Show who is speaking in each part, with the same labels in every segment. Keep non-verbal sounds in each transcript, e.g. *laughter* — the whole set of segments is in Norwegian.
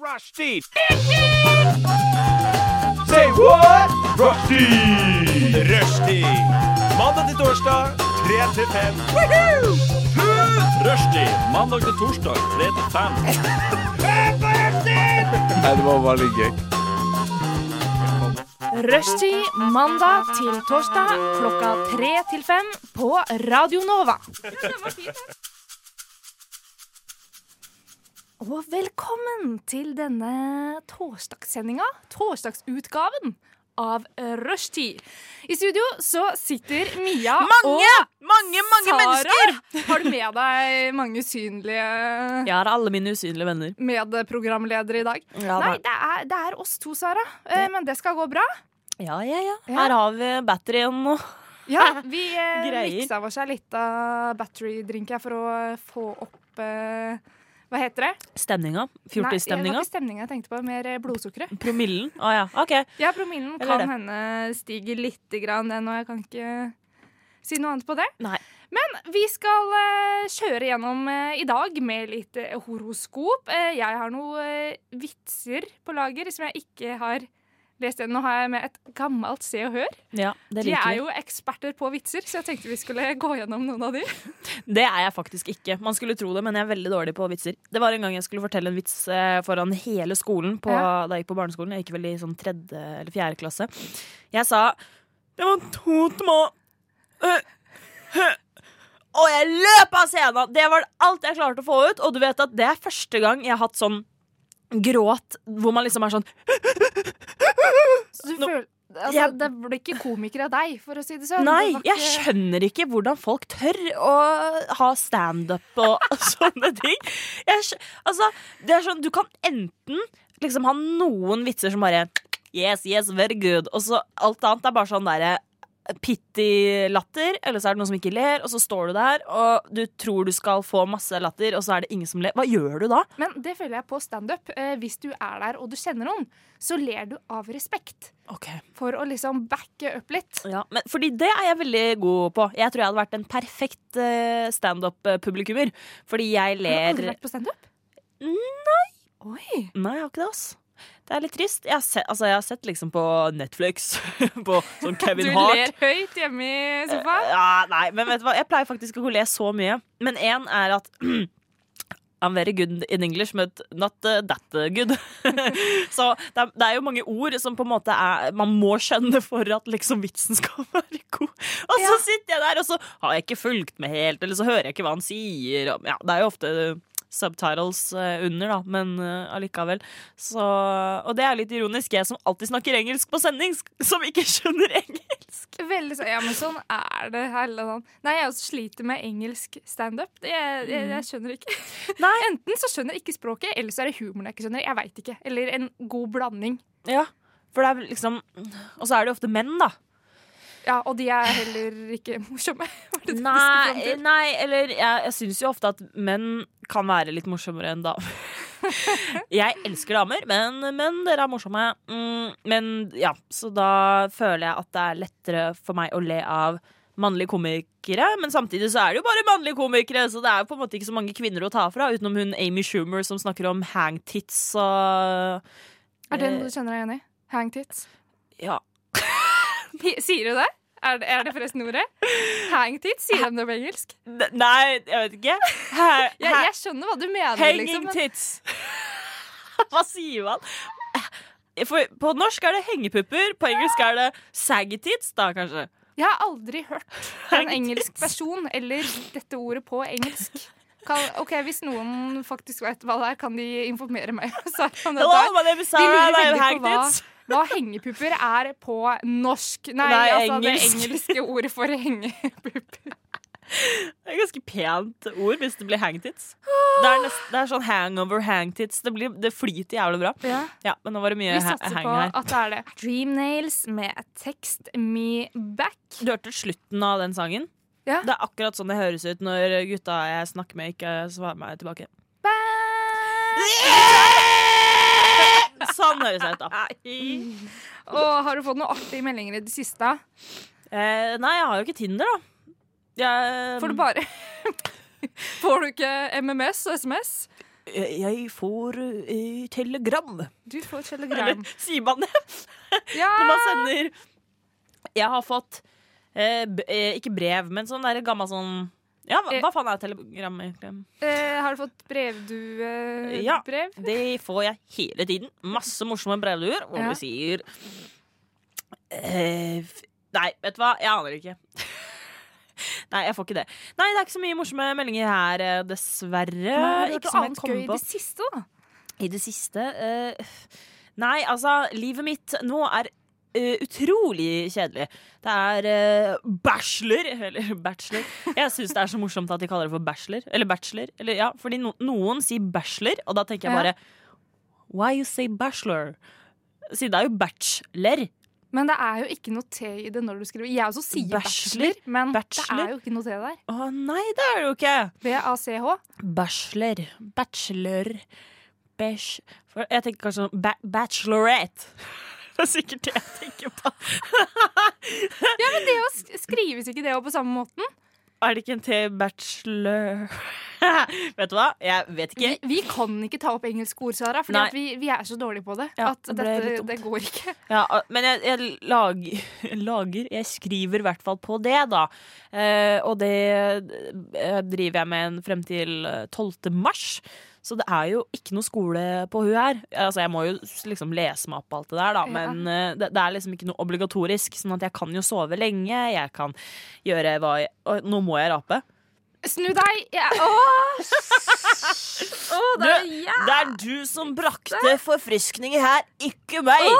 Speaker 1: Rushdie. Say what? Rushdie. Rushdie. Mandag til torsdag, 3 til 5. Rushdie. Mandag til torsdag, 3 til 5.
Speaker 2: Rushtid mandag til torsdag klokka tre til fem på Radio Nova. Og velkommen til denne torsdagssendinga, torsdagsutgaven av Rushtid. I studio så sitter Mia
Speaker 3: Mange!
Speaker 2: og
Speaker 3: Mange, mange
Speaker 2: Sara.
Speaker 3: mennesker!
Speaker 2: Har du med deg mange usynlige
Speaker 3: Jeg har alle mine usynlige venner.
Speaker 2: medprogramledere i dag?
Speaker 3: Ja,
Speaker 2: Nei, det er, det er oss to, Sara. Eh, Men det skal gå bra.
Speaker 3: ja, ja, ja.
Speaker 2: Ja.
Speaker 3: Her har vi batterien og *laughs*
Speaker 2: Ja, vi eh,
Speaker 3: Greier.
Speaker 2: miksa oss her litt av battery-drink her for å eh, få opp eh, Hva heter det?
Speaker 3: stemninga.
Speaker 2: Nei, det
Speaker 3: Fjortisstemninga.
Speaker 2: var ikke stemninga jeg tenkte på, mer eh, blodsukkeret.
Speaker 3: Promillen. Å ja. OK.
Speaker 2: Ja, promillen
Speaker 3: Eller
Speaker 2: kan
Speaker 3: det.
Speaker 2: hende stiger lite grann ennå. Jeg kan ikke si noe annet på det.
Speaker 3: Nei.
Speaker 2: Men vi skal eh, kjøre gjennom eh, i dag med litt eh, horoskop. Eh, jeg har noen vitser på lager som jeg ikke har lest ennå. Nå har jeg med et gammelt Se og Hør.
Speaker 3: Ja, det
Speaker 2: De er
Speaker 3: liker vi.
Speaker 2: jo eksperter på vitser, så jeg tenkte vi skulle gå gjennom noen av de.
Speaker 3: Det er jeg faktisk ikke. Man skulle tro det, men jeg er veldig dårlig på vitser. Det var en gang jeg skulle fortelle en vits eh, foran hele skolen på,
Speaker 2: Ja.
Speaker 3: da jeg gikk på barneskolen. Jeg gikk vel i sånn tredje eller fjerde klasse. Jeg sa Det var to små øh, øh, Og jeg løp av scenen! Det var alt jeg klarte å få ut. Og du vet at det er første gang jeg har hatt sånn gråt hvor man liksom er sånn
Speaker 2: Så du
Speaker 3: Nå-
Speaker 2: føler Altså,
Speaker 3: Jeg-
Speaker 2: Det blir ikke komiker av deg, for å si det sånn.
Speaker 3: Nei,
Speaker 2: Det var
Speaker 3: jeg
Speaker 2: ikke-
Speaker 3: skjønner ikke hvordan folk tør å ha standup og *laughs* sånne ting. Jeg skj altså, det er sånn, du kan enten liksom ha noen vitser som bare Yes, yes, very good. Og så alt annet er bare sånn derre Pittig latter, eller så er det noen som ikke ler, og så står du der og du tror du skal få masse latter, og så er det ingen som ler. Hva gjør du da?
Speaker 2: Men det føler jeg på standup. Eh, hvis du er der og du kjenner noen, så ler du av respekt.
Speaker 3: Okay.
Speaker 2: For å liksom backe opp litt.
Speaker 3: Ja, men, fordi det er jeg veldig god på. Jeg tror jeg hadde vært en perfekt eh, standup-publikummer. Fordi jeg
Speaker 2: Har du aldri
Speaker 3: ler Mm.
Speaker 2: vært på standup? Oi!
Speaker 3: Nei, jeg har ikke det, ass. Det er litt trist. Jeg har sett, altså, jeg har sett liksom på Netflix *laughs* på sånn Kevin
Speaker 2: *laughs* Du
Speaker 3: Hart.
Speaker 2: ler høyt hjemme i
Speaker 3: Eh,
Speaker 2: sofaen.
Speaker 3: Ja, nei, men vet du hva? Jeg pleier faktisk ikke å le så mye. Men én er at *clears throat* I'm very good in English, but not uh, that good. *laughs* så det er, det er jo mange ord som på en måte er, man må skjønne for at liksom vitsen skal *laughs* være god. Og så
Speaker 2: Ja.
Speaker 3: sitter jeg der, og så har jeg ikke fulgt med helt, eller så hører jeg ikke hva han sier. og- Ja, det er jo ofte subtitles eh, under, da, men eh, allikevel. Så, og det er litt ironisk. Jeg som alltid snakker engelsk på sending, sk- som ikke skjønner *laughs* engelsk.
Speaker 2: Veldig sånn. Ja, men sånn er det. hele dagen. Nei, jeg også sliter med engelsk standup. Det- Jeg, jeg,
Speaker 3: Mm.
Speaker 2: jeg skjønner ikke. Enten så skjønner jeg ikke språket, eller så er det humoren jeg ikke skjønner. Jeg veit ikke. Eller en god blanding.
Speaker 3: Ja, for det er vel liksom Og så er det jo ofte menn, da.
Speaker 2: Ja, og de er heller ikke morsomme. *laughs* Var det det du skulle fram
Speaker 3: Nei,
Speaker 2: til?
Speaker 3: nei eller jeg, jeg syns jo ofte at menn kan være litt morsommere enn damer. *laughs* Jeg elsker damer, men, men dere er morsomme. Mm, men ja, så da føler jeg at det er lettere for meg å le av mannlige komikere. Men samtidig så er det jo bare mannlige komikere, så det er jo på en måte ikke så mange kvinner å ta fra, utenom hun Amy Schumer som snakker om hangtits og
Speaker 2: Er det noe du kjenner deg igjen i? Hangtits.
Speaker 3: Ja.
Speaker 2: Hi- Sier du det? Er det, er det forresten ordet? Hangtits? Sier de det på engelsk?
Speaker 3: N- Nei, jeg vet ikke. Hæ-
Speaker 2: Jeg,
Speaker 3: hæ-
Speaker 2: jeg skjønner hva du mener.
Speaker 3: Hanging
Speaker 2: liksom, men-
Speaker 3: tits. *laughs* Hva sier man? For på norsk er det hengepupper, på engelsk er det saggy tits, da kanskje.
Speaker 2: Jeg har aldri hørt en
Speaker 3: Hangtits.
Speaker 2: engelsk person eller dette ordet på engelsk. Kan, ok, Hvis noen faktisk vet hva det er, kan de informere meg? *laughs* Sara, om dette
Speaker 3: Hello,
Speaker 2: her?
Speaker 3: my name is
Speaker 2: Vi
Speaker 3: Sarah, and
Speaker 2: lurer
Speaker 3: I have
Speaker 2: veldig
Speaker 3: hang
Speaker 2: på hva,
Speaker 3: tits.
Speaker 2: hva hengepupper er på norsk. Nei,
Speaker 3: Nei,
Speaker 2: altså
Speaker 3: engelsk.
Speaker 2: det engelske ordet for hengepupper.
Speaker 3: Det er et ganske pent ord hvis det blir hangtits. Det er, nest, det er sånn hangover hangtits. Det, blir, det flyter jævlig bra.
Speaker 2: Ja.
Speaker 3: Ja, Men nå var det mye *laughs*
Speaker 2: Vi
Speaker 3: ha-
Speaker 2: satser
Speaker 3: hang
Speaker 2: på
Speaker 3: her.
Speaker 2: at det er det. Dream Nails med Text Me Back.
Speaker 3: Du hørte slutten av den sangen?
Speaker 2: Ja.
Speaker 3: Det er akkurat sånn det høres ut når gutta jeg snakker med, ikke svarer meg tilbake. Sånn høres det ut, da.
Speaker 2: Og har du fått noen artige meldinger i det siste?
Speaker 3: Eh, nei, jeg har jo ikke Tinder, da. Jeg, Um.
Speaker 2: *laughs* Får du bare Får du ikke MMS og SMS?
Speaker 3: Jeg får eh, telegram.
Speaker 2: Du får telegram.
Speaker 3: Eller sier man *laughs* det
Speaker 2: Ja,
Speaker 3: når man sender Jeg har fått eh, b eh, ikke brev, men sånn der gammel sånn ja, hva, hva faen er telegram egentlig?
Speaker 2: eh, har du fått brevduebrev?
Speaker 3: Ja. Det får jeg hele tiden. Masse morsomme brevduer hvor
Speaker 2: Ja.
Speaker 3: du sier eh, f- Nei, vet du hva? Jeg aner ikke. *laughs* nei, jeg får ikke det. Nei, det er ikke så mye morsomme meldinger her, eh, dessverre.
Speaker 2: Har du hørt
Speaker 3: ikke
Speaker 2: noe
Speaker 3: som jeg
Speaker 2: annet gøy
Speaker 3: kommer
Speaker 2: i
Speaker 3: på
Speaker 2: det siste, da?
Speaker 3: i det siste. eh, nei, altså, livet mitt nå er eh, utrolig kjedelig. Det er eh, bachelor, eller bachelor. Jeg syns det er så morsomt at de kaller det for bachelor. Eller bachelor. Eller, ja, fordi no, noen sier bachelor, og da tenker jeg
Speaker 2: Ja.
Speaker 3: bare Why you say bachelor? Siden det er jo bachelor.
Speaker 2: Men det er jo ikke noe T i det når du skriver. Jeg også sier
Speaker 3: Bachelor?
Speaker 2: bachelor, men det
Speaker 3: Bachelor?
Speaker 2: er jo ikke noe T der.
Speaker 3: Å nei, det er det jo ikke!
Speaker 2: B-A-C-H.
Speaker 3: Bachelor. Bachelor. Bash... For jeg tenker kanskje sånn ba bachelorette. *laughs* Det er sikkert det jeg tenker på.
Speaker 2: Ja, men det å sk- skrives ikke det òg på samme måten?
Speaker 3: Er det ikke en T-bachelor? *laughs* vet du hva? Jeg vet
Speaker 2: Vi,
Speaker 3: ikke.
Speaker 2: vi kan ikke ta opp engelske ord, Sara, for
Speaker 3: Nei.
Speaker 2: vi, vi er så dårlige på det.
Speaker 3: Ja,
Speaker 2: at
Speaker 3: det ble
Speaker 2: dette,
Speaker 3: litt dumt.
Speaker 2: det går ikke.
Speaker 3: Ja, men jeg, jeg lager, *laughs* lager Jeg skriver i hvert fall på det, da. Eh, og det eh, driver jeg med en frem til eh, 12. mars. Så det er jo ikke noe skole på hun her. Altså, jeg må jo s- liksom lese meg opp på alt det der, da.
Speaker 2: Ja.
Speaker 3: Men eh, det, det er liksom ikke noe obligatorisk. Sånn at jeg kan jo sove lenge. Jeg kan gjøre hva jeg Oi, Nå må jeg rape.
Speaker 2: Snu deg! Ja.
Speaker 3: *laughs*
Speaker 2: Åh! Åh, det er jævlig
Speaker 3: Det er du som brakte forfriskninger her, ikke meg!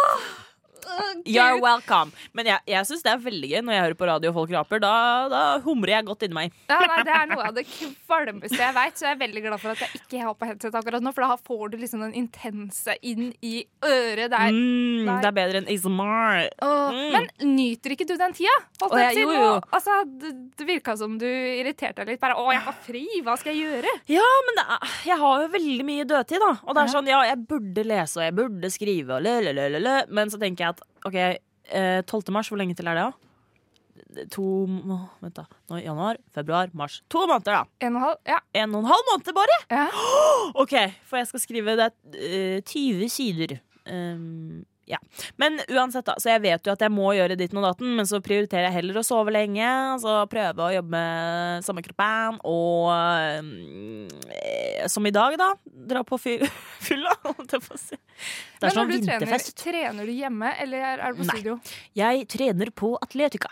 Speaker 3: You're welcome. Men jeg, jeg syns det er veldig gøy når jeg hører på radio og folk raper. Da, da humrer jeg godt inni meg.
Speaker 2: ja, nei, Det er noe av det kvalmeste jeg veit, så jeg er veldig glad for at jeg ikke har på headset akkurat nå, for da får du liksom den intense inn i øret der.
Speaker 3: Mm,
Speaker 2: nei.
Speaker 3: det er bedre enn ASMR.
Speaker 2: Åh,
Speaker 3: Mm.
Speaker 2: Men nyter ikke du den tida? Holdt
Speaker 3: Åh,
Speaker 2: jeg
Speaker 3: jeg-
Speaker 2: til
Speaker 3: jo,
Speaker 2: nå?
Speaker 3: jo.
Speaker 2: Altså, det, det virka som du irriterte deg litt. Bare 'Å, jeg har fri, hva skal jeg gjøre?'
Speaker 3: Ja, men det er, jeg har jo veldig mye dødtid, da. Og det er sånn, ja, jeg burde lese og jeg burde skrive, og lø-lø-lø-lø. Men så tenker jeg at OK, eh, 12. mars, hvor lenge til er det, da? To må- Vent, da. Nå, er januar, februar, mars. To måneder, da.
Speaker 2: En og en halv? Ja.
Speaker 3: En og en halv måned bare! *gasps*
Speaker 2: ja.
Speaker 3: Ok, for jeg skal skrive det eh, 20 sider. Ehm, ja. Men uansett, da. Så jeg vet jo at jeg må gjøre ditt og datten, men så prioriterer jeg heller å sove lenge. Altså prøve å jobbe med samme kroppen, og ehm, eh, som i dag, da. Dra på fyr *laughs* fylla, holdt jeg på å si. Det er
Speaker 2: Men
Speaker 3: sånn
Speaker 2: når du trener,
Speaker 3: vinterfest.
Speaker 2: trener du hjemme, eller er er du på
Speaker 3: Nei.
Speaker 2: studio?
Speaker 3: Jeg trener på Atletica.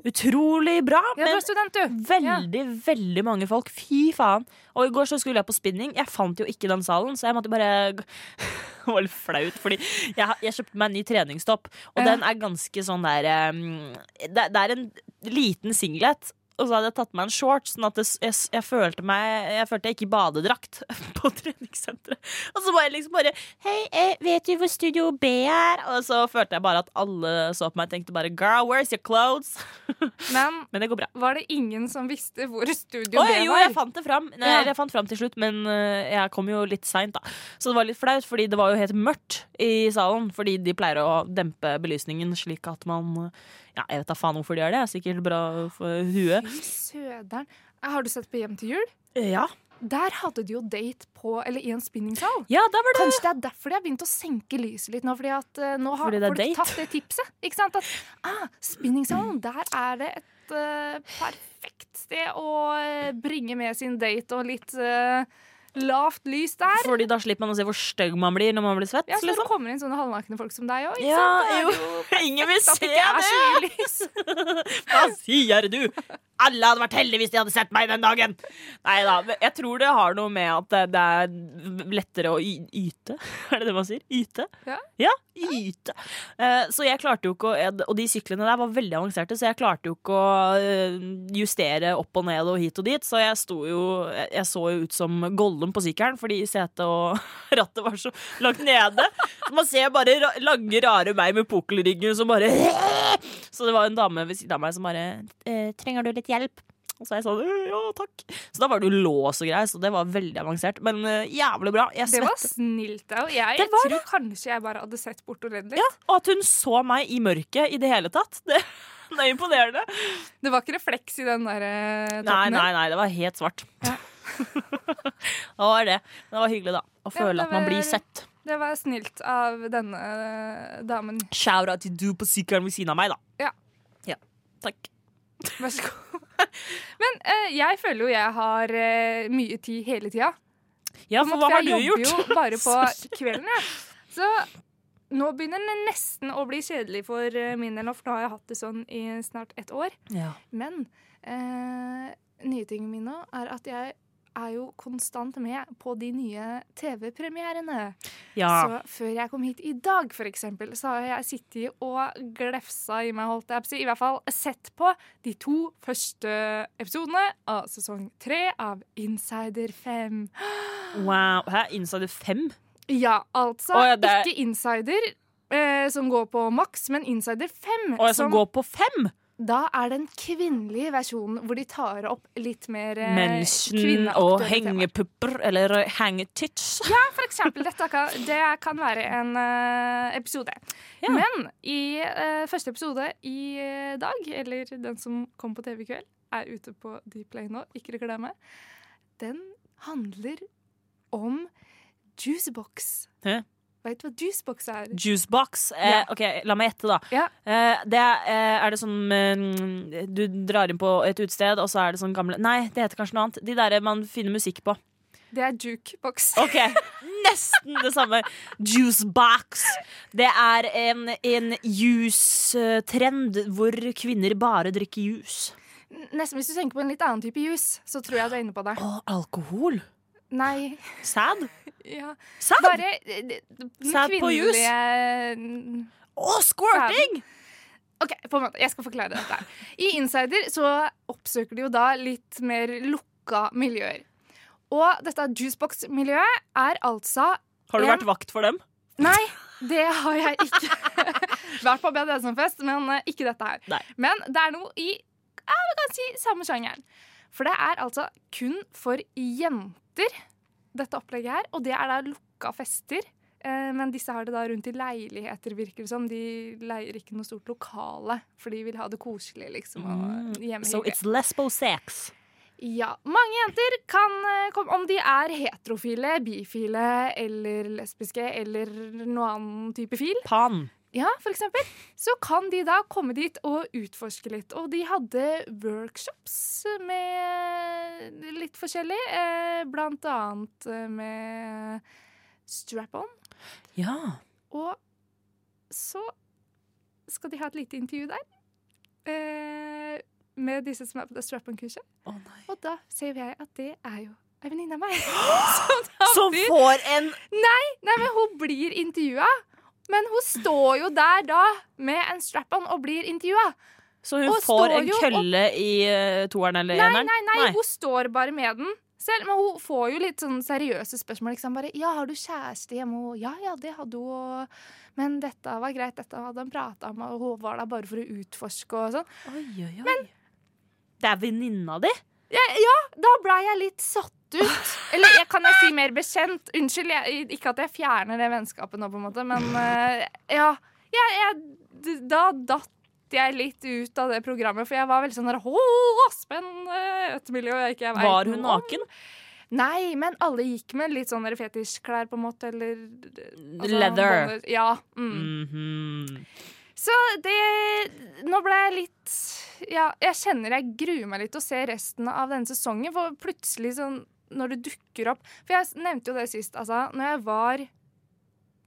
Speaker 3: Utrolig bra,
Speaker 2: Ja, du
Speaker 3: men
Speaker 2: er student, du.
Speaker 3: Veldig, veldig mange folk. Fy faen. Og i går så skulle jeg på spinning. Jeg fant jo ikke den salen, så jeg måtte bare gå- *laughs* Det var litt flaut, fordi jeg, har- jeg kjøpte meg en ny treningstopp, og
Speaker 2: Ja.
Speaker 3: den er ganske sånn der um, det, det er en liten singlet. Og så hadde jeg tatt meg en shorts, sånn at det, s- jeg, s- jeg følte meg Jeg følte jeg gikk i badedrakt *laughs* på treningssenteret. Og så var jeg liksom bare Hei, eh, vet du hvor Studio B er? Og så følte jeg bare at alle så på meg og tenkte bare Girl, where's your clothes?
Speaker 2: Men
Speaker 3: Men det går bra.
Speaker 2: var det ingen som visste hvor studio
Speaker 3: Oi,
Speaker 2: B
Speaker 3: jo,
Speaker 2: var?
Speaker 3: jeg fant det fram. Nei,
Speaker 2: Ja.
Speaker 3: eller Jeg fant fram til slutt, men øh, jeg kom jo litt seint, da. Så det var litt flaut, fordi det var jo helt mørkt i salen. Fordi de pleier å dempe belysningen slik at man øh, Ja, jeg vet da faen hvorfor de gjør det. Sikkert bra for huet.
Speaker 2: Fy Søderen. Har du sett på Hjem til jul?
Speaker 3: Ja,
Speaker 2: Der hadde de jo date på, eller i en spinningsal.
Speaker 3: ja der var det
Speaker 2: Kanskje det er derfor de har begynt å senke lyset litt nå, fordi at eh, nå har
Speaker 3: Fordi det er
Speaker 2: folk
Speaker 3: date?
Speaker 2: tatt det tipset. Ikke sant? At ah, spinningsalen, der er det et eh, perfekt sted å eh, bringe med sin date og litt eh, lavt lys der.
Speaker 3: Fordi da slipper man å se hvor stygg man blir når man blir svett.
Speaker 2: Ja, så når det
Speaker 3: liksom.
Speaker 2: kommer inn sånne halvnakne folk som deg òg, ikke
Speaker 3: Ja,
Speaker 2: sant? Da er
Speaker 3: jo.
Speaker 2: det jo
Speaker 3: *laughs* Ingen vil
Speaker 2: at
Speaker 3: se
Speaker 2: det ikke er så
Speaker 3: det!
Speaker 2: mye lys.
Speaker 3: Hva sier du? Alle hadde vært heldige hvis de hadde sett meg den dagen! Nei da. men Jeg tror det har noe med at det- det er lettere å y- yte. *laughs* Er det det man sier? Yte?
Speaker 2: Ja.
Speaker 3: yte. Eh, Så jeg klarte jo ikke å jeg- Og de syklene der var veldig avanserte, så jeg klarte jo ikke å eh, justere opp og ned og hit og dit. Så jeg sto jo Jeg jeg så jo ut som Gollum på sykkelen, fordi setet og *laughs* rattet var så langt nede. Så man ser bare ra lange, rare meg med pukkelryggen som bare *laughs* så det var en dame ved siden av meg som bare eh, 'Trenger du litt hjelp?' Og så er jeg sånn «Øh, 'Ja, takk'. Så da var det jo lås og greier, så det var veldig avansert. Men eh, jævlig bra. Jeg
Speaker 2: Det var
Speaker 3: svett.
Speaker 2: snilt av deg. Jeg
Speaker 3: Det var
Speaker 2: tror kanskje jeg bare hadde sett bort og redd litt.
Speaker 3: Og at hun så meg i mørket i det hele tatt, *laughs* det, det er imponerende.
Speaker 2: Det var ikke refleks i den der
Speaker 3: Nei,
Speaker 2: eh, toppen.
Speaker 3: nei, nei, det var helt svart. *laughs* Det var det. Men det var hyggelig, da. Å
Speaker 2: Ja,
Speaker 3: føle
Speaker 2: det
Speaker 3: at man
Speaker 2: var-
Speaker 3: blir sett.
Speaker 2: Det var snilt av denne
Speaker 3: *laughs*
Speaker 2: eh, damen.
Speaker 3: Shout out til du på sykkelen ved siden av meg, da.
Speaker 2: Ja.
Speaker 3: Ja. Takk.
Speaker 2: Vær så god. Men eh, jeg føler jo jeg har eh, mye tid hele tida.
Speaker 3: Ja,
Speaker 2: På en
Speaker 3: for
Speaker 2: måte,
Speaker 3: hva har du
Speaker 2: jeg
Speaker 3: gjort? *laughs*
Speaker 2: jobber jo bare på
Speaker 3: Så-
Speaker 2: kvelden, jeg. Så nå begynner det nesten å bli kjedelig for eh, min del, nå, for nå har jeg hatt det sånn i snart ett år.
Speaker 3: Ja.
Speaker 2: Men eh, nye tingen min nå er at jeg er jo konstant med på de nye TV-premierene.
Speaker 3: ja.
Speaker 2: Så før jeg kom hit i dag, for eksempel, så har jeg sittet og glefsa i meg, holdt jeg på å si. I hvert fall sett på de to første episodene av sesong tre av Insider 5.
Speaker 3: Wow. Hæ, innså du fem?
Speaker 2: Ja, altså
Speaker 3: Å, ja, det er-
Speaker 2: ikke Insider eh, som går på Max, men Insider 5.
Speaker 3: Og jeg som går på fem?
Speaker 2: Da er den kvinnelige versjonen hvor de tar opp litt mer eh,
Speaker 3: Mensen
Speaker 2: kvinneaktuelle
Speaker 3: og
Speaker 2: temaer.
Speaker 3: hengepupper eller hangetits.
Speaker 2: Ja, for eksempel. Dette kan, det kan være en eh, episode.
Speaker 3: Ja.
Speaker 2: Men i eh, første episode i eh, dag, eller den som kom på TV i kveld, er ute på Dplay nå, ikke reklame, den handler om juicebox.
Speaker 3: Hæ?
Speaker 2: Veit du hva juicebox er?
Speaker 3: Juicebox. Eh,
Speaker 2: Ja.
Speaker 3: Ok, la meg gjette, da.
Speaker 2: Ja.
Speaker 3: Eh, det er, eh, er det sånn eh, Du drar inn på et utested, og så er det sånn gamle Nei, det heter kanskje noe annet. De derre man finner musikk på.
Speaker 2: Det er jukebox.
Speaker 3: Ok,
Speaker 2: *laughs*
Speaker 3: Nesten det samme. Juicebox. Det er en, en juice-trend hvor kvinner bare drikker juice.
Speaker 2: Nesten hvis du tenker på en litt annen type juice, så tror jeg du er inne på det.
Speaker 3: Og alkohol.
Speaker 2: Nei,
Speaker 3: Sad.
Speaker 2: ja
Speaker 3: Sad.
Speaker 2: Bare eh, den
Speaker 3: Sad på juice.
Speaker 2: kvinnelige
Speaker 3: Og squirting!
Speaker 2: Ok, på en måte. Jeg skal forklare dette. her. I Insider så oppsøker de jo da litt mer lukka miljøer. Og dette juicebox-miljøet er altså
Speaker 3: Har du
Speaker 2: En-
Speaker 3: vært vakt for dem?
Speaker 2: Nei, det har jeg ikke. *laughs* Vært på BDSM-fest, men eh, ikke dette her.
Speaker 3: Nei.
Speaker 2: Men det er noe i ja, vi kan si samme sjangeren. For det er altså kun for jenter, dette opplegget her. Og det er da lukka fester. Eh, Men disse har det da rundt i leiligheter, virker det som. De leier ikke noe stort lokale, for de vil ha det koselig, liksom.
Speaker 3: Mm,
Speaker 2: Og hjemme
Speaker 3: So it's lesbo sex.
Speaker 2: ja, mange jenter kan eh, komme Om de er heterofile, bifile eller lesbiske eller noen annen type fil,
Speaker 3: Pan.
Speaker 2: ja, for eksempel, så kan de da komme dit og utforske litt. Og de hadde workshops med litt forskjellig, eh, blant annet eh, med strap-on.
Speaker 3: Ja.
Speaker 2: Og så skal de ha et lite intervju der eh, med disse som er på det strap-on-kurset.
Speaker 3: Å nei.
Speaker 2: Og da ser jeg at det er jo ei venninne av meg.
Speaker 3: Som får en
Speaker 2: Nei, men hun blir intervjua. Men hun står jo der da med en strap-on og blir intervjua.
Speaker 3: Så hun
Speaker 2: Og
Speaker 3: får
Speaker 2: står
Speaker 3: en
Speaker 2: jo og-
Speaker 3: kølle i eh, toeren eller
Speaker 2: Nei,
Speaker 3: eneren?
Speaker 2: nei, nei,
Speaker 3: Nei.
Speaker 2: hun står bare med den selv. Men hun får jo litt sånn seriøse spørsmål. Liksom bare 'Ja, har du kjæreste hjemme?' Og 'Ja, ja, det hadde hun', og 'Men dette var greit, dette hadde han prata om', og hun var der bare for å utforske og sånn.
Speaker 3: Oi, oi, oi. det er venninna di?
Speaker 2: Da blei jeg litt satt ut. Eller jeg kan jeg si mer bekjent? Unnskyld, jeg, ikke at jeg fjerner det vennskapet nå, på en måte, men eh, ja. Jeg, jeg, d- da datt jeg litt ut av det programmet, for jeg var veldig sånn der Hå, spennende! Et miljø jeg ikke vet
Speaker 3: Var hun
Speaker 2: noe om».
Speaker 3: naken?
Speaker 2: Nei, men alle gikk med litt sånne fetisjklær, på en måte, eller altså,
Speaker 3: Leather.
Speaker 2: bonnet- Ja. Mm.
Speaker 3: Mhm.
Speaker 2: Så det Nå ble jeg litt Ja, jeg kjenner jeg gruer meg litt til å se resten av denne sesongen, for plutselig sånn når det dukker opp For jeg s- nevnte jo det sist, altså. Når jeg var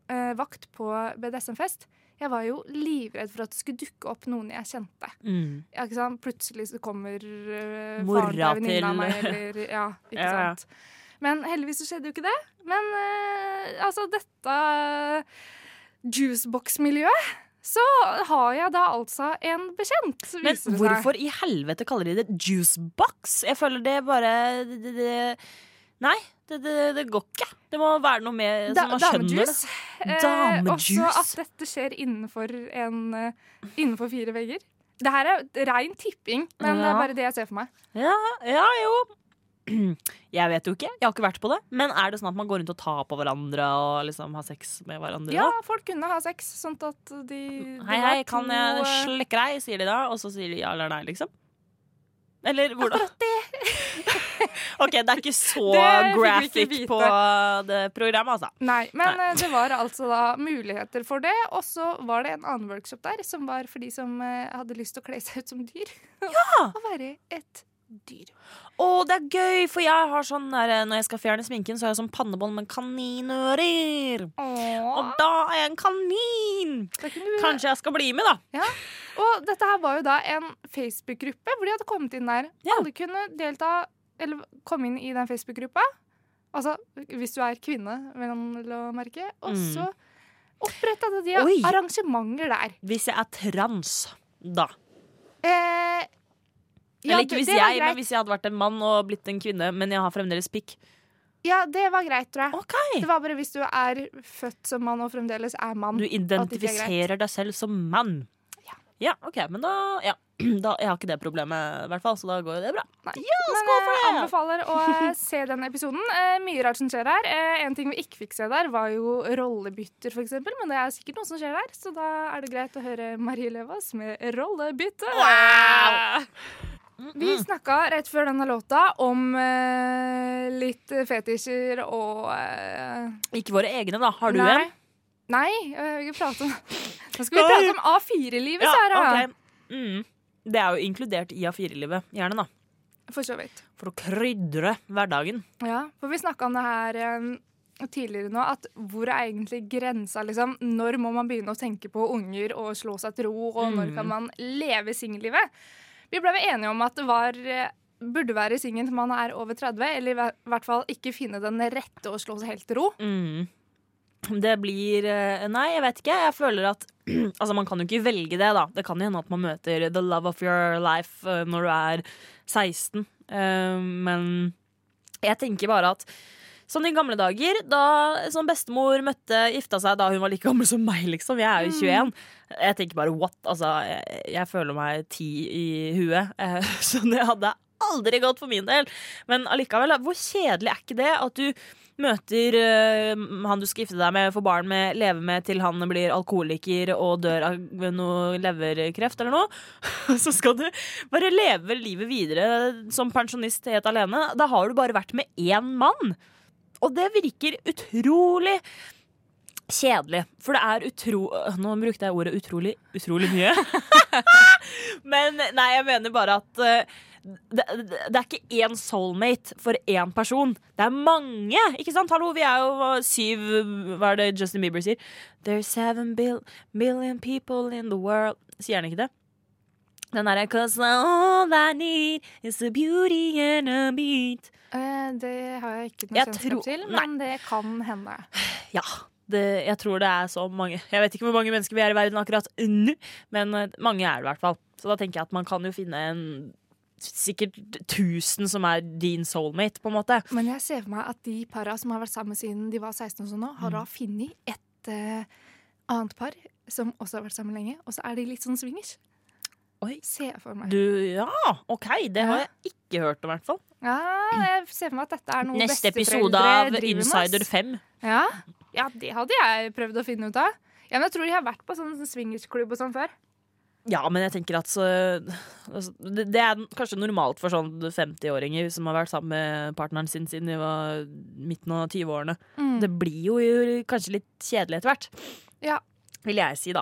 Speaker 2: eh, vakt på BDSM-fest, jeg var jo livredd for at det skulle dukke opp noen jeg kjente.
Speaker 3: Mm.
Speaker 2: Ja, ikke sant? Plutselig så kommer eh,
Speaker 3: Mora
Speaker 2: faren til ei venninne av
Speaker 3: til-
Speaker 2: meg, eller
Speaker 3: *laughs*
Speaker 2: Ja, ikke
Speaker 3: Ja, ja.
Speaker 2: sant. Men heldigvis så skjedde jo ikke det. Men eh, altså, dette juicebox-miljøet så har jeg da altså en bekjent, så
Speaker 3: Men
Speaker 2: viser det seg.
Speaker 3: hvorfor i helvete kaller de det juicebox? Jeg føler det bare det, det, det- Nei, det, det, det går ikke. Det må være noe mer
Speaker 2: Da-
Speaker 3: som man skjønner. det.
Speaker 2: damejuice. Eh,
Speaker 3: Damejuice.
Speaker 2: også at dette skjer innenfor, en, eh, innenfor fire vegger. Det her er rein tipping, men det
Speaker 3: Ja.
Speaker 2: er bare det jeg ser for meg.
Speaker 3: Ja, ja, jo. *clears throat* Jeg vet jo ikke. Jeg har ikke vært på det. Men er det sånn at man går rundt og tar på hverandre og liksom har sex med hverandre?
Speaker 2: Ja,
Speaker 3: da?
Speaker 2: folk kunne ha sex, sånn at de det
Speaker 3: Hei,
Speaker 2: var
Speaker 3: hei, kan
Speaker 2: to,
Speaker 3: jeg
Speaker 2: eh,
Speaker 3: slikke deg? sier de da. Og så sier de ja eller nei, liksom. Eller hvordan? *laughs* OK, det er ikke så
Speaker 2: Det fikk vi ikke
Speaker 3: graphic
Speaker 2: vite.
Speaker 3: på det programmet, altså.
Speaker 2: Nei, men eh, det var altså da muligheter for det. Og så var det en annen workshop der som var for de som eh, hadde lyst til å kle seg ut som dyr. *laughs* Ja! Å være et dyr.
Speaker 3: Å, det er gøy, for jeg har sånn der, eh, når jeg skal fjerne sminken, så har jeg sånn pannebånd med kaninører. Og
Speaker 2: Åh.
Speaker 3: da er jeg en kanin!
Speaker 2: Da kunne du-
Speaker 3: Kanskje jeg skal bli med, da.
Speaker 2: Ja. Og dette her var jo da en Facebook-gruppe hvor de hadde kommet inn der.
Speaker 3: Ja.
Speaker 2: Alle kunne delta, eller komme inn i den Facebook-gruppa. Altså hvis du er kvinne, vel å merke. Og
Speaker 3: Mm.
Speaker 2: så oppretta de
Speaker 3: Oi.
Speaker 2: arrangementer der.
Speaker 3: Hvis jeg er trans, da.
Speaker 2: Eh, ja,
Speaker 3: Eller ikke
Speaker 2: det-
Speaker 3: hvis
Speaker 2: det var
Speaker 3: jeg, men
Speaker 2: greit.
Speaker 3: hvis jeg hadde vært en mann og blitt en kvinne, men jeg har fremdeles pikk.
Speaker 2: Ja, det var greit, tror jeg.
Speaker 3: Ok
Speaker 2: Det var bare hvis du er født som mann og fremdeles er mann.
Speaker 3: Du
Speaker 2: At det ikke er greit.
Speaker 3: identifiserer deg selv som mann.
Speaker 2: Ja.
Speaker 3: OK. Men da, ja. *clears throat* da Jeg har ikke det problemet, i hvert fall, så da går jo det bra.
Speaker 2: Men jeg anbefaler å *laughs* eh, se den episoden. Eh, mye rart som skjer her. Eh, en ting vi ikke fikk se der, var jo rollebytter, f.eks. Men det er sikkert noe som skjer der, så da er det greit å høre Marie Løvaas med 'Rollebytte'. Vi snakka rett før denne låta om eh, litt fetisjer og eh,
Speaker 3: Ikke våre egne, da. Har du
Speaker 2: nei.
Speaker 3: en?
Speaker 2: Nei, jeg vil ikke prate om
Speaker 3: *laughs*
Speaker 2: Nå skal vi
Speaker 3: Nei.
Speaker 2: prate om A4-livet, Sara.
Speaker 3: ok. mm. Det er jo inkludert i A4-livet. Gjerne, da.
Speaker 2: For så vidt.
Speaker 3: For å krydre hverdagen.
Speaker 2: Ja, for vi snakka om det her eh, tidligere nå, at hvor er egentlig grensa, liksom? Når må man begynne å tenke på unger og slå seg til ro,
Speaker 3: Mm.
Speaker 2: og når kan man leve singellivet? Vi ble vel enige om at det var eh, Burde være singel til man er over 30, eller i hver- hvert fall ikke finne den rette og slå seg helt til ro.
Speaker 3: Mm. Det blir eh, Nei, jeg vet ikke. Jeg føler at *clears throat* Altså, man kan jo ikke velge det, da. Det kan jo hende at man møter the love of your life eh, når du er 16. Eh, Men jeg tenker bare at Sånn i gamle dager, da som bestemor møtte gifta seg da hun var like gammel som meg, liksom. Jeg er jo 21. Jeg tenker bare what? Altså, jeg, jeg føler meg ti i huet. eh, *laughs* Så det hadde aldri gått for min del. Men allikevel, hvor kjedelig er ikke det at du møter eh, han du skal gifte deg med, får barn med, lever med til han blir alkoholiker og dør av noe leverkreft eller noe. *laughs* Så skal du bare leve livet videre som pensjonist helt alene. Da har du bare vært med én mann. Og det virker utrolig kjedelig. For det er utro... Nå brukte jeg ordet utrolig utrolig mye. *laughs* Men nei, jeg mener bare at eh, det, det, det er ikke én soulmate for én person. Det er mange! Ikke sant? Hallo, vi er jo eh, syv Hva er det Justin Bieber sier? There's seven bil million people in the world Sier han ikke det? Den derre Cause all I need is a beauty and a beat.
Speaker 2: Eh, Det har jeg ikke noe
Speaker 3: Jeg
Speaker 2: kjennskap
Speaker 3: tror-
Speaker 2: til, men det kan hende.
Speaker 3: Ja. Det, jeg tror det er så mange Jeg vet ikke hvor mange mennesker vi er i verden akkurat nå, men eh, mange er det i hvert fall. Så da tenker jeg at man kan jo finne en sikkert 1000 som er din soulmate, på en måte.
Speaker 2: Men jeg ser for meg at de para som har vært sammen siden de var 16 og sånn nå, har da
Speaker 3: Mm.
Speaker 2: funnet et eh, annet par som også har vært sammen lenge, og så er de litt sånn swingers.
Speaker 3: Oi.
Speaker 2: Ser jeg for meg.
Speaker 3: Du, ja, OK. Det har
Speaker 2: Ja.
Speaker 3: jeg ikke hørt om, i hvert fall.
Speaker 2: Ja, jeg ser for meg at dette er noe
Speaker 3: Neste episode
Speaker 2: besteforeldre
Speaker 3: av
Speaker 2: driver med, ass.
Speaker 3: Insider 5.
Speaker 2: Ja. ja, det hadde jeg prøvd å finne ut av. Ja, men jeg tror de har vært på sånn swingersklubb og sånn før.
Speaker 3: Ja, men jeg tenker at så, altså, det, det er kanskje normalt for sånn 50-åringer som har vært sammen med partneren sin siden de var midten av 20-årene.
Speaker 2: Mm.
Speaker 3: Det blir jo, kanskje litt kjedelig etter hvert,
Speaker 2: Ja.
Speaker 3: vil jeg si, da.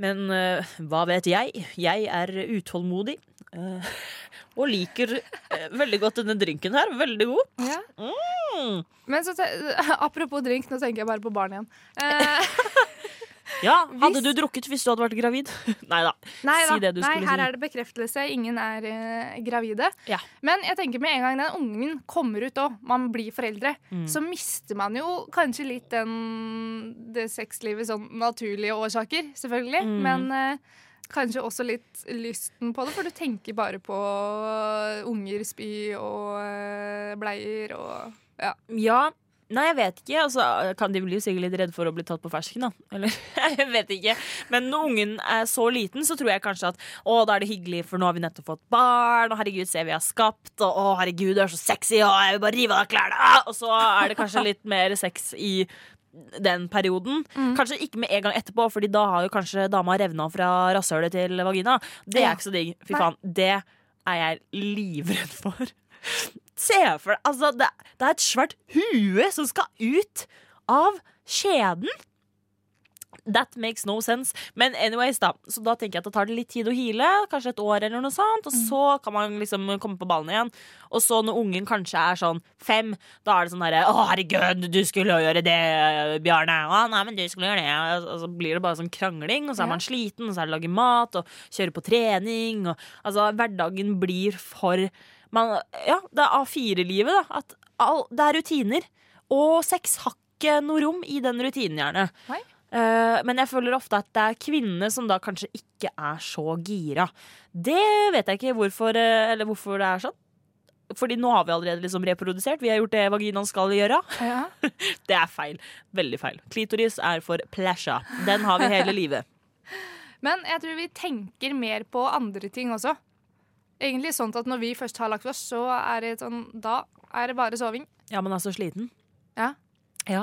Speaker 3: Men eh, hva vet jeg? Jeg er utålmodig. eh, og liker eh, veldig godt denne drinken her. Veldig god.
Speaker 2: ja.
Speaker 3: Mm.
Speaker 2: Men så, te- *laughs* apropos drink, nå tenker jeg bare på barn igjen. Eh,
Speaker 3: Ja, Hadde
Speaker 2: Hvis-
Speaker 3: du drukket hvis du hadde vært gravid? *laughs* Nei da.
Speaker 2: nei da,
Speaker 3: Si det du
Speaker 2: nei,
Speaker 3: skulle
Speaker 2: her
Speaker 3: si.
Speaker 2: er det bekreftelse. Ingen er eh, gravide.
Speaker 3: Ja.
Speaker 2: Men jeg tenker med en gang den ungen kommer ut òg, man blir foreldre,
Speaker 3: Mm.
Speaker 2: så mister man jo kanskje litt den, det sexlivet sånn naturlige årsaker, selvfølgelig.
Speaker 3: Mm.
Speaker 2: Men eh, kanskje også litt lysten på det, for du tenker bare på eh, unger, spy og eh, bleier og ja.
Speaker 3: Ja. Nei, jeg vet ikke. Altså, kan de blir jo sikkert litt redde for å bli tatt på fersken, da. Eller, *laughs* jeg vet ikke. Men når ungen er så liten, så tror jeg kanskje at å, da er det hyggelig, for nå har vi nettopp fått barn, og herregud, se vi har skapt, og å, herregud, du er så sexy, og jeg vil bare rive av deg klærne. ah!» Og så er det kanskje litt mer sex i den perioden. Kanskje ikke med en gang etterpå, Fordi da har jo kanskje dama revna fra rasshølet til vagina. Det
Speaker 2: Ja.
Speaker 3: er ikke så digg. Fy
Speaker 2: Nei.
Speaker 3: faen. Det er jeg livredd for. Se for deg altså, det, det er et svært hue som skal ut av skjeden. That makes no sense. Men anyways, da. Så da tenker jeg at det tar det litt tid å hile. Kanskje et år eller noe sånt. Og så kan man liksom komme på ballen igjen. Og så når ungen kanskje er sånn fem, da er det sånn derre Å, herregud, du skulle jo gjøre det, Bjarne. Å, nei, men du skulle gjøre det. Og så blir det bare sånn krangling, og så
Speaker 2: Ja.
Speaker 3: er man sliten, og så er det lage mat, og kjøre på trening, og altså Hverdagen blir for man, Ja, det er A4-livet, da. At all, det er rutiner. Og sex har ikke noe rom i den rutinen, gjerne.
Speaker 2: Nei.
Speaker 3: Eh, men jeg føler ofte at det er kvinnene som da kanskje ikke er så gira. Det vet jeg ikke hvorfor, eh, eller hvorfor det er sånn. Fordi nå har vi allerede liksom reprodusert. Vi har gjort det vaginaen skal gjøre. *laughs*
Speaker 2: Ja.
Speaker 3: Det er feil. Veldig feil. Klitoris er for plæsja. Den har vi hele livet.
Speaker 2: Men jeg tror vi tenker mer på andre ting også. Egentlig sånn at når vi først har lagt oss, så er det sånn Da er det bare soving.
Speaker 3: *laughs* Ja, men er så sliten.
Speaker 2: Ja.
Speaker 3: Ja.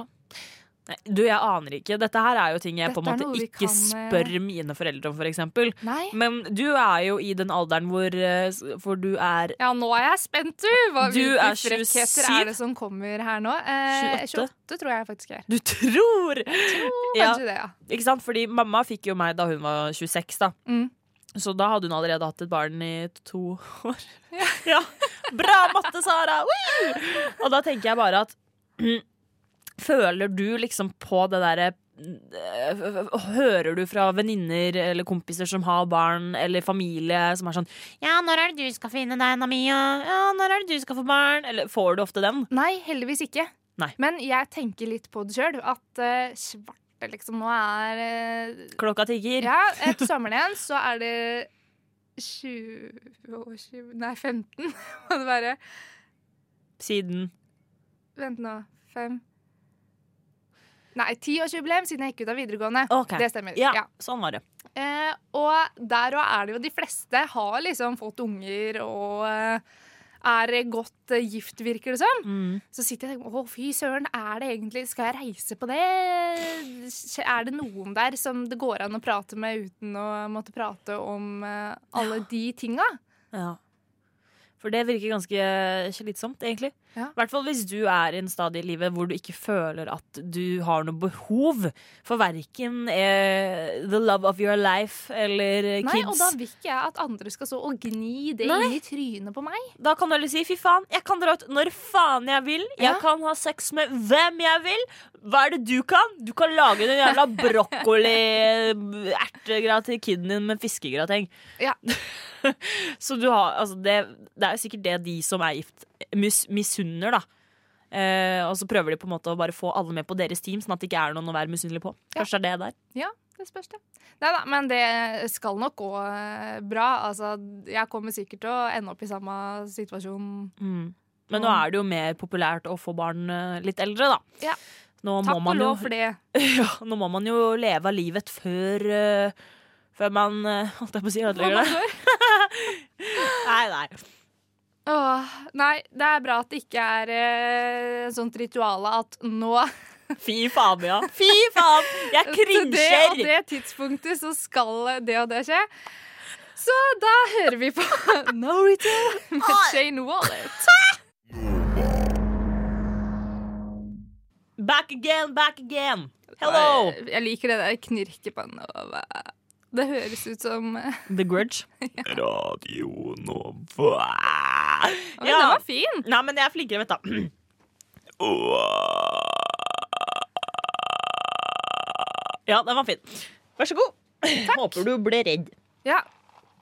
Speaker 3: Nei, du, jeg aner ikke. Dette her er jo ting jeg på en
Speaker 2: Dette
Speaker 3: måte
Speaker 2: er noe vi
Speaker 3: ikke
Speaker 2: kan, eh,
Speaker 3: spør mine foreldre om, for eksempel.
Speaker 2: Nei.
Speaker 3: Men du er jo i den alderen hvor, eh, s- hvor du er
Speaker 2: Ja, nå er jeg spent, du! Hva,
Speaker 3: Du
Speaker 2: hvilke
Speaker 3: er 27.
Speaker 2: frekkheter er det som kommer her nå? Eh,
Speaker 3: 28.
Speaker 2: 28 tror jeg faktisk er.
Speaker 3: Du tror! Ja.
Speaker 2: Kanskje det, ja.
Speaker 3: Ikke sant? Fordi mamma fikk jo meg da hun var 26, da.
Speaker 2: Mm.
Speaker 3: Så da hadde hun allerede hatt et barn i to år. *laughs* Ja. Bra matte, Sara! Woo! Og da tenker jeg bare at *clears throat* mm, Føler du liksom på det derre mm, øh, Hører du fra venninner eller kompiser som har barn, eller familie som er sånn 'Ja, når er det du skal finne deg, Namia? Ja, når er det du skal få barn?' Eller får du ofte den?
Speaker 2: Nei, heldigvis ikke.
Speaker 3: Nei.
Speaker 2: Men jeg tenker litt på det sjøl, at eh, svarte liksom nå er eh,
Speaker 3: Klokka tikker.
Speaker 2: Ja, etter sommeren igjen så er det 20 og 20 Nei, 15. *laughs* Må det være.
Speaker 3: Siden
Speaker 2: Vent nå. Fem Nei, tiårsjubileum siden jeg gikk ut av videregående.
Speaker 3: OK.
Speaker 2: Det stemmer.
Speaker 3: Ja,
Speaker 2: Ja.
Speaker 3: sånn var det.
Speaker 2: Eh, og der og er det jo de fleste har liksom fått unger og eh, er godt eh, gift, virker det som.
Speaker 3: Mm.
Speaker 2: Så sitter jeg og tenker å fy søren, er det egentlig Skal jeg reise på det? Er det noen der som det går an å prate med uten å måtte prate om eh, alle de tinga?
Speaker 3: Ja. For det virker ganske slitsomt, egentlig. I
Speaker 2: Ja.
Speaker 3: hvert fall hvis du er i en stadie i livet hvor du ikke føler at du har noe behov for verken eh, the love of your life eller eh,
Speaker 2: Nei, og
Speaker 3: kids.
Speaker 2: da
Speaker 3: Da,
Speaker 2: vil ikke jeg at andre skal så og gni det
Speaker 3: Nei.
Speaker 2: inn i trynet på meg.
Speaker 3: kan du heller si 'fy faen, jeg kan dra ut når faen jeg vil', 'jeg
Speaker 2: Ja.
Speaker 3: kan ha sex med hvem jeg vil'. Hva er det du kan? Du kan lage den
Speaker 2: *laughs*
Speaker 3: jævla brokkoli-ertegrat til kiden din med fiskegrateng.
Speaker 2: Ja.
Speaker 3: *laughs* Så du har altså det, det er jo sikkert det de som er gift, mis, misunner, da. Eh, og så prøver de på en måte å bare få alle med på deres team, sånn at det ikke er noen å være misunnelig på. Kanskje det er det der.
Speaker 2: Det spørs, det. Nei da, men det skal nok gå eh, bra. Altså, jeg kommer sikkert til å ende opp i samme situasjon.
Speaker 3: Mm. Men nå er det jo mer populært å få barn eh, litt eldre, da.
Speaker 2: Ja.
Speaker 3: Nå må
Speaker 2: Takk og
Speaker 3: man jo,
Speaker 2: lov for det.
Speaker 3: *laughs* ja, nå må man jo leve av livet før eh, Før man eh, Holdt jeg på å si ødelegger det? *laughs* Nei, nei.
Speaker 2: Åh, nei, det er bra at det ikke er eh, sånt ritual at nå *laughs*
Speaker 3: Fy faen, ja. Fy faen! *laughs* Jeg
Speaker 2: Til det og
Speaker 3: krinsjer!
Speaker 2: det tidspunktet så skal det og det skje. Så da hører vi på *laughs* No Ritual med
Speaker 3: Ah!
Speaker 2: Shane Wallet.
Speaker 3: Back again, back again! Hello!
Speaker 2: Jeg liker det der knirket på Nova. Det høres ut som Oi,
Speaker 3: The *laughs* Grudge.
Speaker 1: Radio Nova.
Speaker 2: Den
Speaker 3: Ja.
Speaker 2: var fin!
Speaker 3: Nei, men jeg er flinkere, vet du. *clears throat* Ja, den var fin. Vær så god. *clears throat* Håper du ble redd.
Speaker 2: Ja.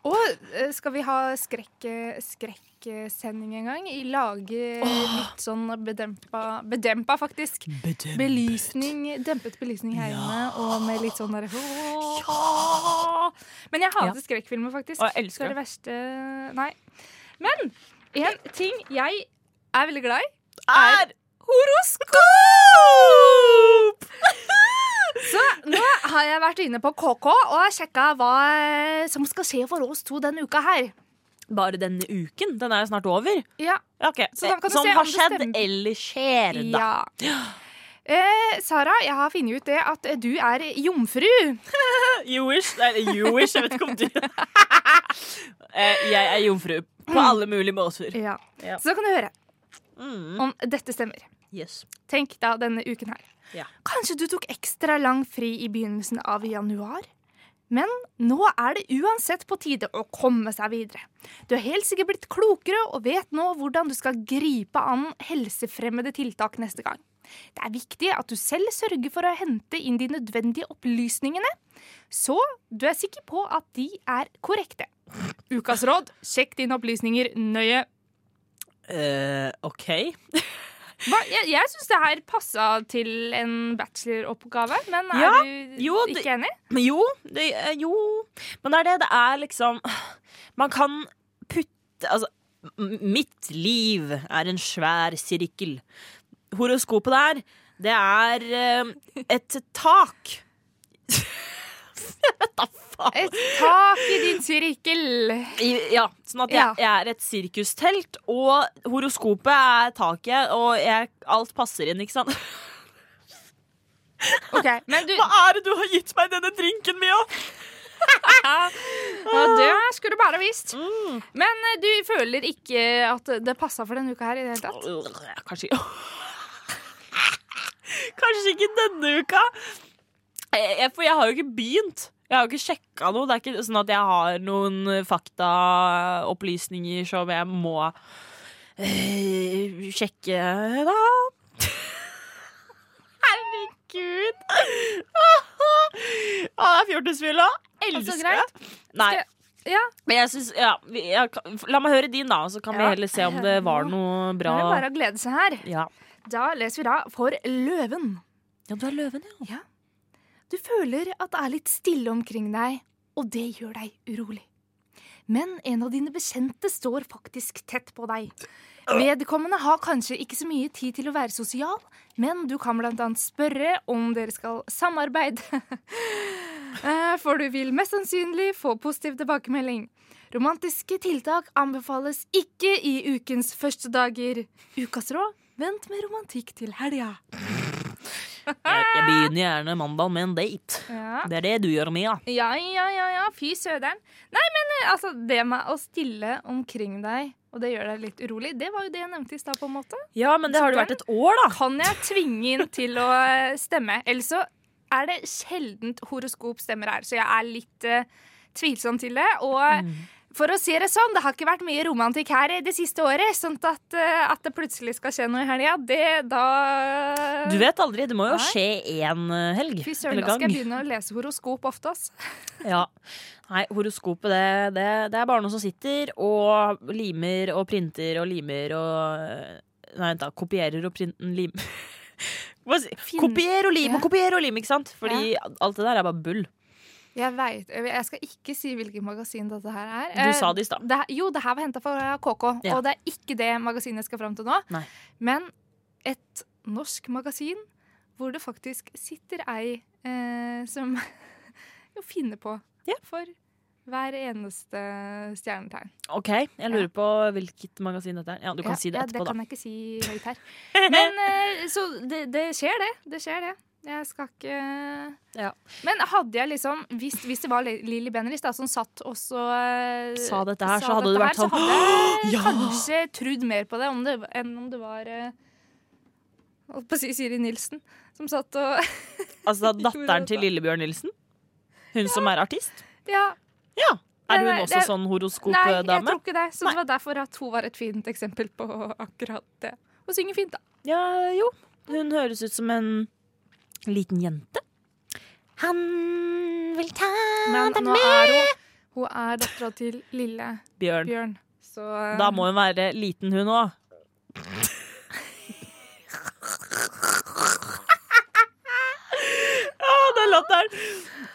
Speaker 2: Og eh, skal vi ha skrekk, eh, skrekksending en gang? I lage litt sånn bedempa, bedempa faktisk. Belysning, dempet belysning her inne, og med litt sånn der Men jeg hater skrekkfilmer, faktisk.
Speaker 3: Og jeg elsker
Speaker 2: det er det verste Nei. Men en ting jeg er veldig glad i,
Speaker 3: Er
Speaker 2: horoskop! Så nå har jeg vært inne på KK og sjekka hva som skal skje for oss to denne uka her.
Speaker 3: bare denne uken. Den er jo snart over.
Speaker 2: Ja,
Speaker 3: Ja, ok.
Speaker 2: Så da kan du
Speaker 3: Som
Speaker 2: se om
Speaker 3: har
Speaker 2: det
Speaker 3: skjedd
Speaker 2: stemmer.
Speaker 3: eller skjer, da. *laughs*
Speaker 2: Ja. Eh, Sara, jeg har funnet ut det at du er jomfru.
Speaker 3: You wish. Nei, you wish. Jeg vet ikke om du Eh, Jeg er jomfru på alle mulige måter.
Speaker 2: Ja.
Speaker 3: Ja.
Speaker 2: Så da kan du høre.
Speaker 3: Mm.
Speaker 2: om dette stemmer.
Speaker 3: Yes.
Speaker 2: Tenk da denne uken her.
Speaker 3: Ja.
Speaker 2: Kanskje du tok ekstra lang fri i begynnelsen av januar? Men nå er det uansett på tide å komme seg videre. Du er helt sikkert blitt klokere og vet nå hvordan du skal gripe an helsefremmede tiltak neste gang. Det er viktig at du selv sørger for å hente inn de nødvendige opplysningene, så du er sikker på at de er korrekte. Ukas råd sjekk dine opplysninger nøye.
Speaker 3: Eh, OK.
Speaker 2: Hva, jeg jeg syns det her passa til en bacheloroppgave, men er
Speaker 3: Ja,
Speaker 2: du
Speaker 3: jo, det-
Speaker 2: ikke enig?
Speaker 3: *laughs* Men jo, det, eh, jo. Men det er det. Det er liksom Man kan putte Altså, m- mitt liv er en svær sirkel. Horoskopet der, det er eh, et tak. Jeg vet da faen.
Speaker 2: Et tak i din sirkel.
Speaker 3: I- Ja, sånn at jeg,
Speaker 2: Ja.
Speaker 3: jeg er et sirkustelt, og horoskopet er taket, og jeg, alt passer inn, ikke sant?
Speaker 2: Ok, Men du,
Speaker 3: Hva er det du har gitt meg denne drinken, Mia?
Speaker 2: ja, det skulle du bare visst.
Speaker 3: Mm.
Speaker 2: Men eh, du føler ikke at det passa for denne uka her i det hele tatt?
Speaker 3: Kanskje Kanskje ikke denne uka. Jeg, jeg- for jeg har jo ikke begynt. Jeg har jo ikke sjekka noe. Det er ikke sånn at jeg har noen eh, faktaopplysninger som jeg må eh, sjekke, da. Herregud. Ah, det er fjortisfylla.
Speaker 2: Altså,
Speaker 3: Elsker
Speaker 2: greit.
Speaker 3: det. Nei.
Speaker 2: Skal- Ja,
Speaker 3: Men jeg synes, ja, vi- jeg, kan- La meg høre din, da, så kan vi
Speaker 2: Ja.
Speaker 3: heller se om det var noe
Speaker 2: Nå er det
Speaker 3: bra.
Speaker 2: bare å glede seg her.
Speaker 3: Ja.
Speaker 2: Da leser vi da For løven.
Speaker 3: ja, du er løven, ja.
Speaker 2: Du føler at det er litt stille omkring deg, og det gjør deg urolig. Men en av dine bekjente står faktisk tett på deg. Vedkommende har kanskje ikke så mye tid til å være sosial, men du kan blant annet spørre om dere skal samarbeide. *laughs* Eh, For du vil mest sannsynlig få positiv tilbakemelding. Romantiske tiltak anbefales ikke i ukens første dager. Ukas råd vent med romantikk til helga.
Speaker 3: Jeg, jeg begynner gjerne mandag med en date.
Speaker 2: Ah! Ja.
Speaker 3: Det er det du gjør, Mia.
Speaker 2: Ja, ja, ja, ja. fy søderen. Nei, men eh, altså, det med å stille omkring deg, og det gjør deg litt urolig, det var jo det jeg nevnte i stad, på en måte.
Speaker 3: Ja, men det har det vært et år, da.
Speaker 2: Kan jeg tvinge inn til å eh, stemme? Ellers så er det sjeldent horoskop stemmer her, så jeg er litt eh, tvilsom til det. Og eh,
Speaker 3: Mm.
Speaker 2: for å si det sånn, det har ikke vært mye romantikk her i det siste året, sånn at, eh, at det plutselig skal skje noe i helga, det da
Speaker 3: Du vet aldri. Det må jo
Speaker 2: Nei.
Speaker 3: skje én eh, helg.
Speaker 2: Fy søren,
Speaker 3: eller
Speaker 2: da skal jeg
Speaker 3: gang.
Speaker 2: begynne å lese horoskop ofte, altså. ass.
Speaker 3: Ja. Nei, horoskopet, det, det, det er bare noen som sitter og limer og printer og limer og eh, Nei, vent, da. Kopierer og printen lim... *laughs* Hva si-
Speaker 2: Finn-
Speaker 3: Kopier og lim
Speaker 2: Ja.
Speaker 3: og kopier og lim, ikke sant? Fordi alt det der er bare bull.
Speaker 2: Jeg vet, jeg skal ikke si hvilket magasin dette her er.
Speaker 3: Du
Speaker 2: Eh,
Speaker 3: sa det i stad.
Speaker 2: her- Jo, det her var henta fra KK,
Speaker 3: Ja.
Speaker 2: og det er ikke det magasinet jeg skal fram til nå.
Speaker 3: Nei.
Speaker 2: Men et norsk magasin hvor det faktisk sitter ei eh, som *laughs* jo finner på
Speaker 3: Ja.
Speaker 2: for hver eneste stjernetegn.
Speaker 3: OK, jeg lurer på hvilket magasin dette er. Ja, du kan
Speaker 2: Ja,
Speaker 3: si det
Speaker 2: ja,
Speaker 3: etterpå,
Speaker 2: Det kan jeg ikke si høyt her.
Speaker 3: *laughs*
Speaker 2: Men eh, så det, det skjer, det. Det skjer, det. Jeg skal ikke eh.
Speaker 3: Ja.
Speaker 2: Men hadde jeg liksom Hvis, hvis det var Li- Lilly Bendriss da, som satt og så eh,
Speaker 3: da. Sa dette her,
Speaker 2: sa
Speaker 3: så hadde det
Speaker 2: dette
Speaker 3: vært
Speaker 2: her,
Speaker 3: sånn
Speaker 2: Så hadde
Speaker 3: *gasps*
Speaker 2: jeg
Speaker 3: Ja!
Speaker 2: kanskje trudd mer på det, om det enn om det var eh, Holdt på å si Siri Nilsen, som satt og *laughs*
Speaker 3: Altså *laughs* da,
Speaker 2: Gjorde
Speaker 3: datteren til
Speaker 2: dette.
Speaker 3: Lillebjørn Nilsen? Hun som er artist?
Speaker 2: Ja.
Speaker 3: Ja. Er
Speaker 2: Nei,
Speaker 3: hun
Speaker 2: nei,
Speaker 3: også
Speaker 2: det-
Speaker 3: sånn
Speaker 2: Nei, jeg
Speaker 3: horoskopdame?
Speaker 2: tror ikke det. Så det var derfor at hun var et fint eksempel på *laughs* akkurat det. Hun synger fint, da.
Speaker 3: Ja, jo. Hun høres ut som en liten jente. Han vil ta
Speaker 2: Men
Speaker 3: deg
Speaker 2: nå
Speaker 3: med
Speaker 2: er hun Hun er dattera til lille
Speaker 3: Bjørn.
Speaker 2: Bjørn. Så eh,
Speaker 3: Da må hun være liten, hun *laughs* òg. Å, den latteren!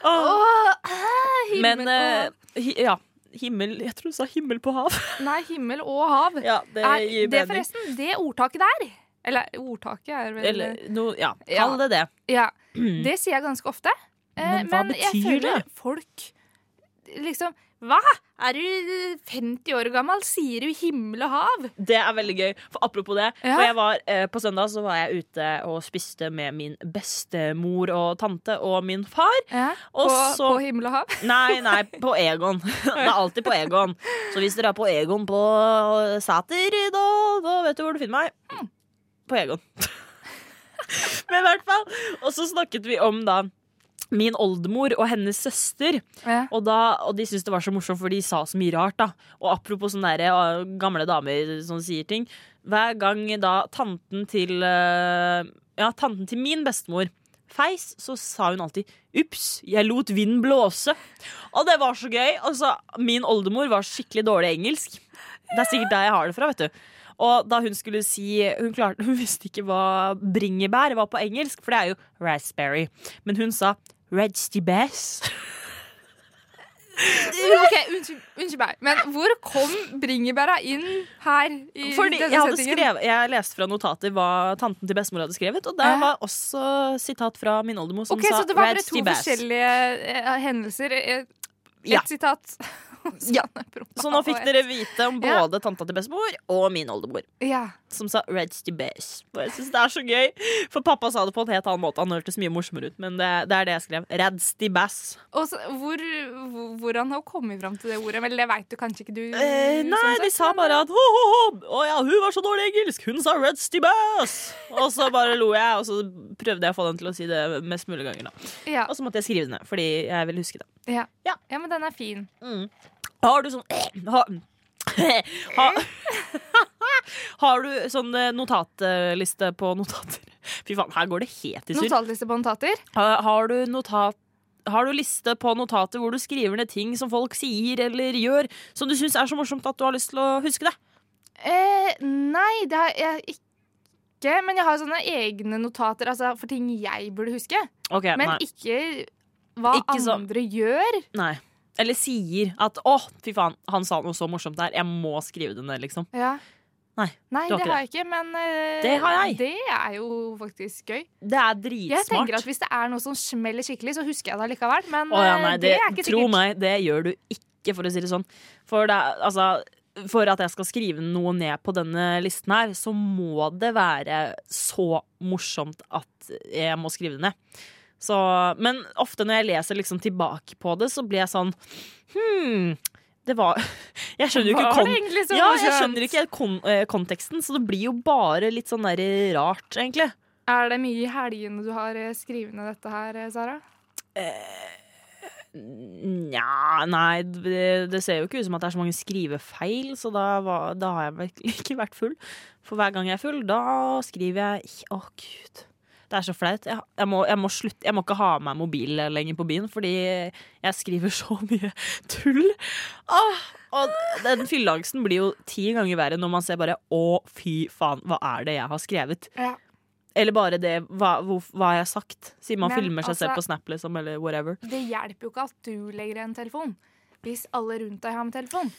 Speaker 3: Åh.
Speaker 2: Åh, eh, himmel
Speaker 3: Men eh,
Speaker 2: og,
Speaker 3: hi, ja. Himmel Jeg tror hun sa himmel på hav.
Speaker 2: Nei, himmel og hav.
Speaker 3: *laughs* Ja, det
Speaker 2: er,
Speaker 3: gir
Speaker 2: det
Speaker 3: mening.
Speaker 2: forresten, det ordtaket der Eller ordtaket er vel
Speaker 3: Eller noe Ja,
Speaker 2: eh, Ja. Mm.
Speaker 3: kall det det.
Speaker 2: Ja. Det sier jeg ganske ofte. Eh,
Speaker 3: Men hva
Speaker 2: jeg
Speaker 3: betyr
Speaker 2: føler
Speaker 3: det?
Speaker 2: folk liksom Hva? Er du 50 år gammel? Sier du himmel og hav?
Speaker 3: *clears throat* Det er veldig gøy. For apropos det,
Speaker 2: Ja.
Speaker 3: for jeg var, eh, på søndag så var jeg ute og spiste med min bestemor og tante og min far.
Speaker 2: Ja,
Speaker 3: Og
Speaker 2: på,
Speaker 3: så-
Speaker 2: på himmel og hav?
Speaker 3: *laughs* Nei, nei, på Egon. *laughs* Det er alltid på Egon. Så hvis dere er på Egon på Sæter i dag, da vet du hvor du finner meg.
Speaker 2: Mm.
Speaker 3: På Egon. *laughs* Men i hvert fall. Og så snakket vi om da min oldemor og hennes søster.
Speaker 2: Ja.
Speaker 3: Og, da, og de syntes det var så morsomt, for de sa så mye rart. da Og apropos sånne der, øh, gamle damer som sier ting. Hver gang da tanten til øh, Ja, tanten til min bestemor feis, så sa hun alltid 'ups, jeg lot vind blåse'. Og det var så gøy. Altså, min oldemor var skikkelig dårlig i engelsk. Det er sikkert der jeg har det fra, vet du. Og da hun skulle si Hun, klarte, *laughs* hun visste ikke hva bringebær var på engelsk, for det er jo raspberry. Men hun sa 'redsty bass'.
Speaker 2: *laughs* OK, unnskyld, unnskyld meg, men hvor kom bringebæra inn her? i
Speaker 3: Fordi
Speaker 2: denne
Speaker 3: jeg, hadde
Speaker 2: settingen?
Speaker 3: skrevet, jeg leste fra notater hva tanten til bestemor hadde skrevet, og der
Speaker 2: Ja.
Speaker 3: var også sitat fra min oldemor som
Speaker 2: Ok,
Speaker 3: sa
Speaker 2: Så det var bare
Speaker 3: «Rats
Speaker 2: to
Speaker 3: to bass».
Speaker 2: forskjellige eh, hendelser. Eh, Et
Speaker 3: Ja. *laughs*
Speaker 2: sitat. Sånn
Speaker 3: Ja. Så nå fikk dere vite om
Speaker 2: Ja.
Speaker 3: både tanta til bestemor og min oldemor.
Speaker 2: Ja.
Speaker 3: Som sa «Rats to bass». Og jeg synes det er så gøy. For pappa sa det på en helt annen måte. Han hørtes mye morsommere ut, men det, det er det jeg skrev. «Rats to bass».
Speaker 2: Og så, hvor, hvor- hvordan har hun kommet fram til det ordet? Vel, det veit du kanskje ikke, du.
Speaker 3: Eh, nei,
Speaker 2: sånn sett,
Speaker 3: de sa
Speaker 2: men-
Speaker 3: bare at ho, ho, ho. Å ja, hun var så dårlig i engelsk! Hun sa «Rats to bass». Og så bare lo jeg, og så prøvde jeg å få den til å si det mest mulig ganger. da
Speaker 2: ja,
Speaker 3: Og så måtte jeg skrive det ned, fordi jeg ville huske det.
Speaker 2: ja.
Speaker 3: Altså, Ja.
Speaker 2: ja, men den er fin.
Speaker 3: Mm. Har du sånn *clears throat* ha, ha, *laughs* Har du sånn eh, notatliste på notater? *laughs* Fy faen, her går det helt i surr.
Speaker 2: Notatliste på notater.
Speaker 3: Ha- Har du notat har du liste på notater hvor du skriver ned ting som folk sier eller gjør, som du syns er så morsomt at du har lyst til å huske det?
Speaker 2: Eh, nei, det har jeg ikke. Men jeg har sånne egne notater altså, for ting jeg burde huske.
Speaker 3: Ok,
Speaker 2: Men
Speaker 3: nei.
Speaker 2: ikke hva
Speaker 3: Ikke så-
Speaker 2: andre gjør.
Speaker 3: nei. Eller sier at 'Å, fy faen, han sa noe så morsomt der. Jeg må skrive det ned', liksom.
Speaker 2: Ja.
Speaker 3: Nei, du har
Speaker 2: det
Speaker 3: ikke
Speaker 2: har jeg ikke, men eh,
Speaker 3: Det har jeg.
Speaker 2: det er jo faktisk gøy.
Speaker 3: Det er
Speaker 2: Jeg
Speaker 3: dritsmart.
Speaker 2: tenker at Hvis det er noe som smeller skikkelig, så husker jeg det likevel. Men
Speaker 3: Å ja,
Speaker 2: eh,
Speaker 3: nei,
Speaker 2: det,
Speaker 3: det,
Speaker 2: er ikke
Speaker 3: tro
Speaker 2: sikkert.
Speaker 3: meg, det gjør du ikke, for å si det sånn. For, det, er- altså, for at jeg skal skrive noe ned på denne listen her, så må det være så morsomt at jeg må skrive det ned. Så, men ofte når jeg leser liksom tilbake på det, så blir jeg sånn Hm, det var *laughs* Jeg skjønner jo ikke
Speaker 2: Var det
Speaker 3: kon
Speaker 2: egentlig så
Speaker 3: ja, jeg
Speaker 2: morsomt?
Speaker 3: skjønner ikke kon eh, konteksten, så det blir jo bare litt sånn der rart, egentlig.
Speaker 2: Er det mye i helgene du har eh, skrevet ned dette her, eh, Sara?
Speaker 3: Nja, nei, det, det ser jo ikke ut som at det er så mange skrivefeil, så da, var, da har jeg virkelig *laughs* ikke vært full. For hver gang jeg er full, da skriver jeg Å, gud. Det er så flaut. Jeg, jeg, må, jeg, må slutte, jeg må ikke ha med meg mobil lenger på byen, fordi jeg skriver *laughs* så mye tull. Åh, og den fylleangsten blir jo ti ganger verre når man ser bare Å, fy faen, hva er det jeg har skrevet?
Speaker 2: Ja.
Speaker 3: Eller bare det Hva, hvor, hva har jeg sagt? Siden man
Speaker 2: Men
Speaker 3: filmer seg selv på
Speaker 2: altså-
Speaker 3: Snap, liksom, eller whatever.
Speaker 2: Det hjelper jo ikke at du legger en telefon. Hvis alle rundt deg har en telefon.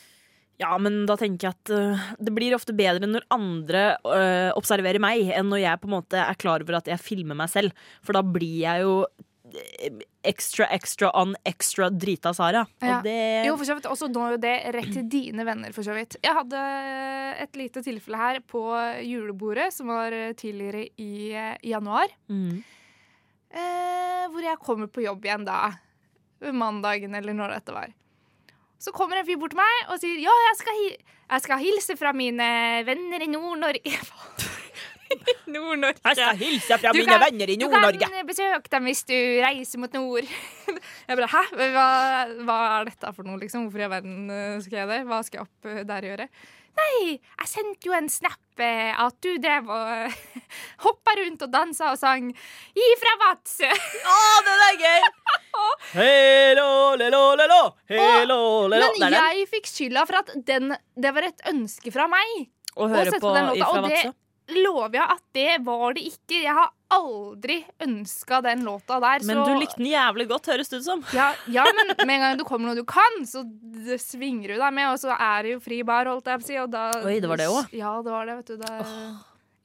Speaker 3: Ja, men da tenker jeg at øh, det blir ofte bedre når andre øh, observerer meg, enn når jeg på en måte er klar over at jeg filmer meg selv. For da blir jeg jo øh, extra, extra on extra drita Sara.
Speaker 2: Ja.
Speaker 3: Og det
Speaker 2: Jo, for så vidt. Også nå jo det rett til dine venner, for så vidt. Jeg hadde eh, et lite tilfelle her på julebordet, som var eh, tidligere i eh, januar.
Speaker 3: Mm.
Speaker 2: eh, hvor jeg kommer på jobb igjen da. Mandagen eller når dette var. Så kommer en fyr bort til meg og sier ja, jeg skal, hi jeg skal hilse fra mine venner i Nord-Norge. *laughs* Nord-Norge.
Speaker 3: Jeg skal hilse fra
Speaker 2: Du
Speaker 3: mine
Speaker 2: kan-
Speaker 3: venner i
Speaker 2: Du
Speaker 3: Nord-Norge!
Speaker 2: kan besøke dem hvis du reiser mot nord. *laughs* Jeg bare hæ? Hva, hva er dette for noe, liksom? Hvorfor i all verden eh, skal jeg det? Hva skal jeg opp eh, der og gjøre? Nei, jeg sendte jo en snap eh, at du drev og *laughs* hoppa rundt og dansa og sang 'Ifra Vadsø'.
Speaker 3: Å, den er gøy! Hello, lelo, lelo. Hello, lelo. Det
Speaker 2: Men
Speaker 3: er den.
Speaker 2: jeg fikk skylda for at den, det var et ønske fra meg.
Speaker 3: Å
Speaker 2: å
Speaker 3: høre
Speaker 2: sette
Speaker 3: på
Speaker 2: den låta,
Speaker 3: Ifra
Speaker 2: og det-
Speaker 3: Vadsø.
Speaker 2: Lover jeg at det var det ikke. Jeg har aldri ønska den låta der.
Speaker 3: Men
Speaker 2: så,
Speaker 3: du likte den jævlig godt, høres det ut som.
Speaker 2: ja, ja, men med en gang du kommer noe du kan, så d- svinger du deg med, og så er det jo fri bar, holdt jeg på å si, og da
Speaker 3: Oi, det var det også?
Speaker 2: Ja, det var det, vet du. Da,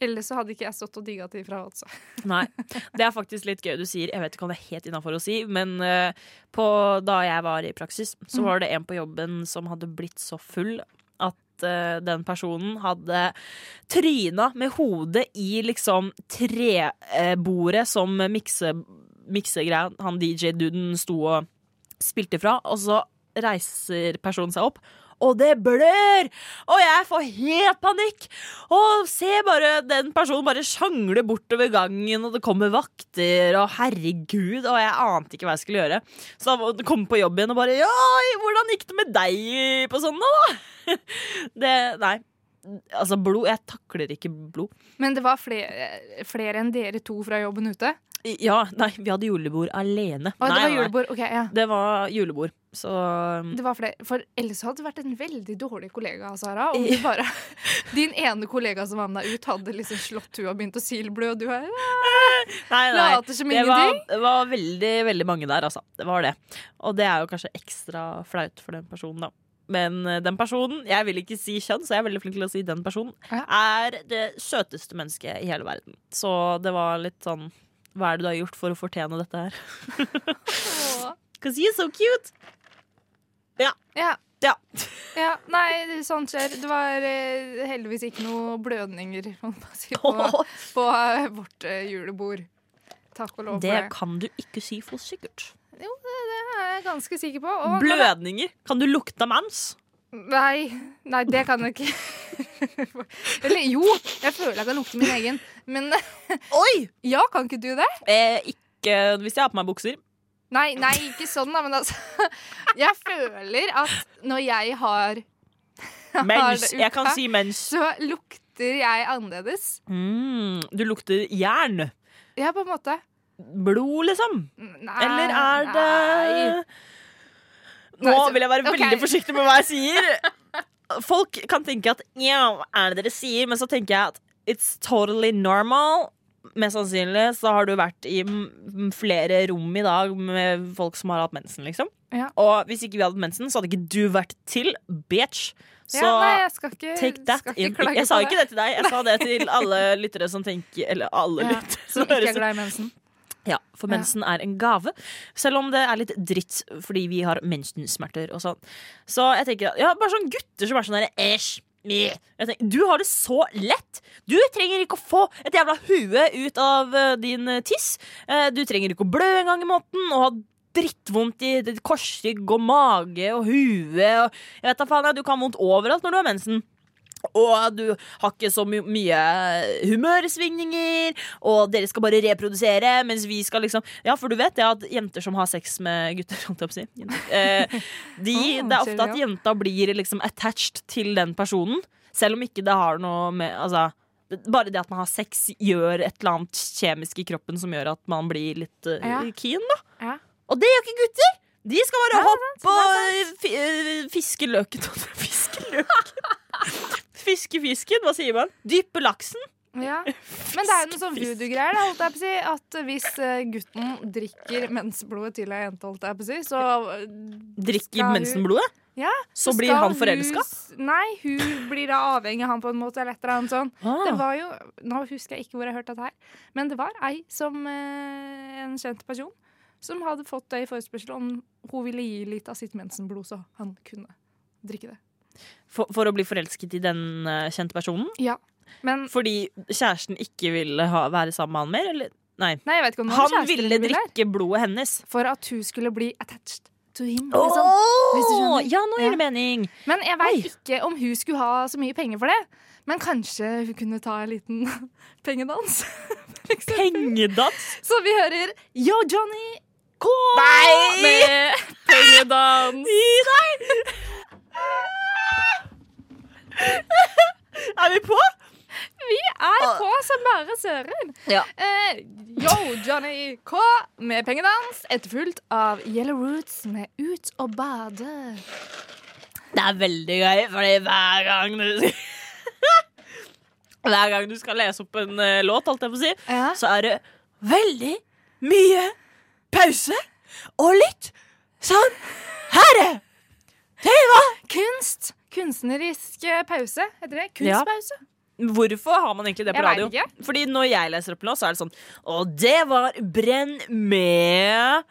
Speaker 2: Ellers så hadde ikke jeg stått og digga til fra altså.
Speaker 3: Nei. Det er faktisk litt gøy du sier. Jeg vet ikke om det er helt innafor å si, men eh, på, da jeg var i praksis, så var det en på jobben som hadde blitt så full at eh, den personen hadde tryna med hodet i liksom treburet som mikse, miksegreia han DJ-duden sto og spilte fra, og så reiser personen seg opp. Og det blør! Og jeg får helt panikk! Og se bare den personen bare sjangle bortover gangen, og det kommer vakter, og herregud, og jeg ante ikke hva jeg skulle gjøre. Så da kom jeg på jobb igjen og bare Ja, hvordan gikk det med deg på sånn, da? *laughs* Det Nei. Altså, blod Jeg takler ikke blod.
Speaker 2: Men det var flere, flere enn dere to fra jobben ute.
Speaker 3: Ja, nei, vi hadde julebord alene.
Speaker 2: Å,
Speaker 3: nei,
Speaker 2: det var
Speaker 3: nei, nei.
Speaker 2: julebord. Ok, ja.
Speaker 3: Det var julebord, så
Speaker 2: Det var flere. For ellers hadde du vært en veldig dårlig kollega av Sara.
Speaker 3: *laughs*
Speaker 2: Om du bare, din ene kollega som var med deg ut, hadde liksom slått henne og begynt å silblø. og Du er
Speaker 3: Nei, nei.
Speaker 2: later som
Speaker 3: Det var,
Speaker 2: ingenting.
Speaker 3: det var veldig, veldig mange der, altså. Det var det. Og det er jo kanskje ekstra flaut for den personen, da. Men eh, den personen, jeg vil ikke si kjønn, så jeg er veldig flink til å si den personen,
Speaker 2: Ja.
Speaker 3: er det søteste mennesket i hele verden. Så det var litt sånn Hva er det du har gjort for å fortjene dette her?
Speaker 2: Åh.
Speaker 3: Cause you're so cute!
Speaker 2: Ja,
Speaker 3: Ja. *laughs*
Speaker 2: ja. Nei, sånt skjer. Det var eh, heldigvis ikke noe blødninger må man si, på, på eh, vårt eh, julebord. Takk og lov for
Speaker 3: Det
Speaker 2: det.
Speaker 3: kan du ikke si for sikkert.
Speaker 2: Det er jeg ganske sikker på. Og
Speaker 3: Blødninger! Kan du lukte mens?
Speaker 2: Nei, nei, det kan jeg ikke. *laughs* Eller jo, jeg føler jeg kan lukte min egen. Men *laughs*
Speaker 3: Oi!
Speaker 2: ja, kan ikke du det?
Speaker 3: Eh, ikke hvis jeg har på meg
Speaker 2: *laughs*
Speaker 3: bukser.
Speaker 2: Nei, nei, ikke sånn, da, men altså *laughs* Jeg føler at når jeg har
Speaker 3: Mens.
Speaker 2: det
Speaker 3: Jeg kan
Speaker 2: ute.
Speaker 3: si mens.
Speaker 2: Så lukter jeg annerledes.
Speaker 3: Mm, du lukter jern.
Speaker 2: Ja, på en måte.
Speaker 3: Blod, liksom.
Speaker 2: Nei,
Speaker 3: Eller er det Nå
Speaker 2: Nei, så-
Speaker 3: vil jeg være
Speaker 2: ok.
Speaker 3: veldig forsiktig med hva jeg sier. Folk kan tenke at ja, er det dere sier? Men så tenker jeg at it's totally normal. Mest sannsynlig så har du vært i m- flere rom i dag med folk som har hatt mensen, liksom.
Speaker 2: Ja.
Speaker 3: Og hvis ikke vi hadde hatt mensen, så hadde ikke du vært til, bitch. Så
Speaker 2: ja, nei, jeg skal ikke,
Speaker 3: Take that
Speaker 2: skal
Speaker 3: in.
Speaker 2: ikke klage
Speaker 3: Jeg sa
Speaker 2: på
Speaker 3: ikke det til deg, jeg sa det til alle
Speaker 2: *laughs*
Speaker 3: lyttere som tenker Eller alle
Speaker 2: Ja,
Speaker 3: lyttere
Speaker 2: Som
Speaker 3: som
Speaker 2: ikke
Speaker 3: høres
Speaker 2: er glad i mensen.
Speaker 3: Ja, for
Speaker 2: Ja.
Speaker 3: mensen er en gave. Selv om det er litt dritt fordi vi har mensensmerter og sånn. Så jeg tenker at ja, bare sånn gutter som er sånn derre æsj. meh. Jeg tenker, Du har det så lett! Du trenger ikke å få et jævla hue ut av eh, din eh, tiss. Eh, Du trenger ikke å blø en gang i måneden og ha drittvondt i ditt korsrygg og mage og hue. Og jeg vet da faen, jeg, Du kan ha vondt overalt når du har mensen. Og du har ikke så my mye humørsvingninger, og dere skal bare reprodusere, mens vi skal liksom Ja, for du vet det at jenter som har sex med gutter, holdt jeg på å si jenter, eh, de,
Speaker 2: Ah,
Speaker 3: Det er ofte
Speaker 2: ser
Speaker 3: at
Speaker 2: du,
Speaker 3: jenta blir liksom attached til den personen, selv om ikke det har noe med Altså, det- bare det at man har sex, gjør et eller annet kjemisk i kroppen som gjør at man blir litt eh,
Speaker 2: Ja.
Speaker 3: keen, da.
Speaker 2: Ja.
Speaker 3: Og det gjør ikke gutter! De skal bare
Speaker 2: Nei,
Speaker 3: hoppe og fi- eh, fiske løken. *laughs* Fiske løken. Fiske fisken, hva sier man? Dyppe laksen? *laughs*
Speaker 2: Ja. Men det er jo noe sånn voodoo-greier. da, holdt jeg på å si, At hvis eh, gutten drikker mensblodet til ei jente, holdt jeg på å si, så eh,
Speaker 3: Drikke
Speaker 2: Skal hun-
Speaker 3: mensenblodet?
Speaker 2: Ja,
Speaker 3: Så
Speaker 2: skal
Speaker 3: blir han
Speaker 2: hun
Speaker 3: forelska?
Speaker 2: s- Nei, hun blir da avhengig av han på en måte, eller et eller annet sånn.
Speaker 3: Ah.
Speaker 2: Det var jo, Nå husker jeg ikke hvor jeg hørte dette her, men det var ei som eh, en kjent person som hadde fått det i forespørsel om hun ville gi litt av sitt mensenblod, så han kunne drikke det.
Speaker 3: For, for å bli forelsket i den eh, kjente personen?
Speaker 2: Ja, men
Speaker 3: Fordi kjæresten ikke ville ha, være sammen med han mer? Eller? Nei.
Speaker 2: Nei, jeg vet ikke om det var
Speaker 3: Han
Speaker 2: kjæresten
Speaker 3: ville
Speaker 2: eller ville her.
Speaker 3: drikke blodet hennes.
Speaker 2: For at hun skulle bli attached to him. Liksom. Hvis du
Speaker 3: Åh,
Speaker 2: skjønner.
Speaker 3: ja, nå gir
Speaker 2: Ja.
Speaker 3: det mening.
Speaker 2: Men jeg
Speaker 3: Oi.
Speaker 2: veit ikke om hun skulle ha så mye penger for det. Men kanskje hun kunne ta en liten *laughs* pengedans? *laughs* for eksempel.
Speaker 3: Pengedans.
Speaker 2: Så vi hører Yo, Johnny!
Speaker 3: Kom
Speaker 2: Med
Speaker 3: *laughs*
Speaker 2: pengedans.
Speaker 3: Er vi på?
Speaker 2: Vi er på som bare søren.
Speaker 3: Ja.
Speaker 2: Eh, yo, Johnny K med pengedans, etterfulgt av Yellow Roots med Ut og bade.
Speaker 3: Det er veldig gøy, fordi hver gang du *laughs* Hver gang du skal lese opp en eh, låt, holdt jeg på å si,
Speaker 2: Ja.
Speaker 3: så er det veldig mye pause og litt sånn herre.
Speaker 2: Kunst. Kunstnerisk eh, pause, heter det.
Speaker 3: Ja.
Speaker 2: Kunstpause.
Speaker 3: Hvorfor har man egentlig det på
Speaker 2: Jeg
Speaker 3: radio?
Speaker 2: vet ikke.
Speaker 3: Fordi når jeg leser opp nå, så er det sånn Og det var Brenn med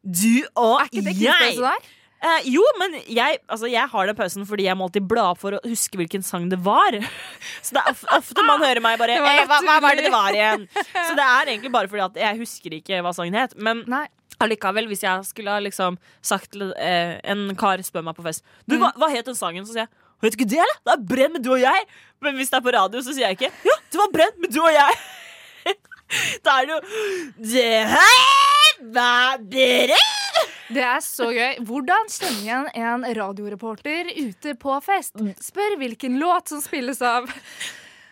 Speaker 3: du og
Speaker 2: Er ikke det
Speaker 3: jeg.
Speaker 2: kunstpause der?
Speaker 3: Eh, jo, men jeg, altså, jeg har den pausen fordi jeg må alltid bla opp for å huske hvilken sang det var. *laughs* Så det er of ofte man hører meg bare
Speaker 2: *laughs* Det var
Speaker 3: «Eh, hva, hva var
Speaker 2: naturlig.»
Speaker 3: det det var
Speaker 2: *laughs*
Speaker 3: igjen? Så det er egentlig bare fordi at jeg husker ikke hva sangen het. Men
Speaker 2: Nei.
Speaker 3: allikevel, hvis jeg skulle ha liksom sagt til eh, en kar spør meg på fest Du, hva, hva het den sangen? Så sier jeg Vet du ikke det, eller? Det er Brenn med du og jeg. Men hvis det er på radio, så sier jeg ikke Ja, det var Brenn med du og jeg. *laughs* da er det jo Det her var Brenn!
Speaker 2: Det er så gøy. Hvordan kjenner igjen en radioreporter ute på fest?
Speaker 3: Mm.
Speaker 2: Spør hvilken låt som spilles
Speaker 3: *laughs*
Speaker 2: av.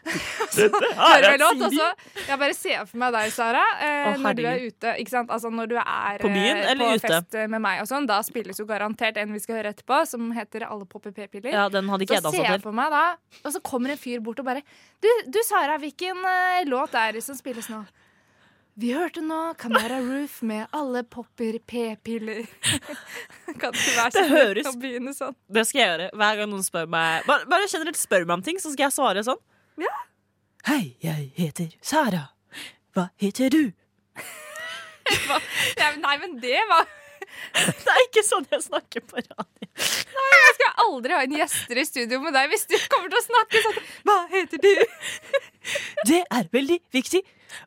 Speaker 1: Dette her
Speaker 3: Ah,
Speaker 2: Hører
Speaker 1: er
Speaker 2: vi låt, og så Jeg bare ser for meg deg, Sara, eh,
Speaker 3: Å,
Speaker 2: når du er
Speaker 3: herregud.
Speaker 2: ute. Ikke sant? Altså, når du er
Speaker 3: På byen
Speaker 2: eh,
Speaker 3: eller
Speaker 2: på
Speaker 3: ute?
Speaker 2: fest eh, med meg og sånn, da spilles jo garantert en vi skal høre etterpå, som heter Alle på PP-piller.
Speaker 3: Ja, den hadde ikke
Speaker 2: Så
Speaker 3: jeg
Speaker 2: ser
Speaker 3: dansa til.
Speaker 2: jeg på meg da, og så kommer en fyr bort og bare Du, du Sara, hvilken eh, låt er det som spilles nå? Vi hørte nå Camara Roof med Alle popper p-piller. *laughs* kan ikke være så
Speaker 3: Det
Speaker 2: høyt
Speaker 3: høres-
Speaker 2: å begynne sånn.
Speaker 3: Det skal jeg gjøre hver gang noen spør meg Bare, bare generelt spør meg om ting, så skal jeg svare sånn.
Speaker 2: Ja.
Speaker 3: Hei, jeg heter Sara. Hva heter du? *laughs*
Speaker 2: Ja, men nei, men det var
Speaker 3: Det er ikke sånn jeg snakker på radio.
Speaker 2: Jeg skal aldri ha en gjester i studio med deg hvis du kommer til å snakke sånn. Hva heter du?
Speaker 3: Det er veldig viktig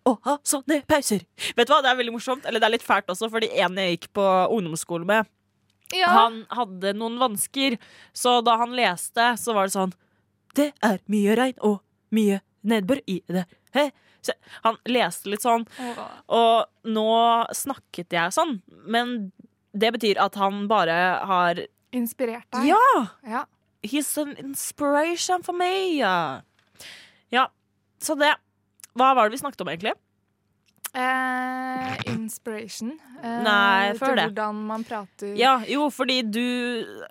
Speaker 3: å ha sånne pauser. Vet du hva, det er veldig morsomt, eller det er litt fælt også, fordi en jeg gikk på ungdomsskole med,
Speaker 2: Ja,
Speaker 3: han hadde noen vansker, så da han leste, så var det sånn Det er mye regn og mye nedbør i det. He. Så han leste litt sånn.
Speaker 2: Åh.
Speaker 3: Og nå snakket jeg sånn, men det betyr at han bare har
Speaker 2: Inspirert deg.
Speaker 3: Ja!
Speaker 2: Ja.
Speaker 3: He's an inspiration for me! Ja. ja, så det Hva var det vi snakket om, egentlig?
Speaker 2: Eh, inspiration. Eh,
Speaker 3: Nei,
Speaker 2: til
Speaker 3: før det.
Speaker 2: Hvordan man prater.
Speaker 3: Ja, jo, fordi du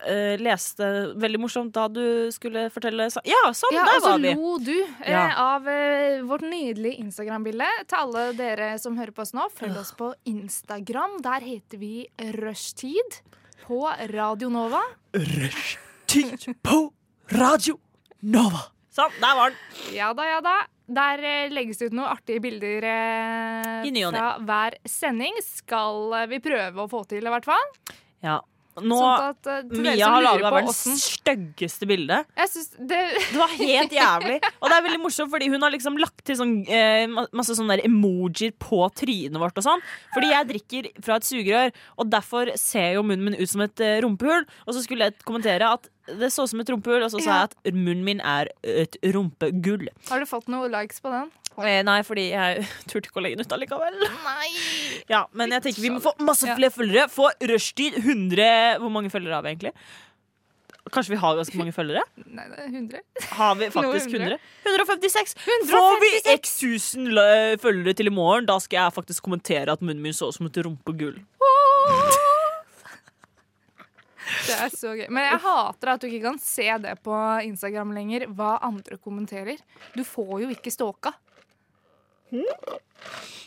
Speaker 3: eh, leste veldig morsomt da du skulle fortelle sa- Ja, sånn!
Speaker 2: Ja, altså,
Speaker 3: der
Speaker 2: og så
Speaker 3: var vi!
Speaker 2: lo du eh,
Speaker 3: Ja.
Speaker 2: av eh, vårt nydelige Instagram-bilde. Til alle dere som hører på oss nå, følg oss på Instagram. Der heter vi Rushtid på Radio Nova.
Speaker 3: Rushtid på Radio Nova! Sånn, der var den.
Speaker 2: Ja da, ja da. Der eh, legges det ut noen artige bilder eh,
Speaker 3: I ny og ne.
Speaker 2: fra hver sending. Skal eh, vi prøve å få til, i hvert fall.
Speaker 3: Ja. Nå
Speaker 2: sånn at eh, til dere
Speaker 3: Mia
Speaker 2: som
Speaker 3: har
Speaker 2: lurer
Speaker 3: laga
Speaker 2: på
Speaker 3: verdens
Speaker 2: åssen
Speaker 3: styggeste bilde.
Speaker 2: Jeg syns det *laughs*
Speaker 3: Det var helt jævlig. Og det er veldig morsomt, fordi hun har liksom lagt til sånn, eh, ma- masse sånne der emojier på trynet vårt og sånn. Fordi jeg drikker fra et sugerør, og derfor ser jo munnen min ut som et eh, rumpehull. Og så skulle jeg kommentere at det så ut som et rumpehull, og så sa jeg at munnen min er et rumpegull.
Speaker 2: Har du fått noen likes på den?
Speaker 3: Eh, nei, fordi jeg *laughs* turte ikke å legge den ut allikevel.
Speaker 2: Nei!
Speaker 3: Ja, men jeg tenker vi må få masse
Speaker 2: Ja.
Speaker 3: flere følgere. Få rushtid 100 Hvor mange følgere har vi egentlig? Kanskje vi har ganske mange følgere?
Speaker 2: Nei, det er 100.
Speaker 3: Har vi faktisk 100?
Speaker 2: Noe
Speaker 3: 156! Får vi 1000 lø- følgere til i morgen, da skal jeg faktisk kommentere at munnen min så ut som et rumpegull.
Speaker 2: Det er så gøy. Men jeg hater at du ikke kan se det på Instagram lenger, hva andre kommenterer. Du får jo ikke stalka.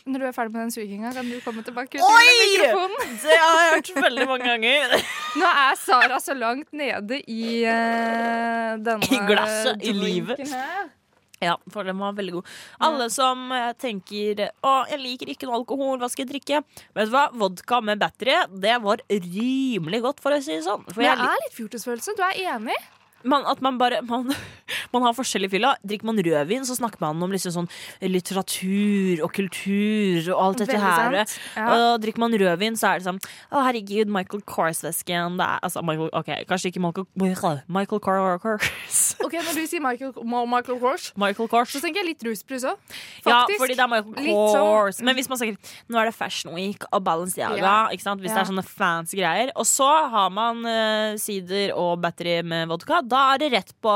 Speaker 2: Når du er ferdig med den suginga, kan du komme tilbake ut med
Speaker 3: Oi!
Speaker 2: mikrofonen.
Speaker 3: Det har jeg hørt veldig mange ganger.
Speaker 2: Nå er Sara så langt nede i eh, denne
Speaker 3: I glasset, i livet.
Speaker 2: drinken her.
Speaker 3: *laughs* Ja, for den var veldig god. Alle som eh, tenker 'Å, jeg liker ikke noe alkohol, hva skal jeg drikke?' Vet du hva? Vodka med battery, det var rimelig godt, for å si det sånn. For
Speaker 2: Men
Speaker 3: jeg,
Speaker 2: det er litt fjortisfølelse. Du er enig?
Speaker 3: man, at man bare man, *laughs* man har forskjellig fylla. Drikker man rødvin, så snakker man om liksom sånn litteratur og kultur og alt dette her.
Speaker 2: Veldig sant. Ja.
Speaker 3: Og drikker man rødvin, så er det sånn Å, herregud, Michael Kors-vesken. Det er altså Michael, OK, kanskje ikke Michael Michael Kors. Kors.
Speaker 2: Ok, Når du sier Michael, Michael Kors,
Speaker 3: Michael Kors.
Speaker 2: så tenker jeg litt rusbrus òg.
Speaker 3: Ja, fordi det er Michael
Speaker 2: Litt sånn-
Speaker 3: Kors. Men hvis man sier nå er det Fashion Week og Balenciaga,
Speaker 2: Ja.
Speaker 3: ikke sant? hvis
Speaker 2: Ja.
Speaker 3: det er sånne fancy greier, og så har man eh, sider og battery med vodka, da er det rett på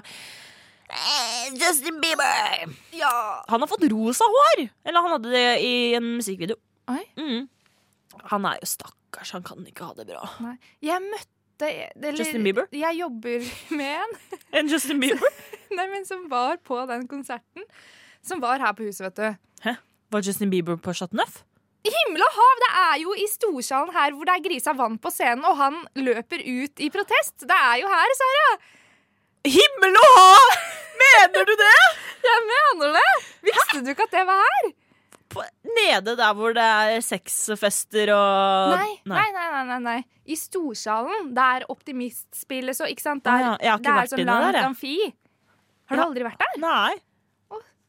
Speaker 3: eh, Justin Bieber! Han har fått rosa hår! Eller han hadde det i en musikkvideo.
Speaker 2: Oi.
Speaker 3: Mm. Han er jo stakkars, han kan ikke ha det bra.
Speaker 2: Nei. Jeg møtte eller,
Speaker 3: Justin Bieber?
Speaker 2: Jeg jobber *laughs* med en
Speaker 3: En Justin Bieber?
Speaker 2: nei, men som var på den konserten. Som var her på huset, vet du.
Speaker 3: Var Justin Bieber på Chateau Neuf?
Speaker 2: Himmel og hav! Det er jo i storsalen her hvor det er grisa vann på scenen, og han løper ut i protest. Det er jo her, Sara!
Speaker 3: Himmel og hav! Mener du det?
Speaker 2: Jeg mener det! Visste du ikke at det var her?
Speaker 3: På- Nede der hvor det er sexfester og
Speaker 2: Nei, nei, nei. nei, nei, nei. I Storsalen, der optimistspillet så Ikke sant?
Speaker 3: Å
Speaker 2: Der,
Speaker 3: ja, Ah, jeg har ikke
Speaker 2: det er
Speaker 3: vært
Speaker 2: sånn
Speaker 3: inne der,
Speaker 2: langt
Speaker 3: jeg.
Speaker 2: amfi. Har du
Speaker 3: Ja.
Speaker 2: aldri vært der?
Speaker 3: Nei.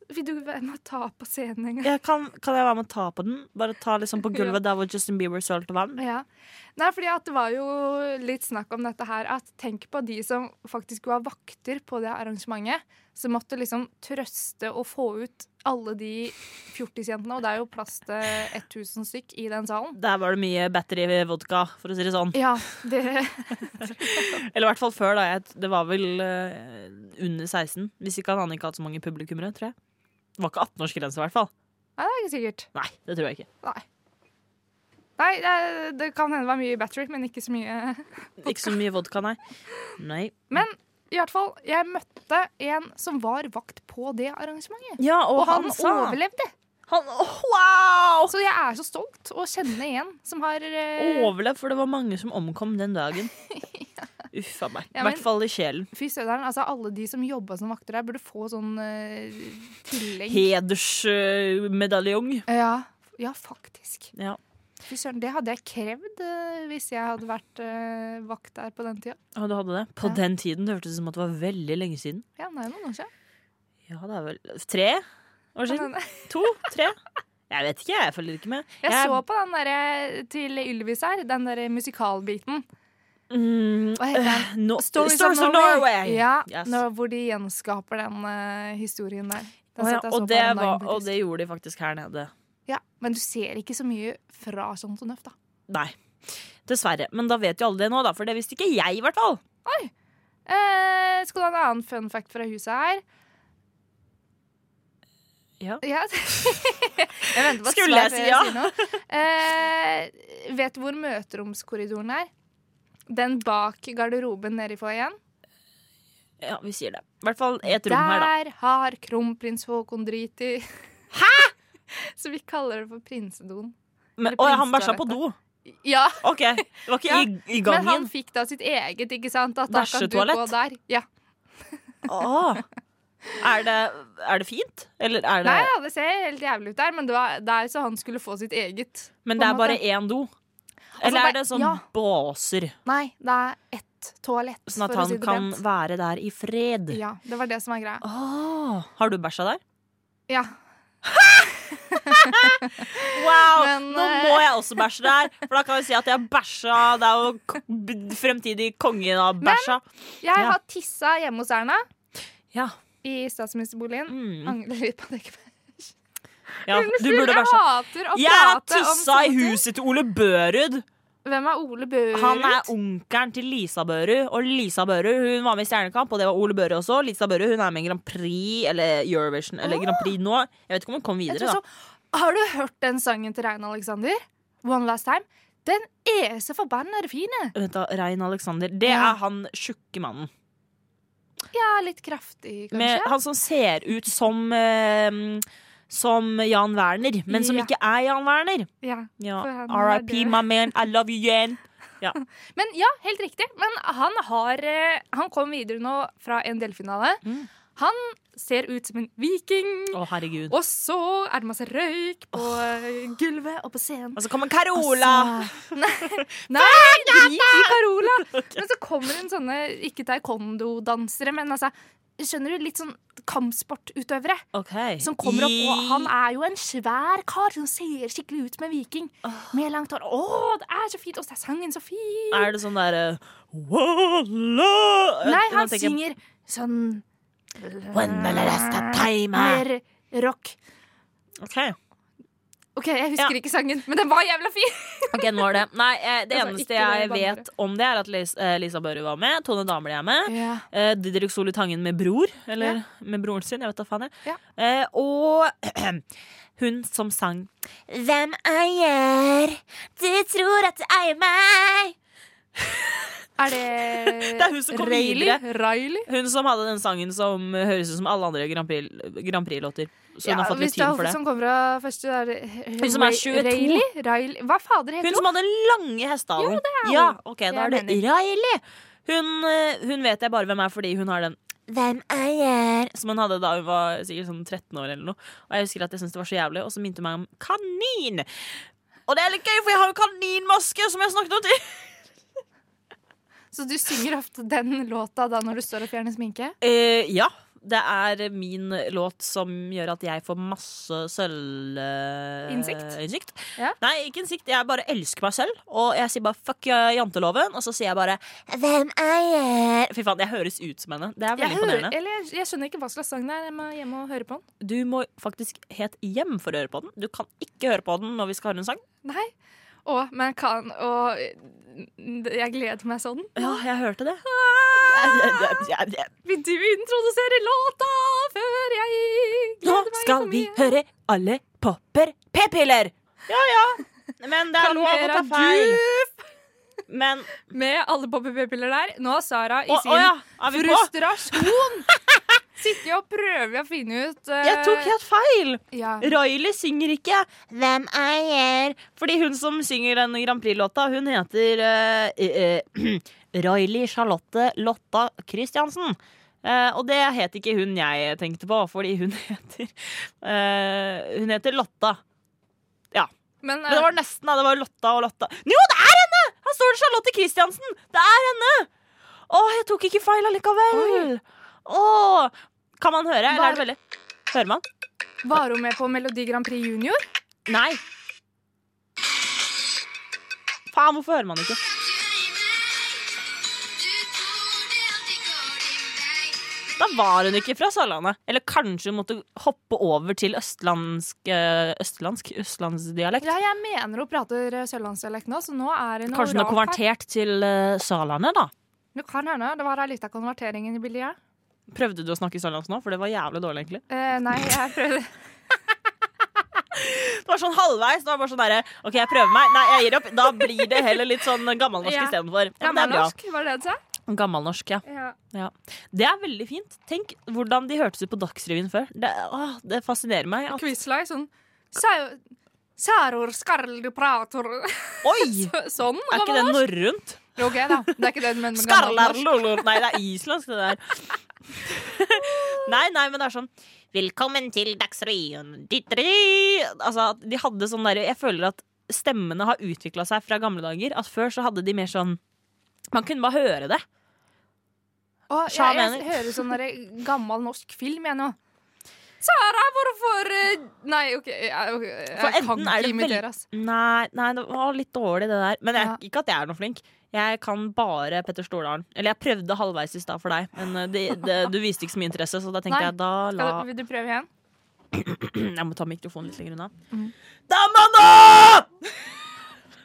Speaker 2: Vil du være med å ta på scenen en gang?
Speaker 3: Jeg kan, kan jeg være med å ta på den? Bare ta liksom
Speaker 2: *laughs*
Speaker 3: på gulvet der hvor Justin Bieber sølte vann?
Speaker 2: Ja. Nei, fordi at det var jo litt snakk om dette her at tenk på de som faktisk var vakter på det arrangementet, som måtte liksom trøste og få ut alle de fjortisjentene, og det er jo plass til 1000 stykk i den salen.
Speaker 3: Der var det mye battery-vodka, for å si det sånn.
Speaker 2: Ja, det
Speaker 3: Eller i hvert fall før, da. Jeg, det var vel eh, under 16. Hvis ikke hadde han ikke hatt så mange publikummere, tror jeg. Det var ikke 18-årsgrense, i hvert fall.
Speaker 2: Nei, det er ikke sikkert.
Speaker 3: Nei, det tror jeg ikke.
Speaker 2: Nei. Nei, det, det kan hende det var mye battery, men ikke så mye
Speaker 3: Ikke så mye vodka, nei. Nei.
Speaker 2: I hvert fall, jeg møtte en som var vakt på det arrangementet.
Speaker 3: Ja,
Speaker 2: Og han, overlevde.
Speaker 3: Han, Åh, wow!
Speaker 2: Så jeg er så stolt å kjenne en som har eh,
Speaker 3: Overlevd, for det var mange som omkom den
Speaker 2: *laughs*
Speaker 3: dagen. Uff a meg. I
Speaker 2: Ja, men-
Speaker 3: hvert fall i sjelen.
Speaker 2: Fy søderen, altså alle de som jobba som vakter der, burde få sånn eh, tillegg.
Speaker 3: Hedersmedaljong.
Speaker 2: ja, ja, faktisk.
Speaker 3: Ja.
Speaker 2: Fy søren, det hadde jeg krevd eh, hvis jeg hadde vært eh, vakt der på den tida.
Speaker 3: Ja, du hadde det. På
Speaker 2: Ja.
Speaker 3: den tiden det hørtes ut som at det var veldig lenge siden.
Speaker 2: Ja, nei, noen år siden.
Speaker 3: Ja, det er vel Tre år siden?
Speaker 2: Men, eh,
Speaker 3: To? Tre? Jeg vet ikke, jeg følger ikke med.
Speaker 2: Jeg
Speaker 3: Jeg-
Speaker 2: så på den derre til Ylvis her, den derre musikalbiten.
Speaker 3: Mm,
Speaker 2: Hva heter den?
Speaker 3: øh, no,
Speaker 2: Stories, of Norway! Ja, når, hvor de gjenskaper den eh, historien der.
Speaker 3: Å
Speaker 2: Den
Speaker 3: ja,
Speaker 2: satt jeg så
Speaker 3: og,
Speaker 2: på
Speaker 3: det
Speaker 2: den dagen,
Speaker 3: var,
Speaker 2: faktisk.
Speaker 3: og det gjorde de faktisk her nede.
Speaker 2: Ja, Men du ser ikke så mye fra sånt og nøft, da.
Speaker 3: Nei. Dessverre. Men da vet jo alle det nå, da, for det visste ikke jeg, i hvert fall.
Speaker 2: Eh, skal du ha en annen fun fact fra huset her?
Speaker 3: Ja.
Speaker 2: Ja. *laughs* jeg venter på et
Speaker 3: Skulle jeg
Speaker 2: svar
Speaker 3: si
Speaker 2: før
Speaker 3: ja?
Speaker 2: sier noe. Eh, vet du hvor møteromskorridoren er? Den bak garderoben nede i foajeen?
Speaker 3: Ja, vi sier det. I hvert fall et rom her, da.
Speaker 2: Der har kronprins Haakon drit i. Hæ?! *laughs* Så vi kaller det for prinsedoen.
Speaker 3: Men,
Speaker 2: Eller
Speaker 3: å, ja, han bæsja på do.
Speaker 2: Ja,
Speaker 3: OK. Det var ikke
Speaker 2: Ja,
Speaker 3: i, i
Speaker 2: men han
Speaker 3: gangen.
Speaker 2: fikk da sitt eget, ikke sant? At da kan du gå
Speaker 3: Bæsjetoalett?
Speaker 2: der. Ja.
Speaker 3: Åh. Er, det, er det fint? Eller er det
Speaker 2: Nei, ja, det ser helt jævlig ut der, men det var der så han skulle få sitt eget.
Speaker 3: Men
Speaker 2: på
Speaker 3: det
Speaker 2: en
Speaker 3: er bare
Speaker 2: måte. Altså,
Speaker 3: én do? Eller
Speaker 2: bare-
Speaker 3: er det sånn
Speaker 2: ja.
Speaker 3: båser?
Speaker 2: Nei, det er ett toalett,
Speaker 3: Sånn at
Speaker 2: for å
Speaker 3: han
Speaker 2: si det
Speaker 3: kan
Speaker 2: pent.
Speaker 3: være der i fred?
Speaker 2: Ja, det var det som var greia.
Speaker 3: Åh. Har du bæsja der?
Speaker 2: Ja.
Speaker 3: Wow,
Speaker 2: Men,
Speaker 3: nå
Speaker 2: eh,
Speaker 3: må jeg også bæsje der, for da kan vi si at jeg bæsja. Det er jo k- b- fremtidig kongen av bæsja.
Speaker 2: Jeg
Speaker 3: Ja.
Speaker 2: har tissa hjemme hos Erna
Speaker 3: Ja.
Speaker 2: i statsministerboligen.
Speaker 3: Mm.
Speaker 2: Angrer litt på at jeg ikke
Speaker 3: ja, du burde
Speaker 2: jeg
Speaker 3: bæsja.
Speaker 2: hater å
Speaker 3: Jeg har
Speaker 2: prate om
Speaker 3: tissa i
Speaker 2: sånne ting.
Speaker 3: huset til Ole Børud.
Speaker 2: Hvem er Ole Børud?
Speaker 3: Han er onkelen til Lisa Børud. Og Lisa Børud hun var med i Stjernekamp, og det var Ole Børud også. Lisa Børud hun er med i Grand Prix eller Eurovision eller Grand Prix nå. Jeg vet ikke om hun kom
Speaker 2: Ah. Jeg
Speaker 3: videre, da.
Speaker 2: tror så, har du hørt den sangen til Rein Alexander? One Last Time? Den er så forbanna fin. jeg.
Speaker 3: Vent da, Rein Alexander. Det
Speaker 2: Ja.
Speaker 3: er han tjukke mannen.
Speaker 2: Ja, litt kraftig, kanskje.
Speaker 3: Med, han som ser ut som eh, Som Jan Werner, men som
Speaker 2: Ja.
Speaker 3: ikke er Jan Werner.
Speaker 2: Ja.
Speaker 3: Ja.
Speaker 2: For han er
Speaker 3: RIP,
Speaker 2: død.
Speaker 3: my man. I love you, Jan.
Speaker 2: Men ja, helt riktig. Men han har eh, Han kom videre nå fra en delfinale.
Speaker 3: Mm.
Speaker 2: Han ser ut som en viking.
Speaker 3: Å, herregud.
Speaker 2: Og så er det masse røyk på eh, gulvet og på scenen.
Speaker 3: Og så kommer Carola!
Speaker 2: Altså, *laughs* Nei, nei drit i Carola! Men så kommer hun sånne ikke taekwondo-dansere, men altså Skjønner du? Litt sånn kampsportutøvere
Speaker 3: Ok.
Speaker 2: som kommer opp. Og
Speaker 3: I-
Speaker 2: han er jo en svær kar som ser skikkelig ut som en viking. Med langt hår. Å, det er så fint! Og så er sangen så fin!
Speaker 3: Er det sånn derre Walla
Speaker 2: Nei,
Speaker 3: Nå
Speaker 2: han
Speaker 3: tenker jeg-
Speaker 2: synger sånn
Speaker 3: When the last time I-
Speaker 2: mer rock.
Speaker 3: Ok.
Speaker 2: OK, jeg husker ikke sangen, men den var jævla fin!
Speaker 3: Ok, nå er det Nei, eh, det
Speaker 2: Altså,
Speaker 3: eneste
Speaker 2: ikke noe
Speaker 3: jeg vet om det, er at Lis- eh, Lisa Børre var med. Tone Damli er med.
Speaker 2: *laughs* Ja.
Speaker 3: Eh, Didrik Soli Tangen med bror, eller med broren sin, jeg vet da faen jeg.
Speaker 2: Ja.
Speaker 3: Eh, og *clears throat* hun som sang Hvem eier? Du tror at du eier meg.
Speaker 2: Er det
Speaker 3: *laughs* Det er hun som kom videre.
Speaker 2: Riley?
Speaker 3: Hun som hadde den sangen som høres ut som alle andre Grand Prix- Grand Prix-låter. så hun Sånn har fått litt
Speaker 2: hvis det er
Speaker 3: tyn for
Speaker 2: hun
Speaker 3: det.
Speaker 2: som kommer fra første er det-
Speaker 3: Hun som er
Speaker 2: Ray-
Speaker 3: 22.
Speaker 2: Riley? Riley? Hva fader heter
Speaker 3: Hun
Speaker 2: hun?
Speaker 3: som hadde den lange hestehalen.
Speaker 2: hun.
Speaker 3: Ja, ok,
Speaker 2: Det
Speaker 3: da
Speaker 2: er
Speaker 3: er det
Speaker 2: Benny.
Speaker 3: Riley. Hun, eh, hun vet jeg bare hvem er fordi hun har den Hvem er jeg? Som hun hadde da hun var sikkert sånn 13 år eller noe. Og jeg husker at jeg syntes det var så jævlig, og så minte hun meg om kanin. Og det er litt gøy, for jeg har jo kaninmaske, som jeg snakket om til.
Speaker 2: Så du synger ofte den låta da når du står og fjerner sminke?
Speaker 3: Eh, ja. Det er min låt som gjør at jeg får masse sølv... eh,
Speaker 2: Innsikt?
Speaker 3: innsikt.
Speaker 2: Ja.
Speaker 3: Nei, ikke innsikt. Jeg bare elsker meg selv. Og jeg sier bare fuck eh, janteloven, og så sier jeg bare Hvem er jeg? Fy faen, jeg høres ut som henne. Det er
Speaker 2: Jeg,
Speaker 3: veldig
Speaker 2: hører,
Speaker 3: imponerende.
Speaker 2: eller jeg, jeg skjønner ikke hva slags sang det er. Jeg må hjem og høre på den.
Speaker 3: Du må faktisk helt hjem for å høre på den. Du kan ikke høre på den når vi skal høre en sang.
Speaker 2: Nei. Å, men kan Og jeg gleder meg sånn.
Speaker 3: Ja, jeg hørte det. Ah!
Speaker 2: Vil du introdusere låta før jeg
Speaker 3: Nå
Speaker 2: gleder meg
Speaker 3: skal
Speaker 2: så
Speaker 3: vi
Speaker 2: mye?
Speaker 3: høre alle popper p-piller! Ja ja. Men det er lov å ta
Speaker 2: Kalmera
Speaker 3: feil. Men
Speaker 2: Med alle Bobby B-piller der. Nå har Sara i
Speaker 3: Å,
Speaker 2: sin
Speaker 3: å ja, er vi på? *laughs*
Speaker 2: frustrasjon sitter og prøver å finne ut eh,
Speaker 3: Jeg tok helt feil!
Speaker 2: ja.
Speaker 3: Riley synger ikke 'Hvem er jeg?' Fordi hun som synger den Grand Prix-låta, hun heter eh, eh, *clears throat* Riley Charlotte Lotta Christiansen. Eh, og det het ikke hun jeg tenkte på, fordi hun *laughs* heter eh, Hun heter Lotta.
Speaker 2: Men,
Speaker 3: Men det var nesten, da. Det var Lotta og Lotta. Jo, det er henne! Her står det Charlotte Christiansen! Det er henne! Å, jeg tok ikke feil allikevel. Å, kan man høre? Eller er det veldig Hører man?
Speaker 2: eh, var hun med på Melodi Grand Prix Junior?
Speaker 3: Nei. Faen, hvorfor hører man ikke? Da var hun ikke fra Sørlandet. Eller kanskje hun måtte hoppe over til østlandsk, eh, østlandsk østlandsdialekt.
Speaker 2: Ja, jeg mener hun prater eh, sørlandsdialekt nå, så nå er hun
Speaker 3: Kanskje hun har
Speaker 2: oral her.
Speaker 3: konvertert til eh, Sørlandet, da.
Speaker 2: Det kan hende. Det var ei lita konverteringen i bildet, ja.
Speaker 3: Prøvde du å snakke sørlandsk nå? For det var jævlig dårlig, egentlig.
Speaker 2: Eh, nei,
Speaker 3: *laughs*
Speaker 2: jeg prøvde
Speaker 3: Det var sånn halvveis. Det var bare sånn derre OK, jeg prøver meg. Nei, jeg gir opp. Da blir det heller litt sånn gammelnorsk
Speaker 2: Ja.
Speaker 3: istedenfor. Ja, men det er bra.
Speaker 2: Gammelnorsk, var det det du sa?
Speaker 3: Gammelnorsk, ja.
Speaker 2: Ja.
Speaker 3: Ja. Det er veldig fint. Tenk hvordan de hørtes ut på Dagsrevyen før. Det, åh, det fascinerer meg. At,
Speaker 2: Quizlag, sånn Sau- Særor skarl du prater *laughs*
Speaker 3: oi!
Speaker 2: Sånn.
Speaker 3: Er ikke det
Speaker 2: gammel norsk.
Speaker 3: norrønt?
Speaker 2: Ok, da. Det er ikke det du mener med gammel norsk.
Speaker 3: Skarlarlolor Nei, det er islandsk, det der.
Speaker 2: *laughs*
Speaker 3: nei, nei, men det er sånn Velkommen til Dagsrevyen. Ditteri. Altså, at de hadde sånn derre Jeg føler at stemmene har utvikla seg fra gamle dager. At før så hadde de mer sånn Man kunne bare høre det.
Speaker 2: Å, jeg,
Speaker 3: Sja
Speaker 2: jeg
Speaker 3: mener.
Speaker 2: hører sånn derre *laughs* gammel norsk film, jeg nå. Sara, hvorfor eh, Nei, OK, jeg, ok, eh,
Speaker 3: For
Speaker 2: jeg kan
Speaker 3: enten er
Speaker 2: ikke
Speaker 3: det veldig-
Speaker 2: imitere, ass.
Speaker 3: Nei, nei, det var litt dårlig, det der. Men jeg,
Speaker 2: Ja.
Speaker 3: ikke at jeg er noe flink. Jeg kan bare Petter Stordalen. Eller jeg prøvde halvveis i stad for deg, men eh, det, det, du viste ikke så mye interesse, så da tenkte
Speaker 2: Nei.
Speaker 3: jeg da la
Speaker 2: Skal du- Vil du prøve igjen?
Speaker 3: Jeg må ta mikrofonen litt lenger unna. Damanna! *laughs*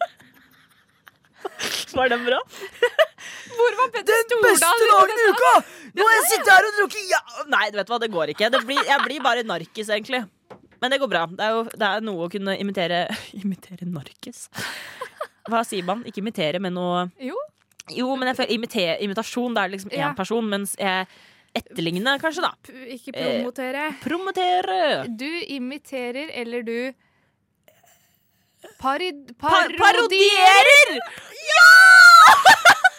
Speaker 3: Var den bra?
Speaker 2: Hvor var Petter Stordalen?
Speaker 3: i uka! Nå har jeg sittet her og drukket ja. Nei, du vet hva, det går ikke. Det blir, jeg blir bare narkis, egentlig. Men det går bra. Det er jo det er noe å kunne imitere *laughs* Imitere narkis? Hva sier man? Ikke imitere, men noe
Speaker 2: Jo,
Speaker 3: Jo, men jeg føler imite- imitasjon, det er liksom én
Speaker 2: Ja.
Speaker 3: person, mens jeg etterligne, kanskje, da.
Speaker 2: p- ikke
Speaker 3: Eh.
Speaker 2: promotere.
Speaker 3: Promotere!
Speaker 2: Du imiterer, eller du parid,
Speaker 3: Par
Speaker 2: parodierer.
Speaker 3: parodierer! Ja!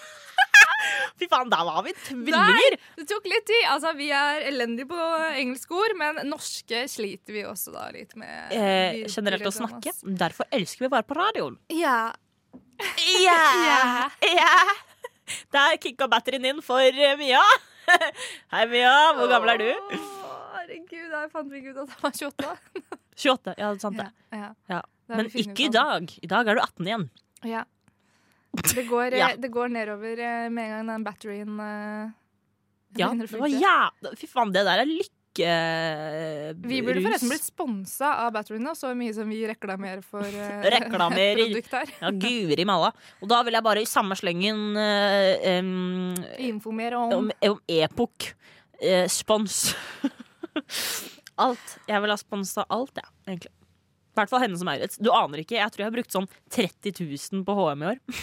Speaker 3: *laughs* Fy faen, der var vi tvillinger!
Speaker 2: Nei, det tok litt tid. Altså, vi er elendige på engelske ord, men norske sliter vi også da litt med.
Speaker 3: Eh,
Speaker 2: Vi-
Speaker 3: generelt å
Speaker 2: programmet,
Speaker 3: snakke.
Speaker 2: ass.
Speaker 3: Derfor elsker vi bare på radioen.
Speaker 2: Ja.
Speaker 3: Ja. Der kicka batterien inn for eh, Mia. *laughs* Hei, Mia. Hvor gammel er du?
Speaker 2: Å, herregud, der fant vi ikke ut at jeg var 28.
Speaker 3: 28. Ja, det er sant det.
Speaker 2: Ja.
Speaker 3: Ja.
Speaker 2: Da har
Speaker 3: Men
Speaker 2: vi funnet
Speaker 3: ikke i
Speaker 2: ut av
Speaker 3: dag. I dag er du 18 igjen.
Speaker 2: det. Ja. Det går, eh,
Speaker 3: Ja.
Speaker 2: det går nedover eh, med en gang den batterien eh,
Speaker 3: Ja,
Speaker 2: begynner å
Speaker 3: det var
Speaker 2: funke.
Speaker 3: jæv- Fy faen, det der er eh,
Speaker 2: Vi burde forresten blitt
Speaker 3: lykkerus.
Speaker 2: sponsa av Batteryene, så mye som vi reklamerer for
Speaker 3: *laughs*
Speaker 2: uh, *laughs*
Speaker 3: Reklamerer.
Speaker 2: produkt her.
Speaker 3: Ja, guri malla. Og da vil jeg bare i samme slengen eh, em,
Speaker 2: Informere om
Speaker 3: om, om Epok. Eh, spons. *laughs* alt. Jeg vil ha sponsa alt, jeg, ja, egentlig. I hvert fall henne som Maurits. Du aner ikke. Jeg tror jeg har brukt sånn 30 000 på HM i år.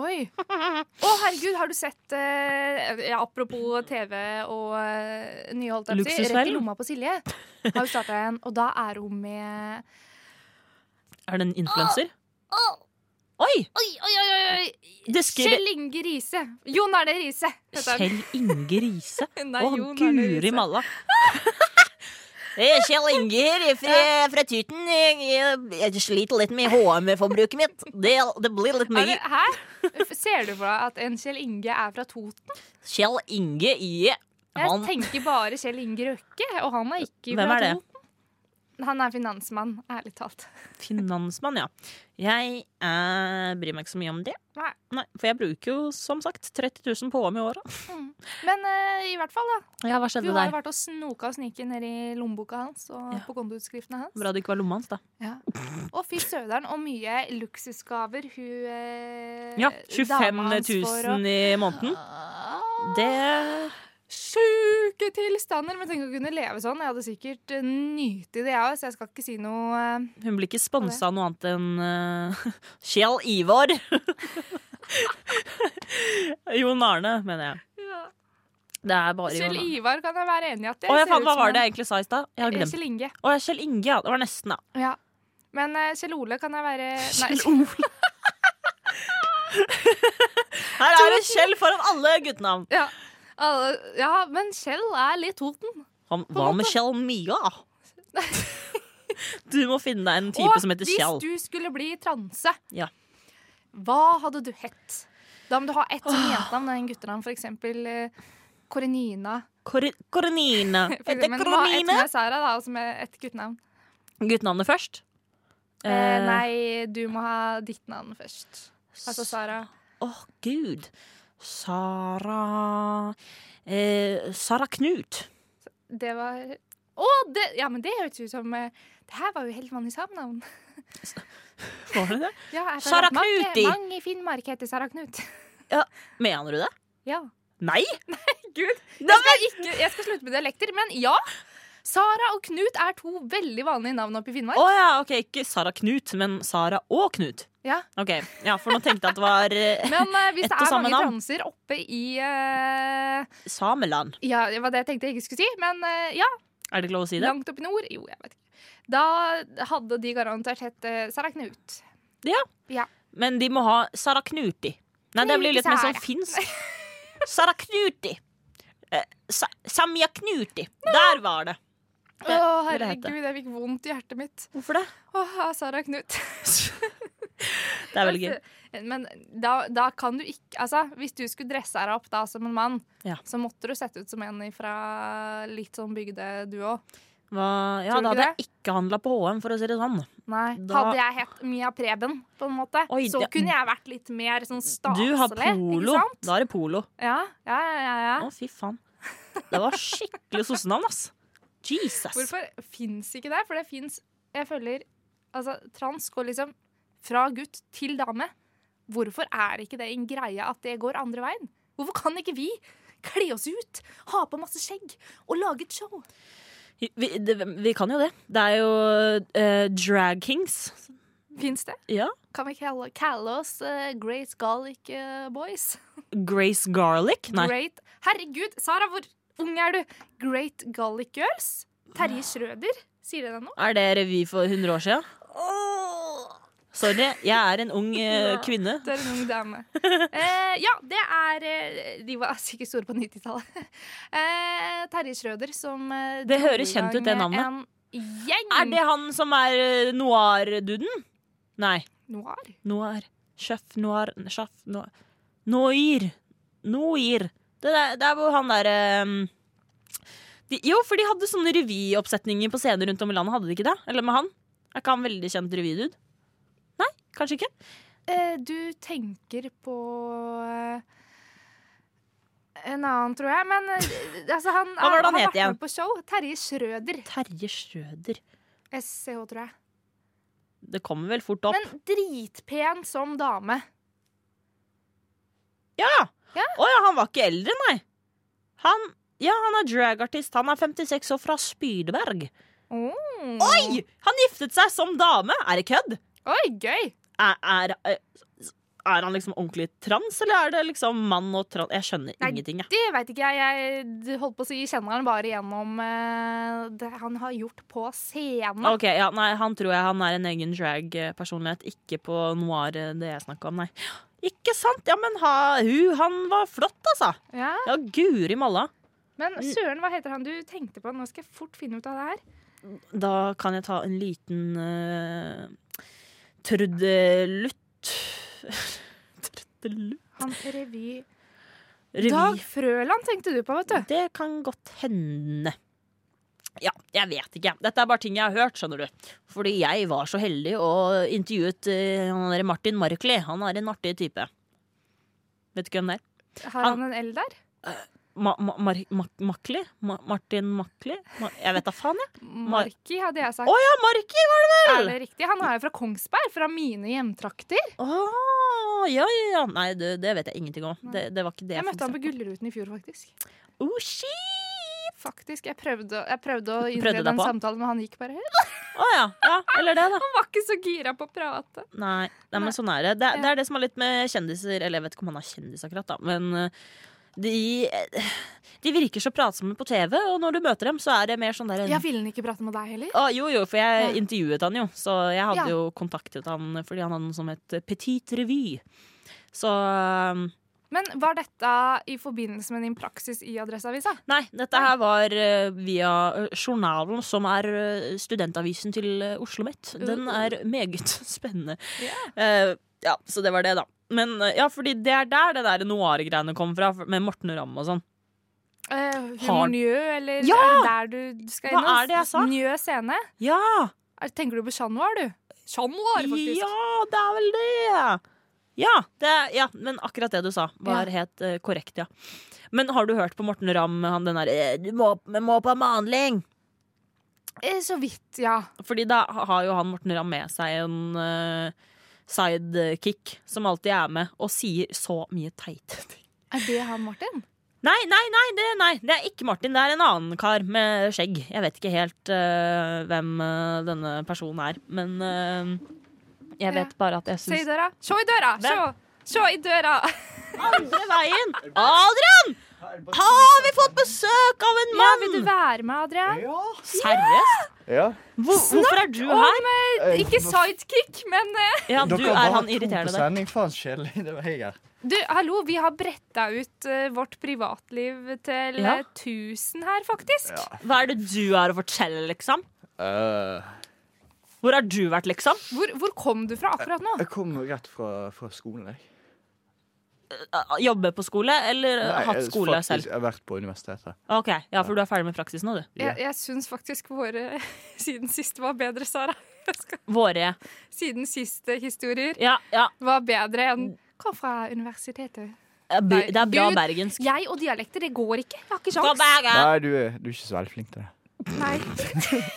Speaker 2: Oi! Å, herregud, har du sett eh, ja, Apropos TV og eh, nye, holdt jeg på å si. Rett
Speaker 3: Luksusfellen.
Speaker 2: i lomma på Silje har jo starta en, og da er hun med
Speaker 3: Er det en influenser? Oi!
Speaker 2: Oi, oi, oi! oi.
Speaker 3: Det skriver
Speaker 2: Ah! Kjell Inge Riise. Jon Arne Riise. heter han.
Speaker 3: Kjell Inge Riise.
Speaker 2: *laughs* Nei,
Speaker 3: Å,
Speaker 2: Jon Arne
Speaker 3: guri
Speaker 2: Riise. *laughs*
Speaker 3: malla. Det er Kjell Inger fra, fra Tuten. Jeg, jeg, jeg sliter litt med HM-forbruket mitt. Det, det blir litt
Speaker 2: Er det,
Speaker 3: mye.
Speaker 2: hæ? Ser du for deg at en Kjell Inge er fra Toten?
Speaker 3: Kjell Inge i
Speaker 2: Jeg
Speaker 3: han,
Speaker 2: tenker bare Kjell Inge Røkke, og han er ikke
Speaker 3: Hvem
Speaker 2: fra
Speaker 3: er det?
Speaker 2: Toten. Han er finansmann, ærlig talt.
Speaker 3: Finansmann, ja. Jeg eh, bryr meg ikke så mye om det.
Speaker 2: Nei.
Speaker 3: Nei, for jeg bruker jo som sagt 30 000 på HM i året.
Speaker 2: Men eh, i hvert fall, da.
Speaker 3: Ja, hva
Speaker 2: Du har jo vært og snoka og sniket nedi lommeboka hans og
Speaker 3: Ja.
Speaker 2: på kontoutskriftene hans.
Speaker 3: Bra det ikke var lomma hans, da.
Speaker 2: Ja. Og fy søderen, og mye luksusgaver hun eh,
Speaker 3: Ja, 25
Speaker 2: dama hans Ah. får,
Speaker 3: 000 i måneden.
Speaker 2: og-
Speaker 3: Det
Speaker 2: Sjuke tilstander! Men tenk å kunne leve sånn. Jeg hadde sikkert eh, nytt i det, jeg òg, så jeg skal ikke si noe eh,
Speaker 3: Hun blir ikke sponsa av noe annet enn eh, *laughs* Kjell Ivar. *laughs* Jon Arne, mener jeg. Det er bare
Speaker 2: Kjell
Speaker 3: Jon Arne.
Speaker 2: Ivar kan jeg være enig i at det
Speaker 3: Å, jeg
Speaker 2: ser
Speaker 3: faen,
Speaker 2: ut
Speaker 3: hva
Speaker 2: som
Speaker 3: var det
Speaker 2: en-
Speaker 3: jeg egentlig sa i stad? Jeg har glemt.
Speaker 2: Kjell Inge.
Speaker 3: Å, ja, Kjell Inge, ja. Det var nesten, da.
Speaker 2: Ja. Men eh, Kjell Ole kan jeg være
Speaker 3: *laughs*
Speaker 2: Nei,
Speaker 3: Kjell Ole. Her er det Kjell foran alle guttenavn.
Speaker 2: *laughs* ja. Alle- ja, men Kjell er litt Toten.
Speaker 3: Han, hva med Kjell Mia?
Speaker 2: *laughs*
Speaker 3: Du må finne deg en type
Speaker 2: Og
Speaker 3: som heter
Speaker 2: hvis
Speaker 3: Kjell.
Speaker 2: du skulle bli transe,
Speaker 3: Ja.
Speaker 2: hva hadde du hett? Da må du ha ett som jentenavn og en guttenavn, for eksempel eh, Korenina.
Speaker 3: Kor-
Speaker 2: *laughs*
Speaker 3: Koronine.
Speaker 2: For
Speaker 3: Heter
Speaker 2: eksempel, Men du må ha ett
Speaker 3: Koronine.
Speaker 2: med Sara, da, og som er et guttenavn.
Speaker 3: Guttenavnet først.
Speaker 2: Eh, nei, du må ha ditt navn først. Altså Sara.
Speaker 3: Eh, Åh, gud. Sara eh, Sara Knut.
Speaker 2: Det var Å, det, ja, men det hørtes ut som eh, Det her var jo helt vanlig samnavn.
Speaker 3: Var det det?
Speaker 2: Ja, jeg føler
Speaker 3: Sara
Speaker 2: at mange-
Speaker 3: Knuti.
Speaker 2: Mange i Finnmark heter Sara Knut. *laughs*
Speaker 3: Mener du det?
Speaker 2: Ja.
Speaker 3: Nei!
Speaker 2: Gud.
Speaker 3: Nei,
Speaker 2: Jeg skal, ikke, jeg skal slutte med dialekter, men ja. Sara og Knut er to veldig vanlige navn oppe i
Speaker 3: Å
Speaker 2: Finnmark.
Speaker 3: ja, ok, ikke Sara Knut, men Sara og Knut.
Speaker 2: Ja.
Speaker 3: Ok, ja, For nå tenkte jeg at det var eh,
Speaker 2: *laughs* Men eh, hvis
Speaker 3: Ett
Speaker 2: det
Speaker 3: og
Speaker 2: er
Speaker 3: samme
Speaker 2: mange
Speaker 3: navn.
Speaker 2: transer oppe i eh,
Speaker 3: Sameland.
Speaker 2: Ja, det var det jeg tenkte jeg ikke skulle si, men eh, ja,
Speaker 3: Er det ikke lov å si det?
Speaker 2: langt opp i nord. Jo, jeg vet ikke. Da hadde de garantert hett eh, Sara Knut.
Speaker 3: Men de må ha Sara Knuti. Nei, det blir litt mer sånn finsk. *laughs* Sara Knuti. Eh, Sa Samja Knuti. Der var det.
Speaker 2: Å,
Speaker 3: vil det hete.
Speaker 2: herregud, jeg fikk vondt i hjertet mitt.
Speaker 3: Hvorfor det?
Speaker 2: Åh, av Sara
Speaker 3: *laughs*
Speaker 2: Knut.
Speaker 3: Det er veldig gøy.
Speaker 2: *laughs* Men da, da kan du ikke Altså, hvis du skulle dresse deg opp da som en mann,
Speaker 3: Ja.
Speaker 2: så måtte du sette ut som en fra litt sånn bygde, du òg.
Speaker 3: Hva, ja,
Speaker 2: Tror du
Speaker 3: da
Speaker 2: ikke
Speaker 3: hadde jeg ikke handla på HM, for å si det sånn.
Speaker 2: Nei.
Speaker 3: Da-
Speaker 2: Hadde jeg hett Mia Preben, på en måte,
Speaker 3: Oi,
Speaker 2: så
Speaker 3: det-
Speaker 2: kunne jeg vært litt mer sånn staselig.
Speaker 3: Du har polo.
Speaker 2: Ikke sant?
Speaker 3: Da er det polo.
Speaker 2: Ja, ja, ja. ja, ja.
Speaker 3: Å, fy faen. Det var skikkelig sossenavn, ass. Jesus.
Speaker 2: Hvorfor fins ikke det? For det fins Jeg føler Altså, trans går liksom fra gutt til dame. Hvorfor er ikke det en greie at det går andre veien? Hvorfor kan ikke vi kle oss ut, ha på masse skjegg og lage et show?
Speaker 3: Vi, det, vi kan jo det. Det er jo eh, Drag Kings.
Speaker 2: Fins det?
Speaker 3: Ja.
Speaker 2: Kan vi kalle, kalle oss eh, Great Garlic eh, Boys?
Speaker 3: Grace Garlic. Nei.
Speaker 2: Great Herregud, Sara, hvor ung er du? Great Garlic Girls? Terje Schrøder? Sier det deg noe?
Speaker 3: Er det revy for 100 år siden? Sorry, jeg er en ung
Speaker 2: *laughs*
Speaker 3: eh, kvinne.
Speaker 2: Det er en ung dame. Eh, ja, det er eh, De var sikkert store på 90-tallet. *laughs* Eh, Terje Schrøder som eh,
Speaker 3: Det
Speaker 2: dro
Speaker 3: høres
Speaker 2: i
Speaker 3: kjent
Speaker 2: gang
Speaker 3: ut, det navnet.
Speaker 2: En gjeng
Speaker 3: Er det han som er eh, noir-duden? Nei.
Speaker 2: noir?
Speaker 3: Noir. Sjef noir Sjef noir. Noir. Noir. Det, der, det er hvor han derre de, Jo, for de hadde sånne revyoppsetninger på scener rundt om i landet, hadde de ikke det? Eller med han? Er ikke han veldig kjent revydude? Nei, kanskje ikke.
Speaker 2: Eh, du tenker på eh, en annen, tror jeg. Men eh, altså, han,
Speaker 3: Hva var det han
Speaker 2: har
Speaker 3: het
Speaker 2: vært
Speaker 3: igjen?
Speaker 2: med på show. Terje Schrøder.
Speaker 3: Terje Schrøder.
Speaker 2: SCH, tror jeg.
Speaker 3: Det kommer vel fort opp.
Speaker 2: Men dritpen som dame.
Speaker 3: ja! Å
Speaker 2: Ja.
Speaker 3: ja. han var ikke eldre, nei. Han ja, han er dragartist. Han er 56 og fra Spydeberg.
Speaker 2: Mm.
Speaker 3: Oi! Han giftet seg som dame! Er det kødd?
Speaker 2: Oi, gøy!
Speaker 3: er, er, eh, er han liksom ordentlig trans, eller er det liksom mann og trans? Jeg skjønner
Speaker 2: Nei,
Speaker 3: ingenting. Jeg.
Speaker 2: Det veit ikke jeg. Jeg holdt på å si kjenner han bare gjennom eh, det han har gjort på scenen.
Speaker 3: Ok, ja, nei, Han tror jeg han er en egen drag-personlighet, ikke på noir eh, det jeg snakka om, nei. Ikke sant? Ja, men ha, hun, han var flott, altså.
Speaker 2: Ja.
Speaker 3: Ja, guri malla.
Speaker 2: Men
Speaker 3: Mm.
Speaker 2: søren, hva heter han du tenkte på? Nå skal jeg fort finne ut av det her.
Speaker 3: Da kan jeg ta en liten eh, *laughs* trudelutt. trudelutt?
Speaker 2: Han revy...
Speaker 3: Revy.
Speaker 2: Dag Frøland tenkte du på, vet du.
Speaker 3: Det kan godt hende. Ja, jeg vet ikke. Dette er bare ting jeg har hørt, skjønner du. Fordi jeg var så heldig og intervjuet eh, han der Martin Markley. Han er en artig type. Vet du ikke hvem det er?
Speaker 2: Har han en L der?
Speaker 3: Ma Ma Mar Ma Makley? Ma Martin Makley? Ma jeg vet da faen, jeg.
Speaker 2: Marki, hadde jeg sagt.
Speaker 3: Å ja, Marki var det
Speaker 2: Er
Speaker 3: vel!
Speaker 2: det riktig? Han er jo fra Kongsberg, fra mine hjemtrakter.
Speaker 3: Å, Ah, ja, ja, ja. Nei, det, det vet jeg ingenting om. Det, det var ikke det
Speaker 2: Jeg møtte han på
Speaker 3: fokuserte
Speaker 2: Gullruten i fjor, faktisk.
Speaker 3: Oh, shit!
Speaker 2: Faktisk, Jeg prøvde, jeg prøvde å
Speaker 3: Prøvde deg
Speaker 2: innlede en
Speaker 3: på?
Speaker 2: samtale, men han gikk bare helt.
Speaker 3: Å ja. ja. Eller det, da.
Speaker 2: Han var ikke så gira på å prate.
Speaker 3: Nei, nei, men
Speaker 2: Nei.
Speaker 3: sånn er det. Det, er- det
Speaker 2: Ja.
Speaker 3: er det som er litt med kjendiser Eller jeg vet ikke om han er kjendis akkurat, da. Men eh, de, eh, de virker så pratsomme på TV, og når du møter dem, så er det mer sånn der
Speaker 2: Jeg ville ikke prate med deg heller.
Speaker 3: Å, jo, jo, for jeg
Speaker 2: Ja.
Speaker 3: intervjuet han jo, så jeg hadde
Speaker 2: Ja.
Speaker 3: jo kontaktet han fordi han hadde noe som het Petit Revy. Så um,
Speaker 2: Men var dette i forbindelse med din praksis i Adresseavisa?
Speaker 3: Nei, dette her var eh, via eh, journalen, som er eh, studentavisen til eh, Oslo Met. Den er meget *laughs* spennende. Eh, ja, så det var det, da. Men eh, ja, fordi det er der det der noir-greiene kom fra, med Morten Ramm og sånn.
Speaker 2: Uh,
Speaker 3: Har-
Speaker 2: Humor Njø, eller
Speaker 3: Ja!
Speaker 2: er det der du skal
Speaker 3: Hva
Speaker 2: innom?
Speaker 3: er det jeg sa?
Speaker 2: Njø scene?
Speaker 3: Ja!
Speaker 2: Er- Tenker du på Chat Noir, du? Chat Noir, faktisk.
Speaker 3: Ja, det er vel det! Ja, det, ja men akkurat det du sa, var
Speaker 2: Ja.
Speaker 3: helt eh, korrekt, ja. Men har du hørt på Morten Ramm, han den derre eh, 'Du må, vi må på maling'?
Speaker 2: Eh, Så vidt, ja.
Speaker 3: Fordi da har jo han Morten Ramm med seg en eh, sidekick som alltid er med og sier så mye teite ting.
Speaker 2: Er det han Martin?
Speaker 3: Nei, nei, nei det, nei, det er ikke Martin. Det er en annen kar med skjegg. Jeg vet ikke helt eh, hvem eh, denne personen er, men eh, jeg vet bare at jeg
Speaker 2: Se i
Speaker 3: syns
Speaker 2: døra. Se i døra! Se!
Speaker 3: Hvem?
Speaker 2: Se i døra!
Speaker 3: Andre veien! Adrian! Har vi fått besøk av en
Speaker 2: Ja, vil du
Speaker 3: mann?
Speaker 2: være med, Adrian?
Speaker 1: Ja.
Speaker 3: Seriøst?
Speaker 4: Ja.
Speaker 3: Hvor, hvorfor er du her?
Speaker 2: Om, eh, ikke sidekick, men eh,
Speaker 3: Ja, du
Speaker 4: Dere
Speaker 3: er
Speaker 4: var
Speaker 3: han
Speaker 4: to på
Speaker 3: irriterende der.
Speaker 4: Sending, faen, kjedelig. Det var jeg her.
Speaker 2: Du, hallo, vi har bretta ut eh, vårt privatliv til
Speaker 3: Ja.
Speaker 2: eh, 1000 her, faktisk.
Speaker 3: Hva er det du har å fortelle, liksom?
Speaker 4: Øh,
Speaker 3: Hvor har du vært, liksom?
Speaker 2: Hvor, hvor kom du fra akkurat nå?
Speaker 4: jeg kom rett fra, fra skolen, jeg.
Speaker 3: jobbe på skole, eller
Speaker 4: Nei,
Speaker 3: hatt
Speaker 4: jeg-
Speaker 3: skole
Speaker 4: faktisk,
Speaker 3: selv? Eh.
Speaker 4: Jeg har vært på universitetet.
Speaker 3: Ok, Ja, for du er ferdig med praksis nå, du.
Speaker 4: Ja.
Speaker 2: Jeg, jeg syns faktisk våre *laughs* siden sist var bedre, Sara. Jeg skal-
Speaker 3: Våre.
Speaker 2: Siden siste historier
Speaker 3: Ja, ja.
Speaker 2: var bedre enn Kom fra universitetet.
Speaker 3: Bu-
Speaker 2: Nei,
Speaker 3: Det er bra
Speaker 2: Gud.
Speaker 3: bergensk.
Speaker 2: Jeg og dialekter, det går ikke. Jeg har ikke
Speaker 3: Fra
Speaker 2: sjans.
Speaker 3: Bergen.
Speaker 4: Nei, du, er- du er ikke så veldig flink til det.
Speaker 3: *laughs*
Speaker 2: Nei. *laughs*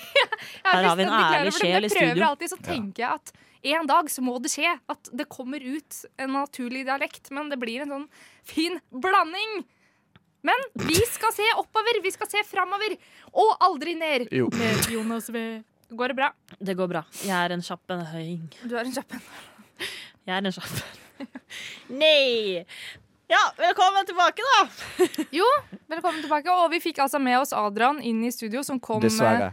Speaker 3: Her har vi en ærlig sjel i
Speaker 2: Jeg prøver
Speaker 3: studio.
Speaker 2: alltid, så tenker jeg at en dag så må det skje at det kommer ut en naturlig dialekt, men det blir en sånn fin blanding. Men vi skal se oppover, vi skal se framover, og aldri ned.
Speaker 4: Jo.
Speaker 2: Med Jonas V. Går det bra?
Speaker 3: Det går bra. Jeg er en kjapp en høying.
Speaker 2: Du er en kjapp en.
Speaker 3: Jeg er en kjapp en. *laughs* Nei! Ja, velkommen tilbake, da!
Speaker 2: Jo, velkommen tilbake. Og vi fikk altså med oss Adrian inn i studio, som kom eh,
Speaker 4: Dessverre.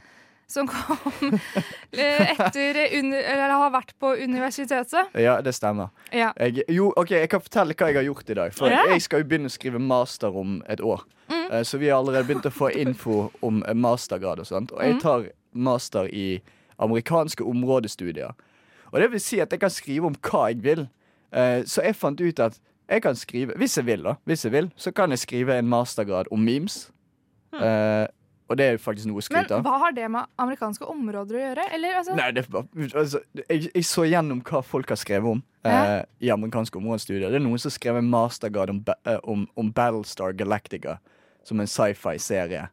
Speaker 2: som kom *laughs* eh, etter eh, uni- Eller har vært på universitetet.
Speaker 4: Ja, det stemmer.
Speaker 2: Ja.
Speaker 4: Jeg, jo, ok, jeg kan fortelle hva jeg har gjort i dag. For
Speaker 3: Ja.
Speaker 4: jeg skal jo begynne å skrive master om et år. Eh, Så vi har allerede begynt å få info om eh, mastergrad og sånt. Og jeg tar master i amerikanske områdestudier. Og det vil si at jeg kan skrive om hva jeg vil. Eh, Så jeg fant ut at jeg kan skrive Hvis jeg vil, da. Hvis jeg vil, så kan jeg skrive en mastergrad om memes. Eh, Og det er jo faktisk noe å
Speaker 2: Men
Speaker 4: skryte av.
Speaker 2: hva har det med amerikanske områder å gjøre? Eller, altså,
Speaker 4: Nei, det er bare, altså, jeg, jeg så gjennom hva folk har skrevet om eh,
Speaker 2: Ja.
Speaker 4: i amerikanske områdestudier. Det er noen som har skrevet en mastergrad om, ba- eh, om, om Battlestar Galactica som en sci-fi-serie.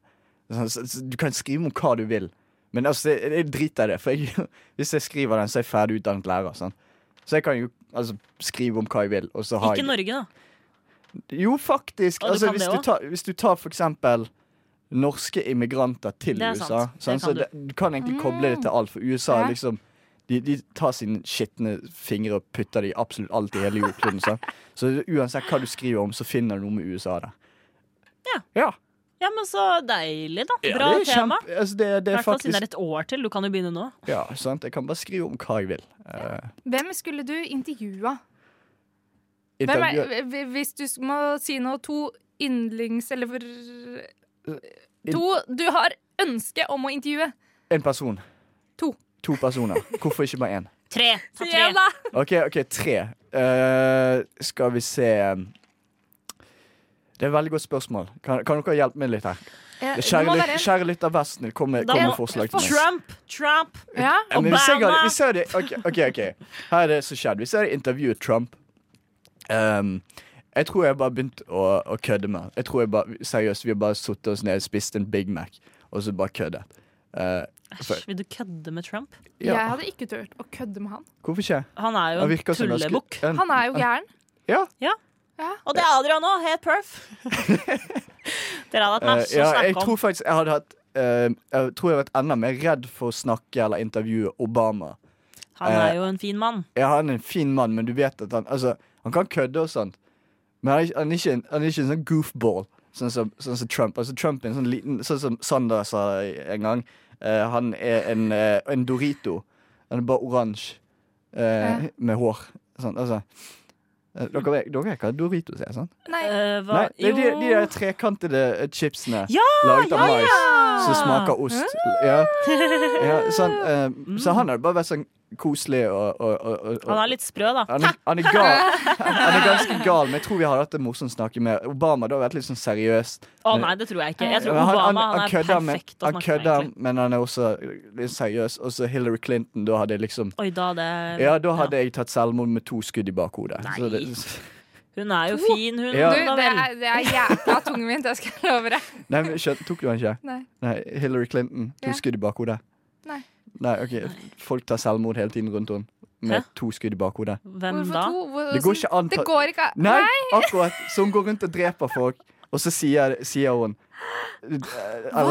Speaker 4: Sånn, så- så Du kan skrive om hva du vil, men altså, jeg, jeg driter i det. For jeg, *laughs* hvis jeg skriver den, så er jeg ferdig utdannet lærer. Sånn. Så jeg kan jo altså, skrive om hva jeg vil. Og så har
Speaker 3: Ikke
Speaker 4: jeg,
Speaker 3: Norge, da.
Speaker 4: jo, faktisk.
Speaker 3: Å, du
Speaker 4: altså,
Speaker 3: kan
Speaker 4: hvis,
Speaker 3: det
Speaker 4: du
Speaker 3: også?
Speaker 4: tar, hvis du tar for eksempel norske immigranter til
Speaker 3: Det er sant.
Speaker 4: USA,
Speaker 3: Det
Speaker 4: sånn,
Speaker 3: kan Mm.
Speaker 4: så
Speaker 3: du.
Speaker 4: det, du kan egentlig koble det til alt. For USA
Speaker 2: Ja.
Speaker 4: er liksom de, de tar sine skitne fingre og putter det i absolutt alt i hele jordkloden. sant? Så uansett hva du skriver om, så finner du noe med USA der.
Speaker 3: Ja.
Speaker 4: ja.
Speaker 3: Ja, men så deilig, da.
Speaker 4: Ja,
Speaker 3: Bra
Speaker 4: det er
Speaker 3: tema.
Speaker 4: kjempe- Altså, det, det
Speaker 3: I
Speaker 4: er
Speaker 3: hvert fall siden det
Speaker 4: faktisk
Speaker 3: er et år til. Du kan jo begynne nå.
Speaker 4: Ja, sant. Jeg kan bare skrive om hva jeg vil. Eh,
Speaker 2: Hvem skulle du intervjua? Hvem er,
Speaker 4: intervju-
Speaker 2: hv- hvis du må si noe, to yndlings... Eller for To du har ønske om å intervjue.
Speaker 4: En person.
Speaker 2: To.
Speaker 4: To personer. Hvorfor ikke bare én?
Speaker 3: Tre. Ta tre.
Speaker 2: Jævla.
Speaker 4: OK, ok, tre. Eh, skal vi se Det er et veldig godt spørsmål. Kan, kan dere hjelpe meg litt her?
Speaker 2: Ja, det
Speaker 4: Kjære,
Speaker 2: Eh, må
Speaker 4: lyt-
Speaker 2: være en-
Speaker 4: kjære lytter Vesten, kom med,
Speaker 3: Da
Speaker 4: kom med
Speaker 3: må-
Speaker 4: forslag til meg.
Speaker 3: Trump. Trump.
Speaker 2: Ja.
Speaker 4: Ja, men hvis jeg hadde-
Speaker 3: Obama.
Speaker 4: hvis jeg hadde- ok, ok, ok. Her er det som skjedde. Hvis jeg hadde intervjuet Trump ehm, Jeg tror jeg bare begynte å, å kødde med han. Jeg tror jeg bare, Seriøst, vi har bare sittet oss ned, spist en Big Mac og så bare køddet. Eh,
Speaker 3: Æsj, vil du kødde med Trump?
Speaker 2: Jeg
Speaker 4: ja.
Speaker 2: hadde ikke turt å kødde med han.
Speaker 4: Hvorfor ikke?
Speaker 3: Han er jo
Speaker 4: Han
Speaker 3: en
Speaker 4: virker som ganske-
Speaker 3: tullebukk.
Speaker 4: en-
Speaker 2: Han er jo gæren.
Speaker 4: Ja.
Speaker 3: Og det er Adrian òg. Helt
Speaker 4: *laughs*
Speaker 3: perf. Dere hadde hatt
Speaker 4: Eh,
Speaker 3: masse å
Speaker 4: ja, jeg
Speaker 3: snakke
Speaker 4: tror
Speaker 3: om.
Speaker 4: faktisk jeg hadde hatt eh, Jeg tror jeg hadde vært enda mer redd for å snakke eller intervjue Obama.
Speaker 3: Han
Speaker 4: eh,
Speaker 3: er jo en fin mann.
Speaker 4: Ja, han er en fin mann, men du vet at han Altså, han kan kødde og sånt, men han er, ikke- han er, ikke, en, han er ikke en sånn goofball, sånn som, sånn som Trump. Altså, Trump er en sånn liten Sånn som Sander sa en gang. eh, han er en, eh, en Dorito. Han er bare oransje eh,
Speaker 2: Ja.
Speaker 4: med hår. Sånn, altså. Eh, Dere vet dere vet hva Doritos er, sant?
Speaker 2: Nei.
Speaker 3: Eh, hva?
Speaker 4: Nei, det er de, de
Speaker 3: Jo.
Speaker 4: der trekantede eh, chipsene
Speaker 3: Ja,
Speaker 4: laget av
Speaker 3: ja,
Speaker 4: mais.
Speaker 3: ja.
Speaker 4: Som smaker ost. Ja. Ja, sånn, eh, så han har bare vært sånn koselig og, og, og, og,
Speaker 3: Han er litt sprø, da.
Speaker 4: han er, han er gal. Han er ganske gal, men jeg tror vi har hatt det morsomt å snakke med. Obama det har vært litt sånn seriøst.
Speaker 3: Å nei, det tror jeg ikke. Jeg tror
Speaker 4: Han- han-
Speaker 3: Obama han, er
Speaker 4: han kødder med-
Speaker 3: perfekt å snakke
Speaker 4: Han
Speaker 3: med.
Speaker 4: kødder,
Speaker 3: egentlig.
Speaker 4: men han er også litt seriøs. Og så Hillary Clinton, da hadde jeg liksom
Speaker 3: Oi, da det
Speaker 4: Ja, da hadde jeg tatt selvmord med to skudd i bakhodet.
Speaker 3: Nei.
Speaker 4: Så det,
Speaker 3: Hun er jo
Speaker 2: To.
Speaker 3: fin, hun.
Speaker 4: Ja.
Speaker 2: Du,
Speaker 3: da
Speaker 2: det
Speaker 3: vel.
Speaker 2: er, det er jævla tungvint, det skal jeg love deg.
Speaker 4: nei, men skjøn- tok du han ikke?
Speaker 2: Nei.
Speaker 4: Nei, Hillary Clinton, to
Speaker 2: Ja.
Speaker 4: skudd i bakhodet.
Speaker 2: Nei.
Speaker 4: Nei, ok, Folk tar selvmord hele tiden rundt henne med
Speaker 3: Hæ?
Speaker 4: to skudd i bakhodet.
Speaker 3: Hvem
Speaker 2: Hvorfor
Speaker 3: da?
Speaker 2: to? Hvor-
Speaker 4: Det går ikke an.
Speaker 2: Det går ikke an.
Speaker 4: Nei, akkurat. Så hun går rundt og dreper folk, og så sier, sier hun Hva?
Speaker 2: Hva?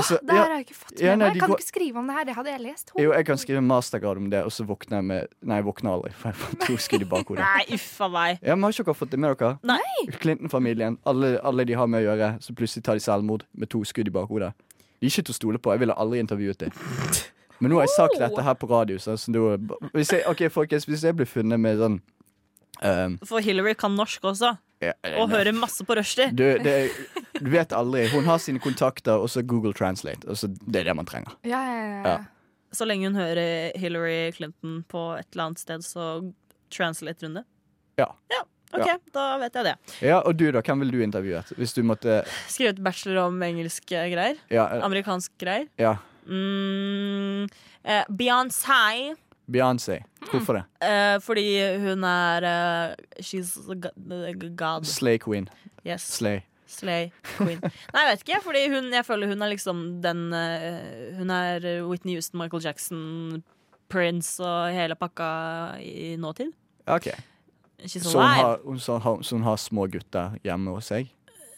Speaker 2: Det her har jeg ikke fått med
Speaker 4: altså, Ja, nei,
Speaker 2: meg.
Speaker 4: de
Speaker 2: Kan
Speaker 4: går-
Speaker 2: du ikke skrive om det her? Det hadde jeg lest.
Speaker 4: Jo, jeg kan skrive en mastergrad om det, og så våkner jeg med Nei, jeg våkner aldri, for jeg får to skudd i bakhodet.
Speaker 3: Nei, uff a meg.
Speaker 4: Ja, men Har ikke dere fått det med dere?
Speaker 3: Nei.
Speaker 4: Clinton-familien. Alle, alle de har med å gjøre, så plutselig tar de selvmord med to skudd i bakhodet. De er ikke til å stole på. Jeg ville aldri intervjuet dem. Men nå har jeg sagt dette her på radio. Så, så da, hvis, jeg, ok, folkens, hvis jeg blir funnet med sånn ehm,
Speaker 3: For Hillary kan norsk også,
Speaker 4: ja,
Speaker 3: og hører masse på rushtid.
Speaker 4: du, det, du vet aldri. Hun har sine kontakter, og så Google Translate. Og så, det er det man trenger.
Speaker 2: Ja, ja, ja, ja.
Speaker 4: Ja.
Speaker 3: Så lenge hun hører Hillary Clinton på et eller annet sted, så translate runde.
Speaker 4: Ja.
Speaker 3: ja. OK, da vet jeg det.
Speaker 4: Ja, Og du, da? Hvem ville du intervjuet? Hvis du måtte
Speaker 3: Skrevet bachelor om engelske greier.
Speaker 4: Ja.
Speaker 3: Amerikansk greier.
Speaker 4: ja
Speaker 3: Mm, eh, Beyoncé.
Speaker 4: Beyoncé. Hvorfor det?
Speaker 3: Eh, fordi hun er eh, She's a go- god.
Speaker 4: Slay Queen.
Speaker 3: Yes.
Speaker 4: Slay.
Speaker 3: Slay
Speaker 4: *laughs*
Speaker 3: Queen. Nei, jeg vet ikke, fordi hun, jeg føler hun er liksom den eh, Hun er Whitney Houston, Michael Jackson, Prince og hele pakka i nåtid.
Speaker 4: OK.
Speaker 3: She's
Speaker 4: Så hun
Speaker 3: alive.
Speaker 4: har, hun, så, har, så hun har små gutter hjemme hos seg?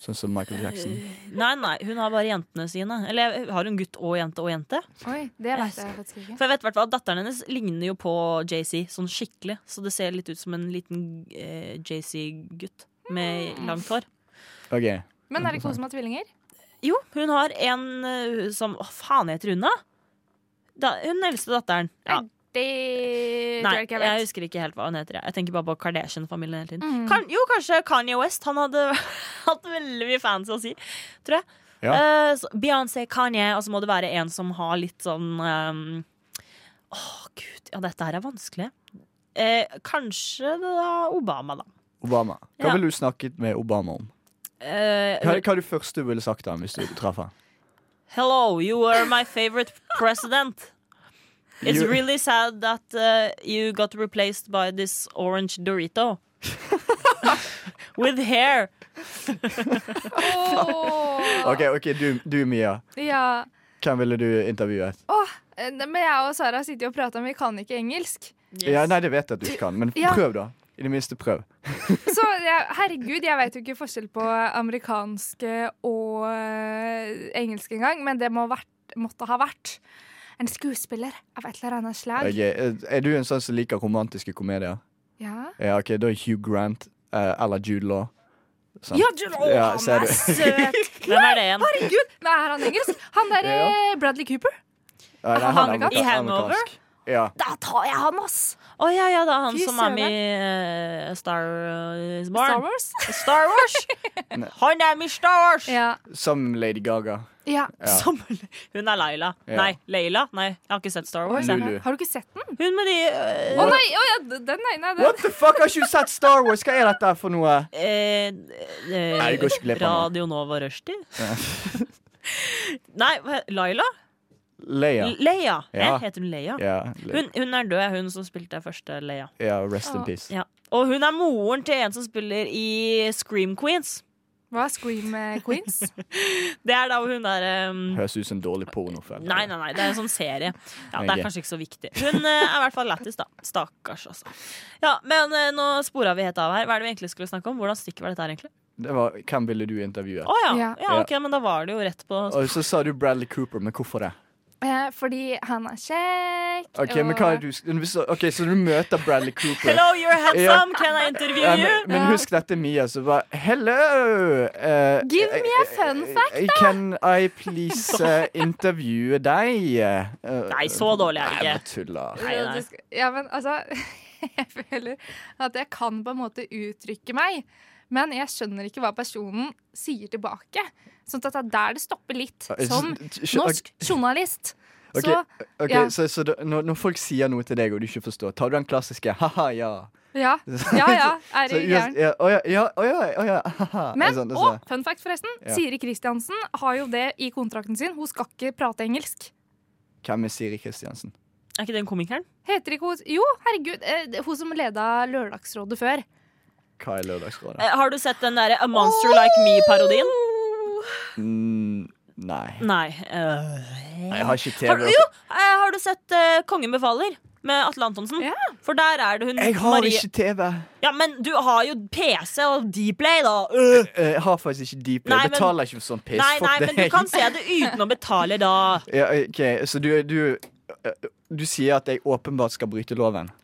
Speaker 4: Sånn som Michael Jackson?
Speaker 3: Nei, nei, hun har bare jentene sine. Eller jeg- har hun gutt og jente og jente?
Speaker 2: Oi, det vet jeg faktisk ikke.
Speaker 3: For jeg vet hvertfall at Datteren hennes ligner jo på JC, sånn skikkelig. Så det ser litt ut som en liten eh, JC-gutt med
Speaker 2: Mm.
Speaker 3: langt hår.
Speaker 4: OK.
Speaker 2: Men er det ikke hun som har tvillinger?
Speaker 3: Jo, hun har en eh, som Hva faen heter hun, da? da hun eldste datteren. Ja.
Speaker 2: Det tror
Speaker 3: Nei,
Speaker 2: jeg ikke
Speaker 3: jeg,
Speaker 2: jeg vet.
Speaker 3: husker ikke helt hva hun heter. Jeg, jeg tenker bare på Kardashian-familien hele tiden.
Speaker 2: Mm.
Speaker 3: Kan, jo, kanskje Kanye West. Han hadde *laughs* hatt veldig mye fans å si, tror jeg.
Speaker 4: Ja.
Speaker 3: Eh, så Beyoncé, Kanye, og så må det være en som har litt sånn ehm, Åh, gud. Ja, dette her er vanskelig. Eh, kanskje da Obama, da.
Speaker 4: Obama. Hva
Speaker 3: Ja.
Speaker 4: ville du snakket med Obama om?
Speaker 3: Eh,
Speaker 4: Hva, hva er det første du ville sagt til ham hvis du traff ham?
Speaker 3: Hello, you were my favorite president. It's
Speaker 4: You-
Speaker 3: really sad that uh, you got replaced by this orange Dorito. With hair.
Speaker 2: Åh.
Speaker 4: OK, ok, du, du Mia.
Speaker 2: Ja.
Speaker 4: Hvem ville du intervjuet?
Speaker 2: Eh, Men jeg og Sara sitter jo og prater om vi kan ikke engelsk.
Speaker 4: Ja, nei, det vet jeg at du ikke kan, men
Speaker 2: Ja.
Speaker 4: prøv, da. I det minste prøv.
Speaker 2: Så jeg, herregud, jeg vet jo ikke forskjell på amerikanske og eh, engelske engang, men det må vært, måtte ha vært en skuespiller av et eller annet slag.
Speaker 4: Ok, Er er du en sånn som liker romantiske komedier?
Speaker 2: Ja.
Speaker 4: Ja, OK, da er Hugh Grant eh, eller Jude Law. Sant? Ja,
Speaker 3: Ja,
Speaker 4: ser du.
Speaker 3: søt. Hvem er det igjen?
Speaker 2: Herregud, men er han engelsk? Han der eh, Bradley Cooper?
Speaker 4: *laughs* Ja, nei,
Speaker 3: Han-
Speaker 4: amerika-
Speaker 3: i Hangover?
Speaker 4: amerikansk. Ja.
Speaker 2: Da tar jeg han, ass!
Speaker 3: Å ja, ja, det er han
Speaker 2: Fy
Speaker 3: som er med i eh, Star Is
Speaker 2: Star
Speaker 3: Born.
Speaker 2: Wars.
Speaker 3: Star Wars!
Speaker 4: Nei.
Speaker 3: han er med i Star Wars!
Speaker 2: Ja.
Speaker 4: Som Lady Gaga.
Speaker 2: ja.
Speaker 4: Ja.
Speaker 3: Som, hun er Laila.
Speaker 4: Ja.
Speaker 3: Nei, Leila. Nei, jeg har ikke sett Star Wars. jeg.
Speaker 4: Lulu.
Speaker 2: Har du ikke sett den?
Speaker 3: Hun med de eh,
Speaker 2: Å nei! å ja, d- den er nei,
Speaker 4: What
Speaker 2: den.
Speaker 4: the fuck, har ikke du sett Star Wars? Hva er dette for noe?
Speaker 3: eh, eh,
Speaker 4: Nei, det går ikke glipp av
Speaker 3: Radio Nova Rushdie. *laughs* Nei, hva- Laila?
Speaker 4: Leia.
Speaker 3: Leia.
Speaker 4: Ja.
Speaker 3: Eh, heter hun Leia?
Speaker 4: Ja, Le
Speaker 3: Hun, hun er død, hun som spilte første Leia.
Speaker 4: ja rest in
Speaker 2: Ah.
Speaker 4: peace.
Speaker 3: Ja. Og hun er moren til en som spiller i Scream Queens.
Speaker 2: Hva er Scream eh, Queens?
Speaker 4: *laughs*
Speaker 3: Det er da hun er eh,
Speaker 4: Høres ut som en dårlig pornofilm.
Speaker 3: Nei, nei, nei, det er en sånn serie. Ja, Det er
Speaker 4: Ok.
Speaker 3: kanskje ikke så viktig. Hun eh, er i hvert fall lættis, da. Stakkars, altså. Ja, Men eh, nå spora vi helt av her. Hva er det vi egentlig skulle snakke om? Hvordan stykke var dette her, egentlig?
Speaker 4: Det var, hvem ville du intervjue?
Speaker 3: Å ja. ja.
Speaker 2: Ja.
Speaker 3: ok, men da var det jo rett på
Speaker 4: Og så sa du Bradley Cooper, men hvorfor det?
Speaker 2: Eh, fordi han er kjekk.
Speaker 4: Ok, men hva er du hvis- Ok, Så du møter Bradley Cooper.
Speaker 3: Hello, you're handsome, can I interview
Speaker 4: Ja,
Speaker 3: you?
Speaker 4: men, men husk dette, Mia, så bare Hello! eh,
Speaker 2: Give me a fun
Speaker 4: eh,
Speaker 2: fact,
Speaker 4: eh, Can I please
Speaker 3: *laughs*
Speaker 4: eh, intervjue deg? Eh,
Speaker 3: Nei, så dårlig er det ikke.
Speaker 4: Nei, jeg bare tuller.
Speaker 3: Nei, nei.
Speaker 2: Du skal- Ja, men altså *laughs* Jeg føler at jeg kan på en måte uttrykke meg, men jeg skjønner ikke hva personen sier tilbake. Sånn at det er der det stopper litt. Som norsk journalist.
Speaker 4: Ok,
Speaker 2: Så
Speaker 4: ok,
Speaker 2: ja.
Speaker 4: Så, så da, når, når folk sier noe til deg og du ikke forstår, tar du den klassiske ha-ha, ja? *laughs*
Speaker 2: ja, ja, ja er
Speaker 4: Så
Speaker 2: det
Speaker 4: uansett-
Speaker 2: gæren.
Speaker 4: ja, Å ja, ja, å ja, å ja, *laughs* ha-ha.
Speaker 2: Men,
Speaker 4: sånn, det er
Speaker 2: og
Speaker 4: sånn.
Speaker 2: fun fact forresten,
Speaker 4: Ja.
Speaker 2: Siri Kristiansen har jo det i kontrakten sin. Hun skal ikke prate engelsk.
Speaker 4: Hvem er Siri Kristiansen?
Speaker 3: Er ikke den komikeren?
Speaker 2: Heter ikke hun Jo, herregud, eh, det- hun som leda Lørdagsrådet før.
Speaker 4: Hva er Lørdagsrådet?
Speaker 3: Eh, Har du sett den derre A Monster Like Me-parodien?
Speaker 4: Mm, nei.
Speaker 3: Nei. eh,
Speaker 4: nei. Jeg har ikke
Speaker 3: Har,
Speaker 4: TV.
Speaker 3: jo, eh, har du sett eh, Kongen befaler? Med Atle Antonsen.
Speaker 2: Ja.
Speaker 3: For der er det hun
Speaker 4: Jeg har
Speaker 3: Marie
Speaker 4: ikke TV.
Speaker 3: Ja, men du har jo PC og Dplay, da. Øh.
Speaker 4: Eh, Jeg har faktisk ikke Deeply.
Speaker 3: Nei,
Speaker 4: Jeg
Speaker 3: men-
Speaker 4: betaler ikke for sånn piss.
Speaker 3: Nei,
Speaker 4: Fuck
Speaker 3: nei, men du
Speaker 4: deg.
Speaker 3: kan se det uten å betale, da.
Speaker 4: *laughs* Ja, ok, Så du, du, eh, du sier at jeg åpenbart skal bryte loven?
Speaker 3: *laughs*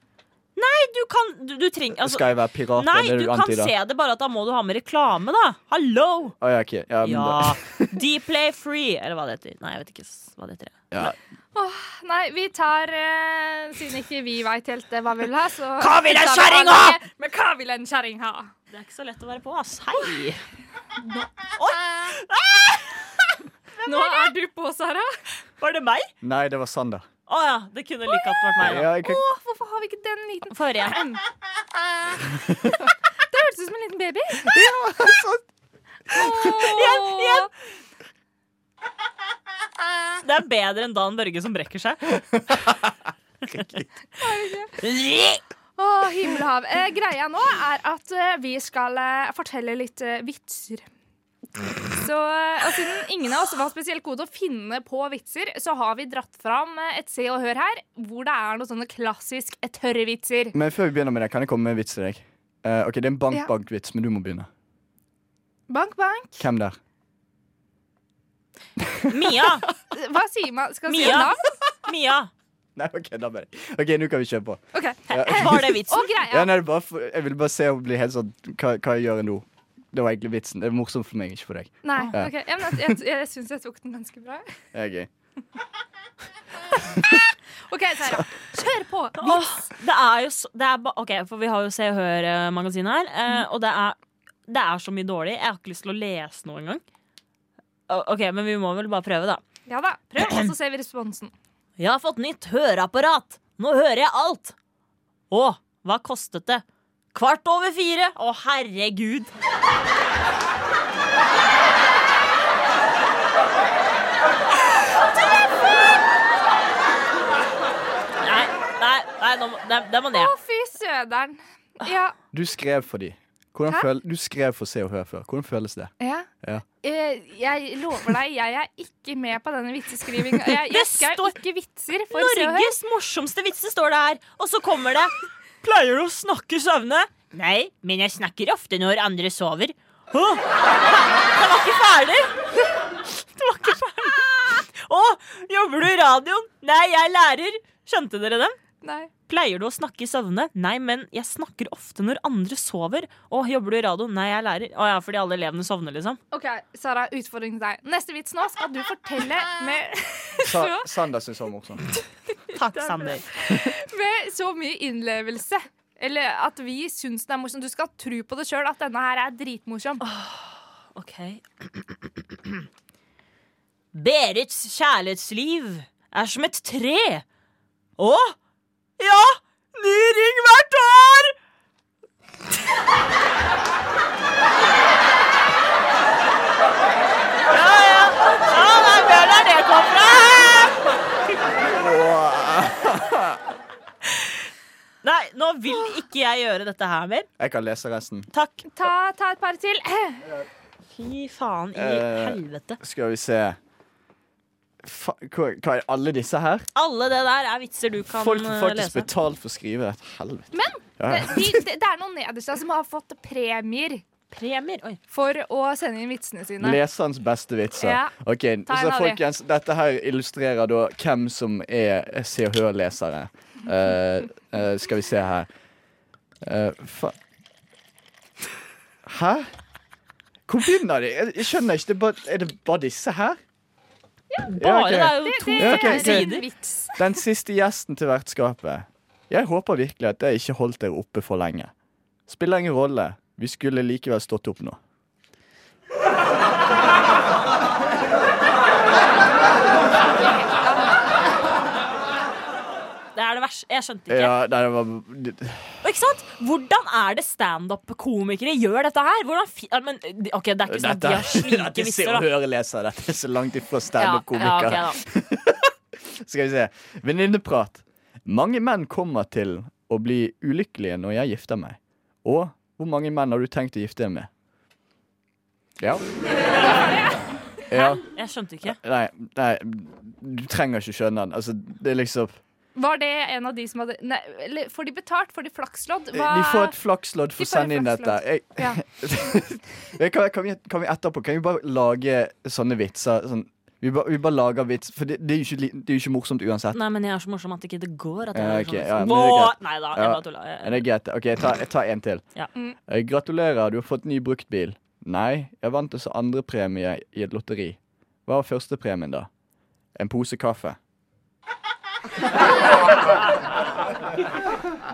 Speaker 3: Du kan Du, du trenger altså,
Speaker 4: skal jeg være pirat?
Speaker 3: Nei,
Speaker 4: er det
Speaker 3: du kan
Speaker 4: antyder?
Speaker 3: se det, bare at da må du ha med reklame, da. Hallo!
Speaker 4: Å, ja, ok. ja, men
Speaker 3: Ja. Dplay free, eller hva det heter. Nei, jeg vet ikke s- hva det heter.
Speaker 4: da- *laughs* ja.
Speaker 2: Nei, vi tar eh, Siden ikke vi veit helt eh, hva vi vil ha, så
Speaker 3: Hva vil en
Speaker 2: så tar vi
Speaker 3: kjerring
Speaker 2: alle
Speaker 3: ha?
Speaker 2: med, Men hva vil en kjerring ha?
Speaker 3: Det er ikke så lett å være på, ass. Hei!
Speaker 2: Nå er du på, Sara.
Speaker 3: *laughs* Var det meg?
Speaker 4: Nei, det var Sander.
Speaker 3: Å ja, det kunne like godt vært meg.
Speaker 4: Ja, jeg kan...
Speaker 2: Å, hvorfor har vi ikke den liten
Speaker 3: da Forrige.
Speaker 2: Det hørtes ut som en liten baby.
Speaker 3: Igjen, igjen.
Speaker 2: Åh.
Speaker 3: Det er bedre enn Dan Børge som brekker
Speaker 4: *laughs*
Speaker 3: seg.
Speaker 2: Åh, himmelhav. Eh, greia nå er at eh, vi skal eh, fortelle litt eh, vitser. Så, eh, og siden ingen av oss var spesielt gode til å finne på vitser, så har vi dratt fram eh, et Se og Hør her, hvor det er noen sånne klassisk eh, tørre vitser.
Speaker 4: Men før vi begynner med det, kan jeg komme med en vits til deg? Eh, ok, Det er
Speaker 2: Ja.
Speaker 4: en bank-bank-vits, men du må begynne.
Speaker 2: Bank, bank.
Speaker 4: Hvem der?
Speaker 3: Mia!
Speaker 2: Hva sier man? Skal man si
Speaker 3: Mia.
Speaker 2: navn?
Speaker 3: Mia!
Speaker 4: *laughs* Nei, ok, da bare Ok, nå kan vi kjøre på.
Speaker 2: Ok.
Speaker 3: Var det vitsen?
Speaker 2: Og greia
Speaker 4: Ja, nei, det er bare for, jeg ville bare se om det blir helt sånn hva, hva jeg gjør nå. Det var egentlig vitsen. Det er morsomt for meg, ikke for deg.
Speaker 2: Nei,
Speaker 4: Ja.
Speaker 2: ok. Ja, men Jeg, jeg, jeg syns jeg tok den ganske bra.
Speaker 4: Det er gøy.
Speaker 2: OK, Sara. Kjør på.
Speaker 3: Åh, det er jo så det er ba, Ok, for vi har jo Se og Hør-magasinet her, eh, og det er, det er så mye dårlig. Jeg har ikke lyst til å lese noe engang. Å, OK, men vi må vel bare prøve, da.
Speaker 2: Ja da. Prøv, og så ser vi responsen.
Speaker 3: Jeg har fått nytt høreapparat. Nå hører jeg alt. Å, hva kostet det? Kvart over fire. Å, herregud. Nei, nei, nei, nå må- det- det må ned.
Speaker 2: Å, fy søderen. Ja.
Speaker 4: Du skrev for de. Hvordan
Speaker 2: Hæ?
Speaker 4: føl, du skrev for Se og Hør før. Hvordan
Speaker 3: *laughs*
Speaker 4: føles det?
Speaker 2: Ja.
Speaker 4: Ja.
Speaker 2: Eh, jeg lover deg, jeg er ikke med på denne vitseskrivinga. Jeg,
Speaker 3: Det
Speaker 2: jeg skrev
Speaker 3: står-
Speaker 2: ikke vitser for Se og Hør.
Speaker 3: Norges morsomste vitser står det her. Og så kommer det Pleier du å snakke søvne? Nei, men jeg snakker ofte når andre sover. *laughs* Å, Den var ikke ferdig! Den var ikke ferdig. Å, jobber du i radioen? Nei, jeg er lærer. Skjønte dere den?
Speaker 2: Nei.
Speaker 3: Pleier du å snakke i søvne? Nei, men jeg snakker ofte når andre sover. Å, jobber du i radioen? Nei, jeg er lærer. Å ja, fordi alle elevene sovner, liksom.
Speaker 2: OK, Sara, utfordring til deg. Neste vits nå skal du fortelle med *laughs*
Speaker 4: Sa, Sander syns han var morsom.
Speaker 3: Takk, Sander.
Speaker 2: med så mye innlevelse. Eller at vi syns den er morsom. Du skal tro på det sjøl at denne her er dritmorsom.
Speaker 3: Ok. Berits kjærlighetsliv er som et tre. Å? Ja! Ny ring hvert år! ja, ja. Ja, det er Bjørn der det kom fra. Nei, nå vil ikke jeg gjøre dette her mer.
Speaker 4: Jeg kan lese resten.
Speaker 3: Takk.
Speaker 2: Ta, ta et par til.
Speaker 3: Fy faen i
Speaker 4: Eh.
Speaker 3: helvete.
Speaker 4: Skal vi se Fa hva, hva er alle disse her?
Speaker 3: Alle det der er vitser du kan
Speaker 4: Folk får
Speaker 3: eh,
Speaker 4: faktisk
Speaker 3: lese.
Speaker 4: betalt for å skrive. Helvete.
Speaker 2: Men
Speaker 4: Ja,
Speaker 2: *laughs* det,
Speaker 4: ja.
Speaker 2: de, det, det er noen nederst der som har fått premier
Speaker 3: Premier. Oi.
Speaker 2: for å sende inn vitsene sine.
Speaker 4: Leserens beste vitser.
Speaker 2: Ja.
Speaker 4: Ok,
Speaker 2: en
Speaker 4: så
Speaker 2: av de.
Speaker 4: folkens, Dette her illustrerer da hvem som er Se og Hør-lesere. Eh, eh, skal vi se her Eh, fa Hæ? Hvor begynner de? Jeg, jeg skjønner ikke. Det er, bare, er det bare disse her?
Speaker 3: Bare
Speaker 4: ok.
Speaker 3: det er jo to
Speaker 4: Ja, ok,
Speaker 2: Det er
Speaker 3: sider.
Speaker 2: en vits.
Speaker 4: Den siste gjesten til vertskapet. Jeg håper virkelig at jeg ikke holdt dere oppe for lenge. Spiller ingen rolle. Vi skulle likevel stått opp nå.
Speaker 3: Det er det verste. Jeg skjønte ikke.
Speaker 4: Ja, nei, det var
Speaker 3: Og ikke sant? Hvordan er det standup-komikere gjør dette her? Hvordan fi Ja, men, de- ok, Det er ikke sånn at de har
Speaker 4: Dette
Speaker 3: slike
Speaker 4: er *laughs* Se
Speaker 3: visser.
Speaker 4: og
Speaker 3: da.
Speaker 4: Hør-leser. Dette er så langt
Speaker 3: Ja,
Speaker 4: ifra
Speaker 3: ja,
Speaker 4: standup-komiker.
Speaker 3: ok, da.
Speaker 4: Skal vi se. Venninneprat. Mange menn kommer til å bli ulykkelige når jeg gifter meg. Og hvor mange menn har du tenkt å gifte deg med? Ja.
Speaker 3: *laughs*
Speaker 4: Ja.
Speaker 3: Jeg skjønte ikke.
Speaker 4: Nei, nei, du trenger ikke skjønne den. Altså, det er liksom
Speaker 2: Var det en av de som hadde Nei, eller får de betalt? Får de flakslodd? Hva-
Speaker 4: De Eh, får et flakslodd
Speaker 2: De
Speaker 4: for å
Speaker 2: får et
Speaker 4: sende inn dette.
Speaker 2: flakslodd.
Speaker 4: Jeg, *laughs*
Speaker 2: Ja.
Speaker 4: jeg, kan, kan, vi, kan vi etterpå Kan vi bare lage sånne vitser? Sånn, vi, bare, vi bare lager vits, for det, det, er jo ikke, li- det er jo ikke morsomt uansett.
Speaker 3: Nei, men jeg er så morsom at ikke det går. At jeg
Speaker 4: Ja,
Speaker 3: er
Speaker 4: ok,
Speaker 3: sånn-
Speaker 4: ja, men det er
Speaker 3: Wow!
Speaker 4: greit.
Speaker 3: Nei da, jeg
Speaker 4: Ja.
Speaker 3: bare tulla.
Speaker 4: Men
Speaker 3: Jeg-
Speaker 4: det er greit. OK, jeg tar, jeg tar en til.
Speaker 3: Ja.
Speaker 2: Mm.
Speaker 4: Eh, Gratulerer, du har fått ny bruktbil. Nei, jeg vant også andrepremie i et lotteri. Hva var førstepremien, da? En pose kaffe.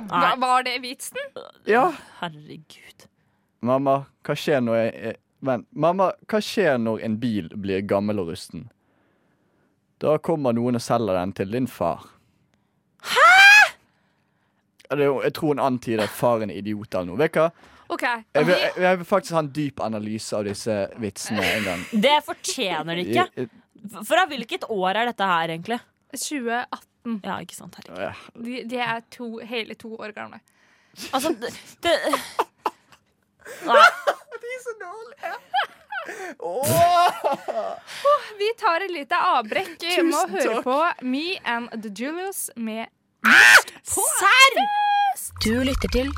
Speaker 2: Hva, var det vitsen?
Speaker 4: Ja.
Speaker 3: Herregud.
Speaker 4: Mamma, hva skjer når jeg eh, Vent. Mamma, hva skjer når en bil blir gammel og rusten? Da kommer noen og selger den til din far. Hæ?! Jeg tror hun antyder at faren er idiot eller noe. Vet du hva?
Speaker 2: OK.
Speaker 4: Jeg vil, jeg, jeg vil faktisk ha en dyp analyse av disse vitsene en gang.
Speaker 3: Det fortjener de ikke.
Speaker 4: I-
Speaker 3: Fra hvilket år er dette her, egentlig?
Speaker 2: 2018.
Speaker 3: Ja, ikke sant, herregud.
Speaker 4: i-
Speaker 2: De, de er to, hele to år gamle.
Speaker 3: Altså, det, det Nei.
Speaker 2: Vi tar et lite
Speaker 4: *laughs*
Speaker 2: avbrekk med å høre på Me and the Julius med
Speaker 3: Serr!
Speaker 5: Du lytter til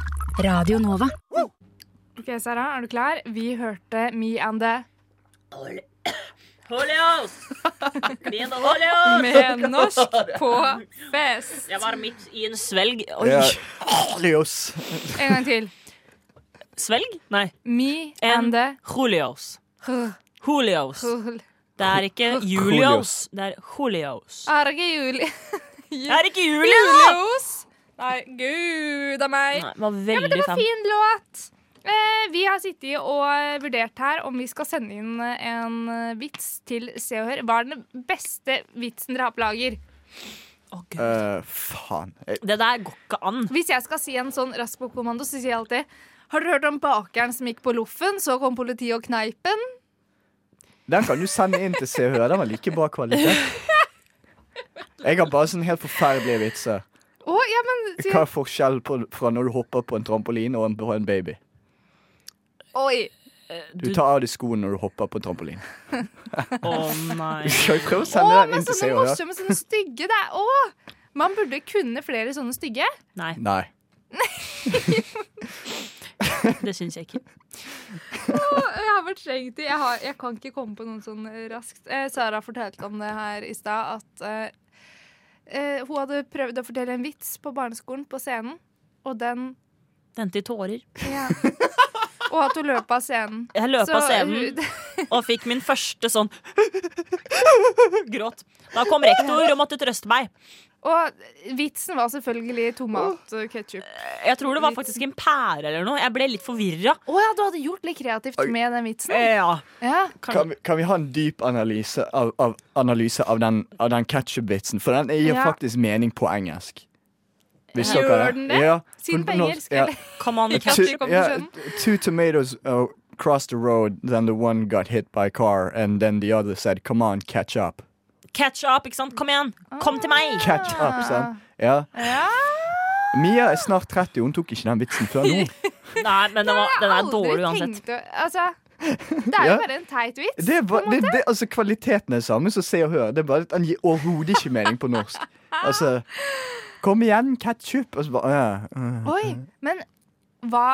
Speaker 5: Radio Nova.
Speaker 2: OK, Sara, er du klar? Vi hørte Me and
Speaker 4: *laughs*
Speaker 2: the
Speaker 3: Holios! Min Holios!
Speaker 2: med norsk på fest.
Speaker 3: Jeg var midt i en svelg. Oi.
Speaker 4: Ja. Alios.
Speaker 2: En gang til.
Speaker 3: Svelg? Nei.
Speaker 2: Me and the
Speaker 3: Julios. Julios. Det er ikke Julios,
Speaker 4: Julios.
Speaker 3: det er Julios.
Speaker 2: Arge Juli...
Speaker 3: Det er ikke Julio!
Speaker 2: Julius! Nei, gud a meg.
Speaker 3: Nei, det var veldig
Speaker 2: Det var
Speaker 3: fan.
Speaker 2: fin låt. Eh, vi har sittet og vurdert her om vi skal sende inn en eh, vits til Se og Hør. Hva er den beste vitsen dere har på lager?
Speaker 3: Å, Gud.
Speaker 4: Eh, faen. Jeg,
Speaker 3: Det der går ikke an.
Speaker 2: Hvis jeg skal si en sånn rask kommando, så sier jeg alltid Har dere hørt om bakeren som gikk på loffen, så kom politiet og kneip den?
Speaker 4: den kan du sende inn til Se og Hør. Den var like bra kvalitet. Jeg har bare sånne helt forferdelige vitser.
Speaker 2: Å, ja, men
Speaker 4: Hva
Speaker 2: sier,
Speaker 4: er forskjellen på, fra når du hopper på en trampoline og en, og en baby?
Speaker 2: Oi.
Speaker 4: Du tar av deg skoene når du hopper på trampoline.
Speaker 3: Å nei.
Speaker 4: *laughs* Skal vi prøve å
Speaker 2: Å,
Speaker 4: sende den
Speaker 2: men
Speaker 4: inn til Se
Speaker 2: sånne
Speaker 4: og Hør?
Speaker 2: morsomme, sånne stygge. Det er Å! Man burde kunne flere sånne stygge.
Speaker 3: Nei,
Speaker 4: Nei.
Speaker 3: det syns jeg ikke.
Speaker 2: Jeg har fortrengt de. Jeg, har, jeg kan ikke komme på noen sånn raskt. Eh, Sara fortalte om det her i stad, at eh, eh, hun hadde prøvd å fortelle en vits på barneskolen på scenen, og den
Speaker 3: Den til tårer.
Speaker 2: *laughs* ja. Og at hun løp av scenen.
Speaker 3: Jeg løp av
Speaker 2: Så eh,
Speaker 3: scenen
Speaker 2: hun-
Speaker 3: og fikk min *laughs* første sånn gråt. Da kom rektor og måtte trøste meg.
Speaker 2: *laughs* Og vitsen var selvfølgelig tomat og ketsjup.
Speaker 3: Jeg tror det var faktisk en pære eller noe. Jeg ble litt forvirra.
Speaker 2: Å ja, du hadde gjort litt kreativt
Speaker 4: Oi.
Speaker 2: med den vitsen.
Speaker 3: Ja.
Speaker 2: Ja.
Speaker 4: Kan, vi- kan vi ha en dyp analyse av, av, analyse av den, av den ketchup-vitsen? For den gir
Speaker 2: Ja.
Speaker 4: faktisk mening på engelsk. Hvis
Speaker 2: Gjør
Speaker 4: dere-
Speaker 2: den det?
Speaker 4: Ja,
Speaker 2: Siden
Speaker 4: for
Speaker 2: på
Speaker 4: nå-
Speaker 2: engelsk,
Speaker 4: ja.
Speaker 2: eller? *laughs*
Speaker 3: Come on,
Speaker 2: Ikke at
Speaker 4: Two,
Speaker 2: vi kom på
Speaker 4: yeah,
Speaker 2: skjønnen.
Speaker 4: two tomatoes uh, crossed the road, then the one got hit by a car, and then the other said, come on, catch up.
Speaker 3: catch up, ikke sant? Kom igjen! Kom til meg!
Speaker 4: Catch
Speaker 3: Ah.
Speaker 4: up, sant? Ja.
Speaker 2: Ja.
Speaker 4: Mia er snart 30, hun tok ikke den vitsen
Speaker 3: *laughs*
Speaker 4: før nå.
Speaker 3: Nei, men den, var, den er
Speaker 2: Aldri
Speaker 3: dårlig uansett.
Speaker 2: tenkt å- Altså, det er jo
Speaker 4: Ja.
Speaker 2: bare en teit vits.
Speaker 4: Det er bare, det, det, altså, kvaliteten er samme som Se og Hør. Det er bare at Den gir overhodet ikke mening på norsk. Altså Kom igjen, ketchup! Og så bare, ja, ja.
Speaker 2: Oi, men hva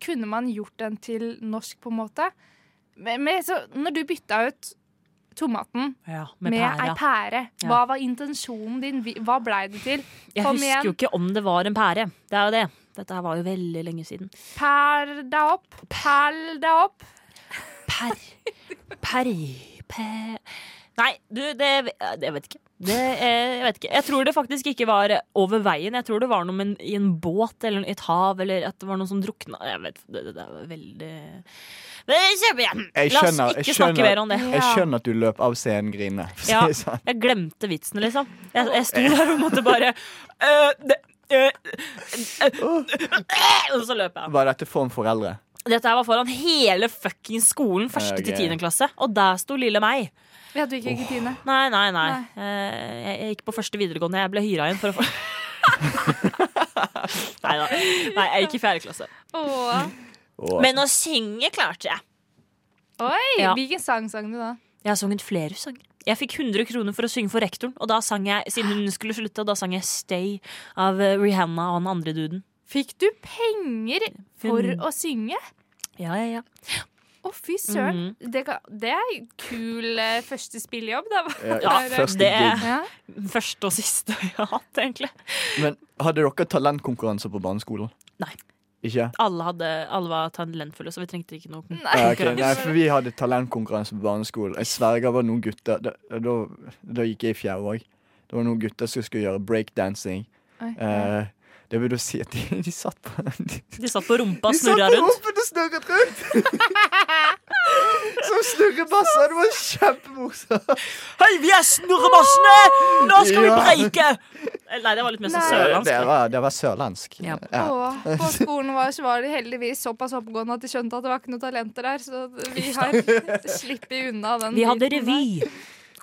Speaker 2: kunne man gjort den til norsk, på en måte? Men, men, så, når du bytta ut tomaten
Speaker 3: Ja,
Speaker 2: med,
Speaker 3: med
Speaker 2: ei
Speaker 3: pæra.
Speaker 2: pære,
Speaker 3: Ja.
Speaker 2: hva var intensjonen din? Vi- Hva blei det til?
Speaker 3: Jeg
Speaker 2: Kom
Speaker 3: husker jo
Speaker 2: igjen.
Speaker 3: ikke om det var en pære. Det er jo det. Dette her var jo veldig lenge siden.
Speaker 2: Pær deg opp, pæl deg opp.
Speaker 3: Per. Per. Per. Nei, du, det, det vet ikke. Det, eh, jeg vet ikke. Jeg tror det faktisk ikke var over veien. Jeg tror det var noe med en, i en båt eller i et hav, eller at det var noen som drukna. Jeg vet, det, det, det er veldig Men kjøp igjen!
Speaker 4: Jeg
Speaker 3: La
Speaker 4: skjønner-
Speaker 3: oss
Speaker 4: jeg
Speaker 3: ikke snakke
Speaker 4: skjønner-
Speaker 3: mer om det.
Speaker 4: Jeg skjønner at du løp av scenen grinende. for å *laughs* si
Speaker 3: Ja,
Speaker 4: det sånn.
Speaker 3: jeg glemte vitsen, liksom. Jeg, jeg sto der og måtte bare øh, det, øh, øh, øh, Og så løp jeg.
Speaker 4: Var dette for en foreldre?
Speaker 3: Dette her var foran hele fuckings skolen, første
Speaker 4: Ok.
Speaker 3: til tiende klasse. Og der sto lille meg.
Speaker 2: Ja, du gikk ikke Tine.
Speaker 3: Nei, nei, nei. Eh, Jeg, jeg gikk på første videregående. Jeg ble hyra inn for å få Nei da. Nei, jeg gikk i fjerde klasse.
Speaker 2: Åh.
Speaker 4: Åh.
Speaker 3: Men å synge klarte jeg.
Speaker 2: Oi,
Speaker 3: Ja.
Speaker 2: hvilken sang sang du da?
Speaker 3: Jeg har sunget flere sanger. Jeg fikk 100 kroner for å synge for rektoren, og da sang jeg, siden hun skulle slutte, og da sang jeg Stay av eh, Rihanna og den andre duden.
Speaker 2: Fikk du penger for
Speaker 3: Hun-
Speaker 2: å synge?
Speaker 3: Ja, ja, ja.
Speaker 2: Å, fy søren.
Speaker 3: Mm.
Speaker 2: det, kan, det er en kul eh, første spillejobb, da. *laughs*
Speaker 4: Ja, første
Speaker 3: det-
Speaker 4: gig.
Speaker 2: Ja.
Speaker 3: Første og siste jeg har hatt, egentlig.
Speaker 4: Men hadde dere talentkonkurranse på barneskolen?
Speaker 3: Nei.
Speaker 4: Ikke?
Speaker 3: Alle, hadde, alle var talentfulle, så vi trengte ikke noe
Speaker 2: Nei.
Speaker 4: Ja, ok, Nei, for vi hadde talentkonkurranse på barneskolen. Jeg sverger det var noen gutter Da, da, da gikk jeg i fjerde òg. Det var noen gutter som skulle gjøre breakdancing.
Speaker 2: Oi, ja.
Speaker 4: Eh, det vil da si at de, de satt på De,
Speaker 3: De satt på rumpa
Speaker 4: de
Speaker 3: og
Speaker 4: satt
Speaker 3: snurra
Speaker 4: på
Speaker 3: rundt.
Speaker 4: rumpen og snurret *laughs* rundt! Som snurrebasser. Det var kjempemorsomt. *laughs*
Speaker 3: Hei, vi er snurrebassene! Nå skal
Speaker 4: Ja.
Speaker 3: vi breike! Eh, Nei, det var litt mer sånn
Speaker 2: Nei.
Speaker 4: Det
Speaker 3: sørlandsk.
Speaker 4: var, det var sørlandsk.
Speaker 3: Ja.
Speaker 2: Åh,
Speaker 4: *laughs*
Speaker 2: på skolen vår så var de heldigvis såpass oppegående at de skjønte at det var ikke noe talenter der, så vi har *laughs* sluppet unna den.
Speaker 3: Vi hadde
Speaker 2: biten
Speaker 3: revy.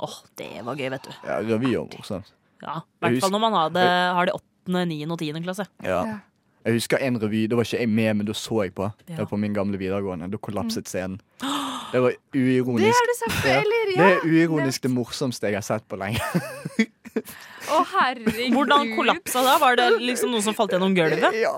Speaker 3: Åh, det var gøy, vet du.
Speaker 4: Ja, revy og morsomt.
Speaker 3: Ja, I
Speaker 4: Jeg
Speaker 3: hvert
Speaker 4: husker-
Speaker 3: fall når man har det, har det åttende, niende og tiende klasse.
Speaker 4: Ja.
Speaker 2: Ja.
Speaker 4: Jeg husker en revy. Da var ikke jeg med, men da så jeg på. Det
Speaker 3: Ja.
Speaker 4: var på min gamle videregående. Da kollapset scenen. Det var uironisk.
Speaker 2: Det har du sagt,
Speaker 4: Ja.
Speaker 2: eller?
Speaker 4: Det
Speaker 2: Ja.
Speaker 4: er uironisk det morsomste jeg har sett på lenge.
Speaker 2: Å, herregud.
Speaker 3: Hvordan kollapsa da? Var det liksom noen som falt gjennom gulvet?
Speaker 4: Ja,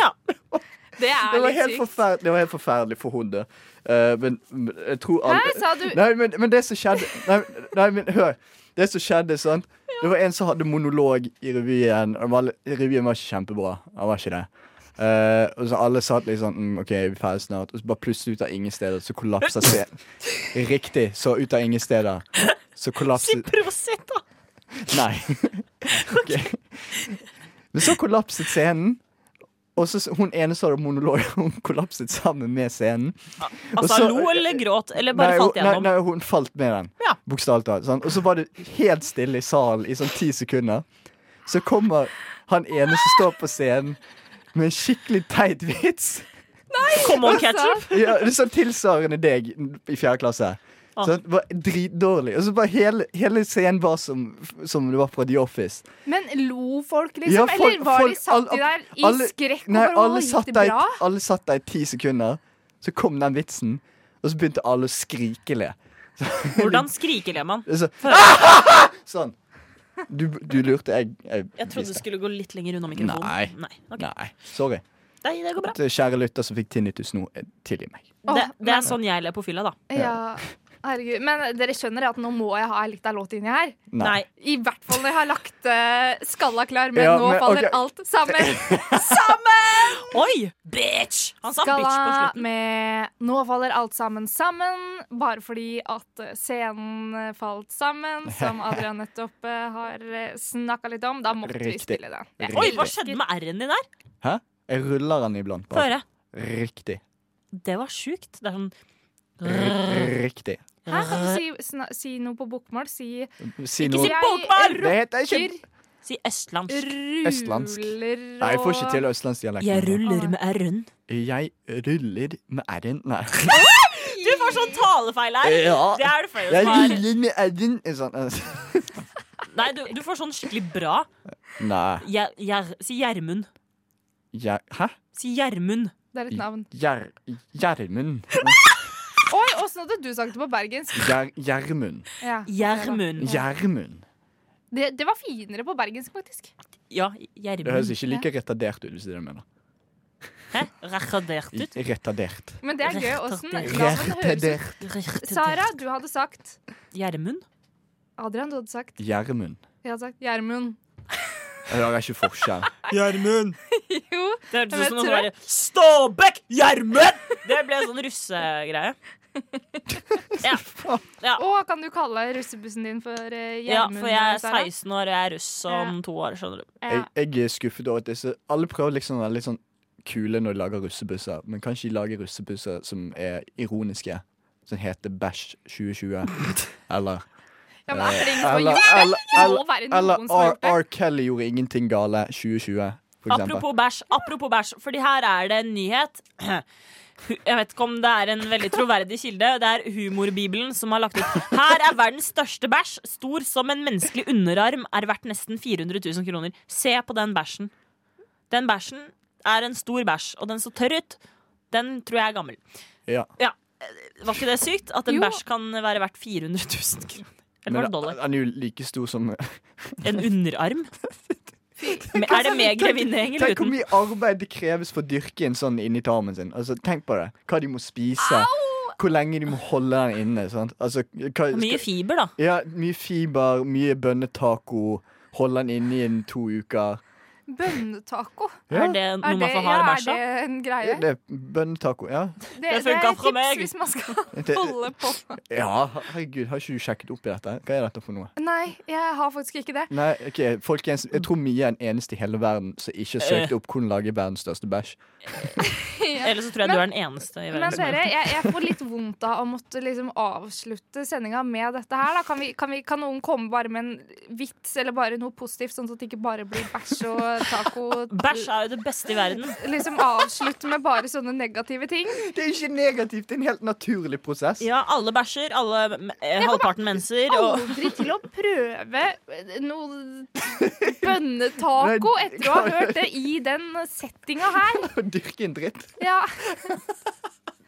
Speaker 3: Ja.
Speaker 2: Det
Speaker 4: det
Speaker 2: er
Speaker 4: var
Speaker 2: litt
Speaker 4: helt
Speaker 2: sykt.
Speaker 4: forferdelig, det var helt forferdelig for hun, det. Eh, men, men jeg tror
Speaker 2: Hæ,
Speaker 4: alle
Speaker 2: sa du?
Speaker 4: Nei, men, men det som skjedde Nei, nei men hør. Det som skjedde, sant. Det var en som hadde monolog i revyen. Og var, revyen var ikke kjempebra. Han var ikke det. Eh, og så alle satt liksom mm, OK, vi er ferdig snart. Og så bare plutselig ut av ingen steder, så kollapsa scenen.
Speaker 2: *laughs*
Speaker 4: Riktig. Så ut av ingen steder. Så
Speaker 3: Si
Speaker 4: kollapset
Speaker 3: prosit, da. *laughs*
Speaker 4: Nei. Ok. *laughs* Men så kollapset scenen. Og så hun ene som hadde monolog, *laughs* hun kollapset sammen med scenen. Og
Speaker 3: Altså,
Speaker 4: så-
Speaker 3: lo eller gråt, eller bare
Speaker 4: nei,
Speaker 3: falt
Speaker 4: hun, nei,
Speaker 3: gjennom.
Speaker 4: nei, hun falt med den.
Speaker 3: Ja.
Speaker 4: Bokstavelig talt. sant? Og så var det helt stille i salen i sånn ti sekunder. Så kommer han ene som står på scenen med en skikkelig teit vits.
Speaker 3: Come on, ketchup.
Speaker 4: Ja, det er sånn tilsvarende deg i fjerde klasse.
Speaker 3: Ah.
Speaker 4: Så det var dritdårlig. Og så bare hele, hele scenen var som, som det var fra The Office.
Speaker 2: Men lo folk, liksom?
Speaker 4: Ja, folk-
Speaker 2: eller var
Speaker 4: folk-
Speaker 2: de satt de
Speaker 4: alle-
Speaker 2: der i
Speaker 4: alle-
Speaker 2: skrekk
Speaker 4: Nei,
Speaker 2: over
Speaker 4: alle
Speaker 2: å
Speaker 4: satt
Speaker 2: gikk det
Speaker 4: der,
Speaker 2: bra?
Speaker 4: alle satt der i ti sekunder. Så kom den vitsen, og så begynte alle å skrikele.
Speaker 3: Hvordan skriker man?
Speaker 4: Så, *laughs* sånn. Du, du lurte jeg, jeg
Speaker 3: Jeg trodde du
Speaker 4: visste.
Speaker 3: skulle gå litt lenger unna mikrofonen.
Speaker 4: Nei.
Speaker 3: Nei, ok.
Speaker 4: Nei, sorry.
Speaker 3: Nei, det går bra.
Speaker 4: Til kjære lytter som fikk tinnitus nå, eh, tilgi meg.
Speaker 2: Åh,
Speaker 3: Det, det
Speaker 2: men-
Speaker 3: er sånn jeg ler på fylla, da.
Speaker 2: Ja. herregud. Men dere skjønner at nå må jeg ha litt av låt inni her.
Speaker 3: Nei.
Speaker 2: I hvert fall når jeg har lagt eh, skalla klar, men
Speaker 4: Ja,
Speaker 2: nå
Speaker 4: men,
Speaker 2: faller
Speaker 4: ok.
Speaker 2: alt sammen.
Speaker 4: *laughs*
Speaker 2: Sammen!
Speaker 3: Oi! Bitch! Han sa bitch på
Speaker 2: Skalla
Speaker 3: slutten.
Speaker 2: med 'Nå faller alt sammen sammen', bare fordi at eh, scenen eh, falt
Speaker 4: *laughs*
Speaker 2: sammen, som Adrian nettopp eh, har snakka litt om. Da måtte vi
Speaker 4: Riktig.
Speaker 2: spille den. Jeg
Speaker 3: Oi,
Speaker 4: Riktig.
Speaker 3: hva skjedde med r-en din der?
Speaker 4: Hæ? Jeg ruller den iblant.
Speaker 3: Få
Speaker 4: Bare.
Speaker 3: høre.
Speaker 4: Riktig.
Speaker 3: Det var sjukt. Det er sånn
Speaker 4: R riktig.
Speaker 2: Hæ? Kan du si, sna, si noe på bokmål? Si
Speaker 4: Si
Speaker 3: Ikke si
Speaker 4: noe.
Speaker 3: bokmål!
Speaker 4: Det heter
Speaker 2: Jeg
Speaker 4: ikke
Speaker 3: Si østlandsk.
Speaker 2: ruller
Speaker 4: Østlandsk. Nei, jeg får ikke til østlandsdialekten.
Speaker 3: Jeg ruller med r-en.
Speaker 4: Jeg ruller med r-en. Nei.
Speaker 3: Du får sånn talefeil her. Det
Speaker 4: Ja.
Speaker 3: er det flere
Speaker 4: Jeg
Speaker 3: som har.
Speaker 4: ruller med r-en. Sånn.
Speaker 3: Nei, du, du får sånn skikkelig bra.
Speaker 4: Nei.
Speaker 3: Gjer, gjer, si Gjermund.
Speaker 4: Jeg, hæ?
Speaker 3: Si Gjermund.
Speaker 2: Det er et navn.
Speaker 4: Gjer... Gjermund.
Speaker 2: Oi, åssen hadde du sagt det på bergensk?
Speaker 4: Gjer- Gjermund.
Speaker 2: Ja, det var-
Speaker 3: Gjermund.
Speaker 4: Gjermund.
Speaker 2: Det, det var finere på bergensk, faktisk.
Speaker 3: Ja,
Speaker 4: Det høres
Speaker 3: Gjermund.
Speaker 4: ikke like retardert ut, hvis du mener.
Speaker 3: Hæ? Retardert ut.
Speaker 4: Retardert.
Speaker 2: Men det er gøy åssen
Speaker 3: Retardert.
Speaker 2: navn høres ut.
Speaker 4: Retardert.
Speaker 2: Sara, du hadde sagt
Speaker 3: Gjermund?
Speaker 2: Adrian, du hadde sagt
Speaker 4: Gjermund.
Speaker 2: Jeg hadde sagt Gjermund.
Speaker 4: Jeg hører ikke forskjell.
Speaker 3: Gjermund.
Speaker 2: *laughs* Jo.
Speaker 3: Det hørtes
Speaker 2: Men
Speaker 3: ut som noe
Speaker 2: tror
Speaker 3: sånn derre Stabæk Gjermund! Det ble sånn russegreie. Ja. ja.
Speaker 2: Å, kan du kalle russebussen din for eh,
Speaker 3: Ja,
Speaker 2: Gjermund?
Speaker 3: for jeg er
Speaker 2: Sara?
Speaker 3: 16 år, og jeg er russ om to år, skjønner du.
Speaker 2: Ja.
Speaker 4: Jeg, jeg er skuffet over at disse Alle prøver liksom å være litt sånn kule når de lager russebusser, men kanskje de lager russebusser som er ironiske. Som heter Bæsj
Speaker 2: *laughs*
Speaker 4: 2020. Eller
Speaker 2: Ja, men er det ingen som har
Speaker 4: Eller,
Speaker 2: gjort det?
Speaker 4: eller,
Speaker 2: Det må
Speaker 4: eller,
Speaker 2: være noen
Speaker 4: eller
Speaker 2: som har
Speaker 4: R.
Speaker 2: gjort det.
Speaker 4: R. Kelly gjorde ingenting gale 2020, for eksempel.
Speaker 3: Apropos bæsj, apropos bæsj, fordi her er det en nyhet. Jeg vet ikke om det er en veldig troverdig kilde. Det er Humorbibelen som har lagt ut. Her er verdens største bæsj. Stor som en menneskelig underarm. Er verdt nesten 400 000 kroner. Se på den bæsjen. Den bæsjen er en stor bæsj, og den så tørr ut. Den tror jeg er gammel.
Speaker 4: Ja.
Speaker 3: Var ikke det sykt? At en
Speaker 2: Jo.
Speaker 3: bæsj kan være verdt 400 000 kroner. Eller var det dollar?
Speaker 4: Men han er jo like stor som
Speaker 3: En
Speaker 4: *laughs*
Speaker 3: underarm? Men Er det med grevinnehenger eller
Speaker 4: Tenk hvor
Speaker 3: uten?
Speaker 4: mye arbeid det kreves for å dyrke en sånn inni tarmen sin. Altså, tenk på det. Hva de må spise. Hvor lenge de må holde den inne. Sant? Altså, hva,
Speaker 3: Mye
Speaker 4: skal,
Speaker 3: fiber, da.
Speaker 4: ja, mye fiber, mye bønnetaco. Holde den inne i en to uker.
Speaker 2: Bønnetaco?
Speaker 4: Ja.
Speaker 3: Er det noe
Speaker 2: Er det,
Speaker 3: man får
Speaker 2: ja,
Speaker 3: ha i
Speaker 2: er det
Speaker 3: bæsja?
Speaker 2: en greie?
Speaker 4: Det er bønnetaco, ja.
Speaker 2: Det,
Speaker 3: Det
Speaker 2: det er
Speaker 3: funka
Speaker 2: et
Speaker 3: for
Speaker 2: tips
Speaker 3: meg.
Speaker 2: hvis man skal
Speaker 4: *laughs* Det,
Speaker 2: holde på.
Speaker 4: ja. Herregud, har ikke du sjekket opp i dette? Hva er dette for noe?
Speaker 2: Nei, jeg har faktisk ikke det.
Speaker 4: Nei, ok, folkens, Jeg tror Mia er den eneste i hele verden som ikke har søkt opp hvordan lage verdens største bæsj.
Speaker 3: Eller så tror jeg du er den eneste i verden.
Speaker 2: Men
Speaker 3: som
Speaker 2: dere,
Speaker 3: gjør det.
Speaker 2: jeg, jeg får litt vondt av å måtte liksom avslutte sendinga med dette her. Da. Kan, vi, kan, vi, kan noen komme bare med en vits eller bare noe positivt, sånn at det ikke bare blir bæsj og taco?
Speaker 3: Bæsj er jo det beste i verden.
Speaker 2: Liksom avslutte med bare sånne negative ting.
Speaker 4: Det er ikke negativt, det er en helt naturlig prosess.
Speaker 3: Ja, alle bæsjer. Alle, eh, halvparten menser. Og
Speaker 2: Aldri til å prøve noe bønnetaco etter å ha hørt det i den settinga her.
Speaker 4: *laughs* Å dyrke en dritt.
Speaker 2: Ja,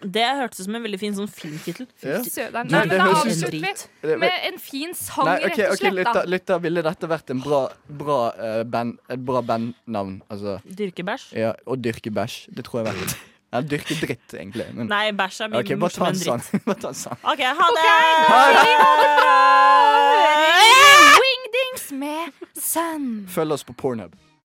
Speaker 3: det hørtes ut som en veldig fin sånn filmtittel.
Speaker 4: Ja.
Speaker 2: søderen.
Speaker 4: Du,
Speaker 2: Nei,
Speaker 4: det
Speaker 2: men da
Speaker 4: høres ut-
Speaker 2: avslutter vi med en fin sang,
Speaker 4: Nei, ok,
Speaker 2: rett og
Speaker 4: ok,
Speaker 2: slett.
Speaker 4: lytter,
Speaker 2: Da.
Speaker 4: lytter, ville dette vært en bra, bra eh, band, et bra bandnavn? Altså,
Speaker 3: Dyrkebæsj.
Speaker 4: ja, å dyrke bæsj. Det tror jeg vært. Ja, dyrke dritt, egentlig. Men,
Speaker 3: Nei, bæsj er mye
Speaker 4: ok, bare ta
Speaker 3: morsommere
Speaker 4: en
Speaker 3: enn
Speaker 4: sånn. *laughs*
Speaker 3: dritt.
Speaker 4: Bare ta en sånn.
Speaker 3: OK, ha det!
Speaker 2: Wingdings med Sun.
Speaker 4: Følg oss på Pornhub.